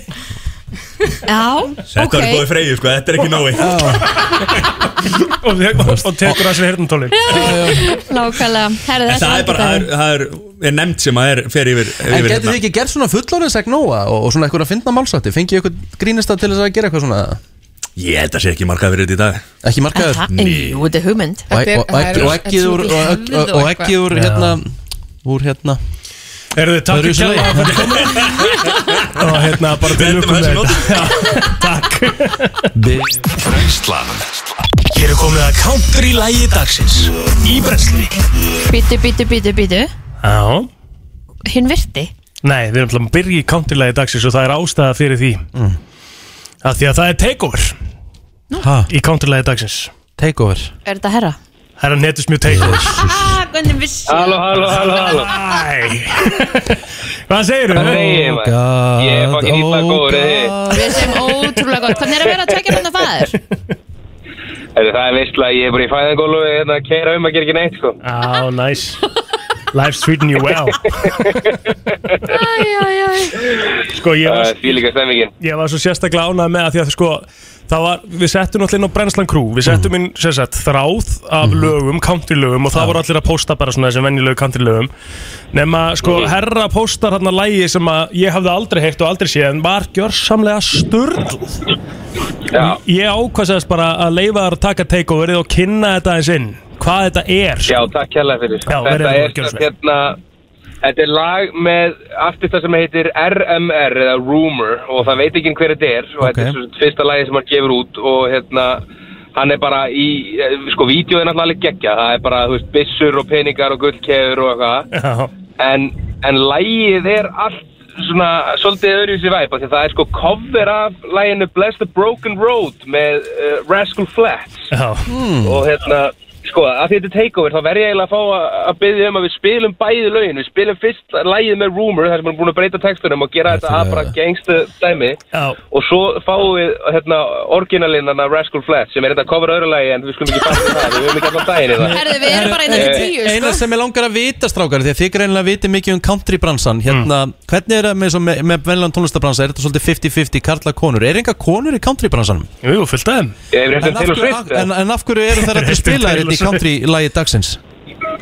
Speaker 4: Já,
Speaker 19: Þetta
Speaker 4: ok
Speaker 19: var góði Freyju, sko, þetta er ekki nái
Speaker 3: Og, og, og tekur að sér hirtantólin
Speaker 4: Nákvæmlega Herðu,
Speaker 19: En
Speaker 4: þetta
Speaker 19: það
Speaker 4: var
Speaker 19: er bara,
Speaker 4: ekki
Speaker 19: það er,
Speaker 4: það.
Speaker 19: það er, er nefnd sem að er, hérna. fer yfir,
Speaker 2: En
Speaker 19: yfir
Speaker 2: getið þið ekki gert svona fullorðinsæk nóa og, og svona eitthvað að finna málsátti Fengið ykkur grínista til þess að gera eitthvað svona
Speaker 19: Ég held að sé ekki markaður verið í dag
Speaker 2: Ekki markaður?
Speaker 4: Það- en Jú, þetta er hugmynd
Speaker 2: Og- og- og- og- og ekki úr og- og- og- og ekki úr hérna úr hérna
Speaker 3: Eru þið takk
Speaker 2: Öðruvísi
Speaker 3: kærlega
Speaker 2: lagi.
Speaker 3: fyrir komuna Og hérna bara til lukkum með þetta
Speaker 1: Brennslan Hér er komið að country lægi dagsins Í brennslunni
Speaker 4: Bítu, bítu, bítu, bítu
Speaker 3: Já
Speaker 4: Hinn virti
Speaker 3: Nei, við erum alltaf að byrja í countrylagi dagsins og það er ástæða fyrir því mm. að Því að það er takeover
Speaker 2: ha.
Speaker 3: Í countrylagi dagsins
Speaker 2: Takeover
Speaker 4: Er þetta herra?
Speaker 3: Það er að netus mjög takeover
Speaker 4: Ah, Hvernig vissi
Speaker 3: Halló, halló, halló, halló Hvað segirðu?
Speaker 2: Hvað segir ég, maður? Ég er fucking illa góður,
Speaker 3: oh
Speaker 2: eh.
Speaker 3: God.
Speaker 4: Við sem ótrúlega gott Hvernig er að vera að tvekja hérna fæður?
Speaker 3: (laughs)
Speaker 11: Heyrðu, Það er veistla, ég er bara í fæðangólu hérna að keira um að gera ekki neitt sko
Speaker 3: Á, næs Life's treating you well Sko, ég var
Speaker 11: Því líka stemmingin
Speaker 3: Ég var svo sérstaklega ánað með að því að sko Það var, við settum náttúrulega inn á Brennslan Crew Við
Speaker 2: Mhm.
Speaker 3: settum inn, sem sagt, þráð af lögum, countrylögum Og það voru allir að posta bara svona þessum venjulegu countrylögum Nefna, sko,
Speaker 2: Mhm.
Speaker 3: herra postar hérna lægi sem að ég hafði aldrei heyrt og aldrei séð En var gjörsamlega sturgluð Ég ákvæmst bara að leifa þar að taka takeoverið og kynna þetta eins inn Hvað þetta er
Speaker 11: Já, takk hérlega fyrir
Speaker 3: Já, verið
Speaker 11: Þetta
Speaker 3: að
Speaker 11: er
Speaker 3: gjöra
Speaker 11: satt hérna Þetta er lag með artista sem heitir RMR eða Rumor og það veit ekki hver þetta er og þetta er
Speaker 2: Ok.
Speaker 11: svo sagt fyrsta lagi sem hann gefur út og hérna hann er bara í, eh, sko, vídeo er náttúrulega alveg geggja það er bara, þú veist, byssur og peningar og gullkefur og eitthvað
Speaker 3: Já
Speaker 11: en, en lægið er allt svona, svolítið öðruvísi væp því það er sko cover af læginu Bless the Broken Road með uh, Rascal Flatts
Speaker 3: Já
Speaker 11: og hérna sko, að því þetta er takeover þá verð ég eiginlega að fá að, að byggja um að við spilum bæði lögin, við spilum fyrst lagið með Rumor, þar sem hann er búin að breyta textunum og gera þetta að bara gangstu dæmi
Speaker 3: Já.
Speaker 11: og svo fáum við hérna, orginalinnana Rascal Flatts sem er þetta cover öðru lagi en við skulum ekki fara með það við höfum ekki allan daginn í það Eh,
Speaker 4: Herðu, við erum bara innan til tíu sko.
Speaker 2: Einar sem ég langar að vita strákar því að þið greinlega viti mikið um countrybransan hérna,
Speaker 3: Mm.
Speaker 2: hvernig er það með, svo- með, með venlan tónlistabransa er þetta svolítið 50-50 karla konur er einhver konur í countrybransanum?
Speaker 3: Jú, fullt aðeim
Speaker 11: Ég
Speaker 2: en,
Speaker 11: hef rétt um
Speaker 2: af
Speaker 11: til og
Speaker 2: hverju-
Speaker 11: svitt
Speaker 2: af- en, en af hverju
Speaker 3: (laughs)
Speaker 2: eru þær allir spilaðir hérna í countrylægi dagsins?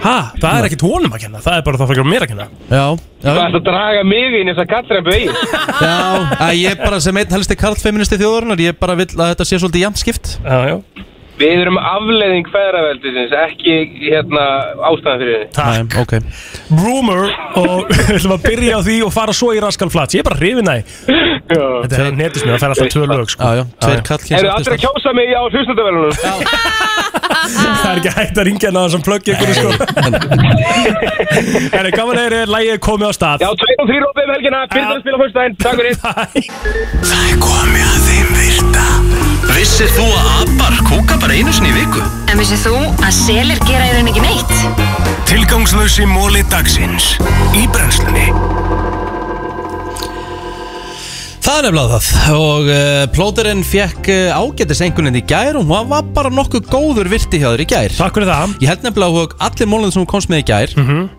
Speaker 3: Ha, það er ekkit honum að kenna, það er bara það fyrir mér að kenna
Speaker 2: Já, já,
Speaker 11: Það er að draga mig inn í þess að kattrempu í
Speaker 2: já að ég bara sem einn helsti karlfeministi þjóðurinnar ég bara vil að þetta sé svolítið jæmt skipt
Speaker 3: Já, já
Speaker 11: Við erum afleiðing feðraveldisins, ekki hérna ástæðan fyrir henni
Speaker 2: Takk Nei, okay.
Speaker 3: Rumor og (laughs) við ætlum að byrja á því og fara svo í Rascal Flats Ég er bara hrifin að Þetta er netismið, það fær alltaf tvö lög sko.
Speaker 2: Já, já, tveir kallkins
Speaker 11: Eru allir að kjósa mig á hlustandavælunum?
Speaker 3: Það er ekki hægt að ringja náðan sem plöggi ykkur sko. En gaman er að lægið er komið á stað
Speaker 11: Já, 2 og 3 opið um helgina, byrjum að spila fyrst daginn, takk fyrir
Speaker 1: Það er komið að þeim virta Vissir þú að abar kúka bara einu sinni í viku?
Speaker 8: En vissið þú að selir gera í raun ekki neitt?
Speaker 1: Tilgangslösi móli dagsins Í brennslunni
Speaker 2: Það er nefnilega það og uh, plóterinn fekk uh, ágætis einhvern í gær og hún var bara nokkuð góður virti hjá þér í gær
Speaker 3: Takk fyrir það Mhm.
Speaker 2: Ég held nefnilega að allir mólinn sem hún komst með í gær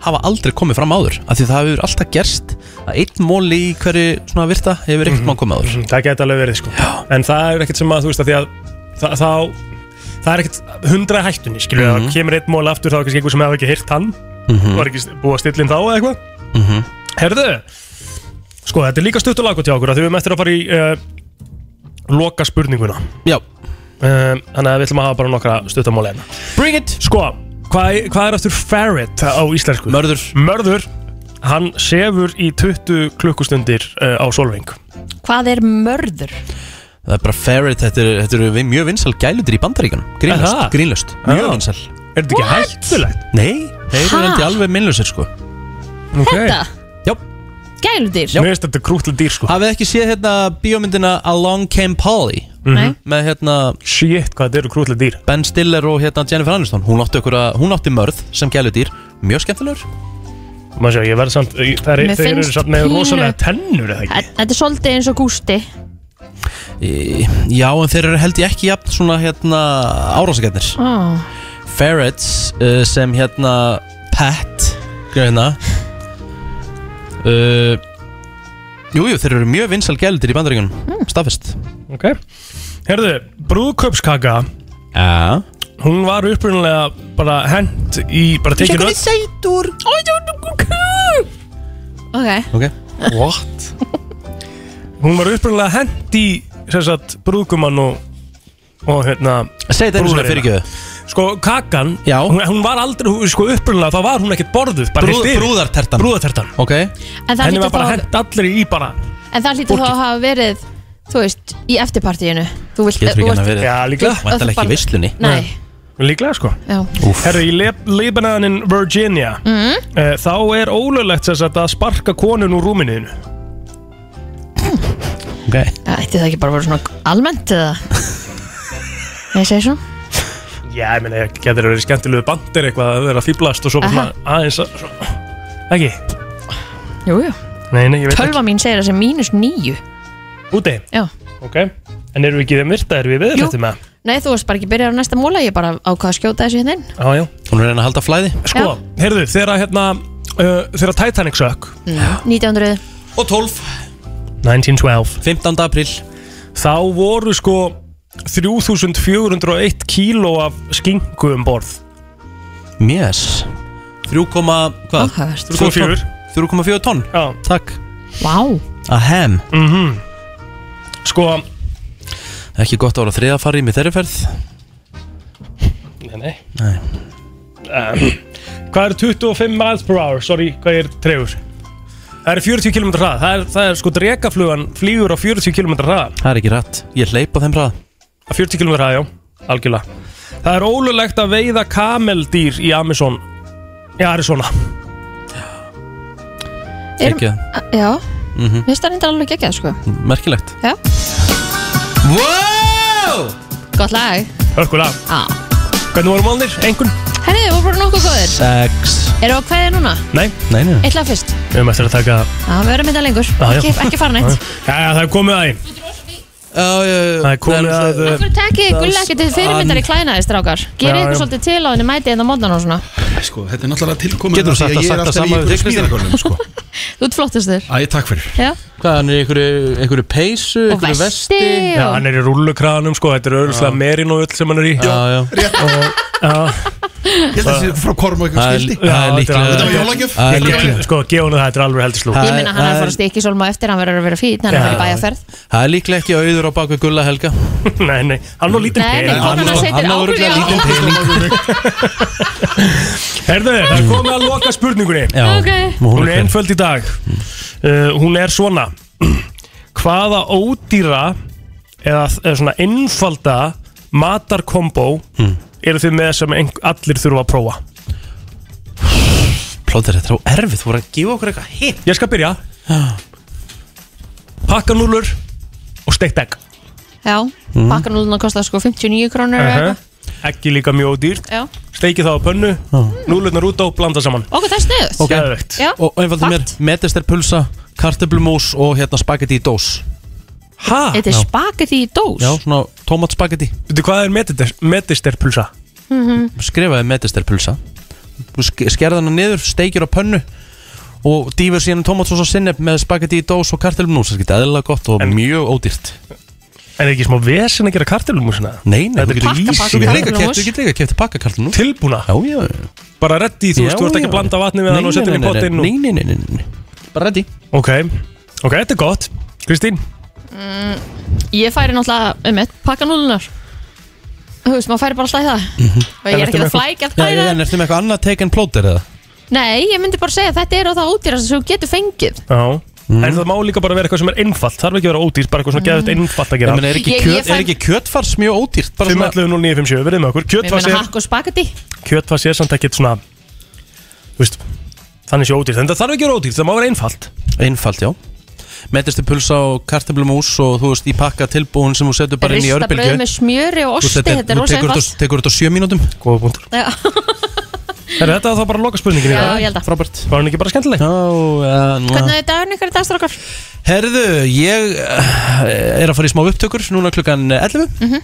Speaker 2: hafa aldrei komið fram áður af því það hefur alltaf gerst að einn mól í hverju svona virta hefur ekkert mm -hmm. komið áður
Speaker 3: Mhm. Það geta alveg verið sko Já. En það er ekkert sem að þú veist að því að það, þá, það er ekkert hundra í hættunni skilur mm
Speaker 2: Mhm.
Speaker 3: Það kemur einn mól aftur þá er kannski einhver sem hefur ekki heyrt hann
Speaker 2: Mhm.
Speaker 3: Var ekki búið að stilla inn þá eða eitthvað
Speaker 2: Mhm.
Speaker 3: Herðu Sko þetta er líka stutt og laggótt hjá okkur af Því við erum eftir að fara í uh, Loka spurninguna
Speaker 2: Já
Speaker 3: Eh, Þannig að við ætlum að hafa bara nokkra stuttamóli hérna
Speaker 2: Bring it
Speaker 3: Sko Hvað, hvað er aftur ferret á íslensku?
Speaker 2: Mörður
Speaker 3: Mörður Hann sefur í 20 klukkustundir uh, á Solveig
Speaker 4: Hvað er mörður?
Speaker 2: Það er bara ferret, þetta eru þetta eru við mjög vinsal gælutir í bandaríkanum
Speaker 3: Aha.
Speaker 2: Grínlöst, grínlöst,
Speaker 3: Já.
Speaker 2: mjög vinsal
Speaker 3: Ah. Er þetta ekki What? hættulegt?
Speaker 2: Nei, þeir eru
Speaker 4: Ha?
Speaker 2: held ég alveg minnlösir sko
Speaker 4: Þetta?
Speaker 2: Já
Speaker 4: Gæludýr?
Speaker 3: Mér finnst þetta krútlega dýr sko
Speaker 2: Hafið ekki séð hérna bíómyndina Along Came Polly
Speaker 4: Nei.
Speaker 2: Með hérna
Speaker 3: Mhm. Shit, hvað þetta eru krútlega dýr
Speaker 2: Ben Stiller og hérna Jennifer Aniston Hún átti, ykkur að, hún átti mörð sem gæludýr Mjög skemmtilegur
Speaker 3: Má sjá, ég verð samt Það
Speaker 4: Mér
Speaker 3: er, þeir eru
Speaker 4: finnst
Speaker 3: samt með
Speaker 4: pínu-
Speaker 3: rosalega tennur eða ekki
Speaker 4: Þe- Þetta er svolítið eins og gústi
Speaker 2: Í- Já, en þeir eru held ég ekki jafn svona hérna árásagjarnir
Speaker 4: oh.
Speaker 2: Ferrets uh, sem hérna Pat hvað er hérna uh, Jújú, jú, þeir eru mjög vinsal gældir í bandaríkunum mm. Staffist
Speaker 3: Ok Herðu, brúðköpskaka
Speaker 2: Já
Speaker 3: Hún var upprunalega bara hent í Bara tekin öll
Speaker 2: sætur
Speaker 4: Ok
Speaker 2: Ok
Speaker 3: What? (laughs) Hún var upprunalega hent í sem sagt, brúðgumann og, og hérna
Speaker 2: Segðu þetta einu sinni,
Speaker 3: brúðarina.
Speaker 2: fyrirgefðu.
Speaker 3: Sko kakan, hún, hún var aldrei hún, sko, upprunalega, þá var hún ekkert borðuð bara
Speaker 2: Brúð-
Speaker 3: heilt yfir.
Speaker 2: brúðartertan.
Speaker 3: Brúðartertan
Speaker 2: Ok
Speaker 4: En það
Speaker 3: Henni
Speaker 4: hlýtur
Speaker 3: var bara
Speaker 4: þá-
Speaker 3: hent allir í bara
Speaker 4: En það hlýtur þá að hafa verið Þú veist, í eftirpartíinu Þú vilt
Speaker 2: Getur ekki
Speaker 4: þú
Speaker 2: hann
Speaker 4: vilt-
Speaker 2: að verið
Speaker 3: Já, líklega.
Speaker 4: þú-
Speaker 2: Væntanlega
Speaker 4: þú bara-
Speaker 2: ekki í veislunni.
Speaker 4: Nei,
Speaker 3: Líklega sko
Speaker 4: já
Speaker 3: Herru, í Le Lebananin Virginia
Speaker 4: Mhm.
Speaker 3: eh, Þá er ólöglegt sem sagt, að sparka konun úr rúminniðinu
Speaker 2: Ok
Speaker 4: Ætti það ekki bara að vera svona almennt eða Ég segi svona
Speaker 3: Já, ég meina, ég getur verið skemmtilegu bandir eitthvað að vera fýblast og svo bara
Speaker 4: Aha.
Speaker 3: svona aðeins að, svo, Ekki?
Speaker 4: Jú, jú
Speaker 3: Nei, nei, ég veit
Speaker 4: Tölva mín segir það sem mínus níu
Speaker 3: ekki Úti?
Speaker 4: Já
Speaker 3: Ok, en eru við ekki þeim virta, eru við viðfætti með?
Speaker 4: Nei, þú varst bara ekki byrjað á næsta múla Ég bara ákvað að skjóta þessu hérna inn
Speaker 3: Já, já
Speaker 2: Hún er að reyna að halda flæði
Speaker 3: Sko,
Speaker 4: Já.
Speaker 3: heyrðu, þegar að, hérna uh, Þegar að Titanic sökk
Speaker 4: Mm. 1900
Speaker 2: Og 12
Speaker 3: 1912
Speaker 2: 15. april
Speaker 3: Þá voru sko 3401 kíló af skinku um borð
Speaker 2: Mjess 3, hvað?
Speaker 4: Áhugavert.
Speaker 2: 3,4 3,4 tonn
Speaker 3: Já
Speaker 2: Takk
Speaker 4: Vá
Speaker 2: A ham
Speaker 3: mm -hmm. Sko
Speaker 2: Ekki gott að voru þriða farið með þeirri ferð
Speaker 3: Nei, nei
Speaker 2: Nei
Speaker 3: um, Hvað er 25 miles per hour? Sorry, hvað er trefur? Það er 40 km hrað það er, það er sko dregaflugan flýgur á 40 km hrað
Speaker 2: Það er ekki rætt Ég hleyp á þeim hrað
Speaker 3: Á 40 km hrað, já, algjörlega Það er ólulegt að veiða kameldýr í Amazon Í Arizona
Speaker 4: Erum-
Speaker 2: Ekki
Speaker 4: A- Já
Speaker 2: Mhm.
Speaker 4: Mér finnst það reyndar alveg geggjað sko
Speaker 2: Merkilegt
Speaker 4: Já
Speaker 2: Wow
Speaker 4: Gott lag
Speaker 3: Hörkulega
Speaker 4: ah.
Speaker 3: Hvernig voru málnir? Engun?
Speaker 4: Herri, þið voru bara nokkuð góðir
Speaker 2: Sex
Speaker 4: Erum við á hverju núna?
Speaker 3: Nei
Speaker 2: Nei, nei
Speaker 4: Eitt lag fyrst
Speaker 3: Við erum eftir að taka
Speaker 4: Já, við verðum þetta lengur
Speaker 3: Já, já.
Speaker 4: Ekki, ekki fara neitt
Speaker 3: Já, já, það er komið að því Það er komið að eh,
Speaker 4: Af hverju takið þið gulla ekkert til fyrirmyndar í klæðinaði, strákar? Gerið
Speaker 19: Já,
Speaker 4: ykkur
Speaker 19: já.
Speaker 4: svolítið til á henni mætið en á mótnan og svona
Speaker 19: Sko, þetta er náttúrulega tilkomið
Speaker 2: Getur þú sagt að- sagt það sama við þig, Kristín?
Speaker 19: sko.
Speaker 4: Þú ert flottastur
Speaker 19: Æ, takk fyrir
Speaker 4: Já,
Speaker 2: Hvað, hann er í einhverju, einhverju peysu,
Speaker 4: Og
Speaker 2: einhverju
Speaker 4: vesti
Speaker 2: vesti
Speaker 4: og- Já, hann
Speaker 3: er í rullukraganum, sko, þetta er auðvitað merin og öll sem hann er í Já,
Speaker 2: já
Speaker 6: (laughs)
Speaker 19: Ég held að það sé frá korm og eitthvað skildi Þetta var jólagjöf
Speaker 3: Það er líklega Sko, gefa hann það, þetta er alveg heldur slú
Speaker 4: ég meina hann er að fara að stikki sólma eftir, hann verður að vera fín, hann er að fara í bæjarferð
Speaker 2: Það er líklega ekki auður á bakveg gulla helga
Speaker 3: (laughs) Nei, nei, hann var lítinn
Speaker 4: Nei, nei, pening. konan hans heitir Ágúlía.
Speaker 3: Herðu, það er komið að loka spurningunni
Speaker 2: Mm. Já, Ok. hún er
Speaker 3: Hún er
Speaker 2: hver?
Speaker 3: einföld í dag uh, Hún er svona Hvaða ódýra eða, eða svona einfalda matarkombó eru þið með sem ein, allir þurfa að prófa
Speaker 2: Plóður, þetta er á erfið, þú voru að gefa okkur eitthvað hitt
Speaker 3: Ég skal byrja Pakkanúlur og steikt egg
Speaker 4: Já,
Speaker 3: Mhm.
Speaker 4: bakkanúluna kostar sko 59 krónur eða
Speaker 3: uh
Speaker 4: eitthvað
Speaker 3: -huh. Ekki líka mjög ódýrt
Speaker 4: Já.
Speaker 3: Steikið það á pönnu, núlurnar út á, blanda saman
Speaker 4: Ok, það er sniðugt
Speaker 2: Ok.
Speaker 4: Já,
Speaker 2: Og einfaldur mér, metester pulsa, kartöblumús og hérna spagetti í dós
Speaker 3: Hæ?
Speaker 4: Þetta er spagetti í dós
Speaker 2: Já, svona tómatspagetti
Speaker 3: Veitu hvað er medister- medisterpulsa?
Speaker 4: Mhm.
Speaker 2: Skrifaði medisterpulsa Skerði hana niður, steikir á pönnu Og dýfur síðan tómatsós og sinneb Með spagetti í dós og kartelum nús Það er eðlilega gott og mjög ódýrt
Speaker 3: En er ekki smá vesen að gera kartelumúsina?
Speaker 2: Nei, nei,
Speaker 3: Þetta
Speaker 2: þú
Speaker 3: er
Speaker 2: getur
Speaker 3: líka
Speaker 2: ís Þú getur líka keft, þú getur líka keft pakkakartun
Speaker 3: Tilbúna?
Speaker 2: Já, já, já
Speaker 3: Bara reddi, þú veist, þú ert ekki að blanda vatni við hann og setja hann í potinn og...
Speaker 2: Nei, nei, nei, nei, nei, nei Bara reddi
Speaker 3: Ok, ok, þetta er gott Kristín?
Speaker 4: mm, Ég færi náttúrulega um eitt pakka núlunar Þú veist, maður færi bara alltaf í það Og ég er ekki að flækja það
Speaker 2: Já, en ertu með eitthvað annað take and plóter eða?
Speaker 4: Nei, ég myndi bara segja að þetta er á það ódýrast sem þú getur fengið
Speaker 3: Já
Speaker 2: Mhm.
Speaker 3: En það má líka bara vera eitthvað sem er einfalt Þarf ekki að vera ódýrt, bara eitthvað svona geðut
Speaker 4: Mhm.
Speaker 3: einfalt að gera
Speaker 2: Ég meina, er ekki Ég- ég kjöt- er fann- ekki kjötfars mjög ódýrt?
Speaker 3: 5.11.09.57, verðið með okkur
Speaker 4: Ég
Speaker 3: Kjötfars
Speaker 4: meina
Speaker 3: er,
Speaker 4: hakk og spagetti
Speaker 3: kjötfars er samt ekkert svona Þú veist, þannig sé ódýrt En það þarf ekki að vera ódýrt, það má vera einfalt
Speaker 2: Einfalt, já Metistu pulsa og kartablumús og þú veist í pakka tilbúin sem þú setur bara inn í
Speaker 4: Rista bröð
Speaker 2: örbylgju
Speaker 4: með smjöri og
Speaker 2: Þú
Speaker 4: osti
Speaker 2: setur-
Speaker 4: Þetta er
Speaker 2: þú
Speaker 4: rosa
Speaker 2: tekur
Speaker 4: einfalt
Speaker 2: þetta- Tekur þetta á sjö mínútum
Speaker 3: Góða punktur (laughs)
Speaker 4: Já.
Speaker 3: Er þetta þá bara loka spurningin
Speaker 4: Já, ég held að.
Speaker 2: Frábært
Speaker 3: Var hann ekki bara skemmtileg?
Speaker 2: Já,
Speaker 4: Hvernig er dagurinn ykkur í dagstrákar?
Speaker 2: Herðu, ég eh, er að fara í smá upptökur núna klukkan 11
Speaker 4: Mhm.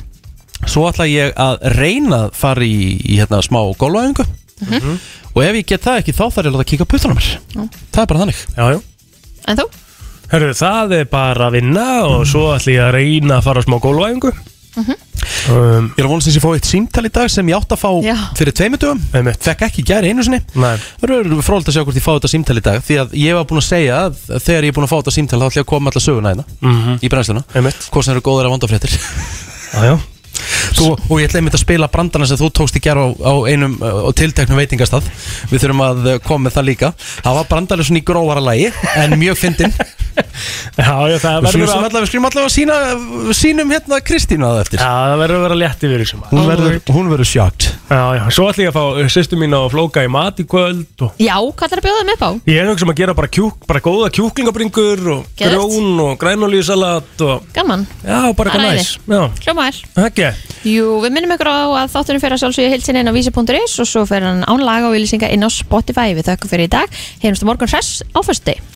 Speaker 2: Svo ætla ég að reyna að fara í, í hérna, smá gólvæðingu
Speaker 4: Mhm.
Speaker 2: Og ef ég get það ekki þá þarf ég að láta að kíka á puttunum mér Það er bara þannig
Speaker 3: Já, já
Speaker 4: En þú?
Speaker 3: Herru, það er bara að vinna og svo ætlum ég að reyna að fara á smá gólvæfingu um,
Speaker 2: Mhm. Ég er að vonast þess að ég fá eitt símtal í dag sem ég átt að fá
Speaker 4: Já.
Speaker 2: fyrir tveimutugum Fekk ekki gæri einu sinni
Speaker 3: Nei.
Speaker 2: Það eru frólægt að sjá hvort ég fá þetta símtal í dag Því að ég var búin að segja að þegar ég er búin að fá þetta símtal þá ætlum ég að koma alltaf söguna hérna
Speaker 3: Mhm.
Speaker 2: í brennsluna Hvort sem eru góðar að
Speaker 3: (laughs)
Speaker 2: vandafréttir
Speaker 3: Jájá
Speaker 2: Þú, og ég ætla einmitt að spila brandana sem þú tókst í gerð á, á einum uh, og tilteknum veitingastað Við þurfum að uh, koma með það líka Það var brandarlega svona í gróvara lagi En mjög fyndin
Speaker 3: Já, já, (laughs) það
Speaker 2: Við
Speaker 3: verður
Speaker 2: skulum
Speaker 3: að-
Speaker 2: allavega- Við skulum allavega sína, sínum hérna Kristínu að það eftir
Speaker 3: Já, það verður að vera létt yfir þessum
Speaker 2: Hún verður- Hún verður sjátt
Speaker 3: Já, já, svo ætlum ég að fá sýstu mín að flóka í mat í kvöld og
Speaker 4: Já, hvað er að bjóða þeim upp á?
Speaker 3: ég er nokkuð sem að gera bara, kjúk, bara góða kjúklingabringur og
Speaker 4: Geðvegt.
Speaker 3: grjón og grænolíusalat og
Speaker 4: Gaman
Speaker 3: Já, bara
Speaker 4: Það
Speaker 3: eitthvað
Speaker 4: er
Speaker 3: næs
Speaker 4: æði.
Speaker 3: Já,
Speaker 4: Hljómaður
Speaker 3: ekki
Speaker 4: Jú, við minnum ykkur á að þáttunum fyrir að sjálfsögja hilsin inn á vísi.is og svo fyrir hann án laga og ylýsinga inn á Spotify. Við þökkum fyrir í dag. Heyrumst á morgun hress á föstu.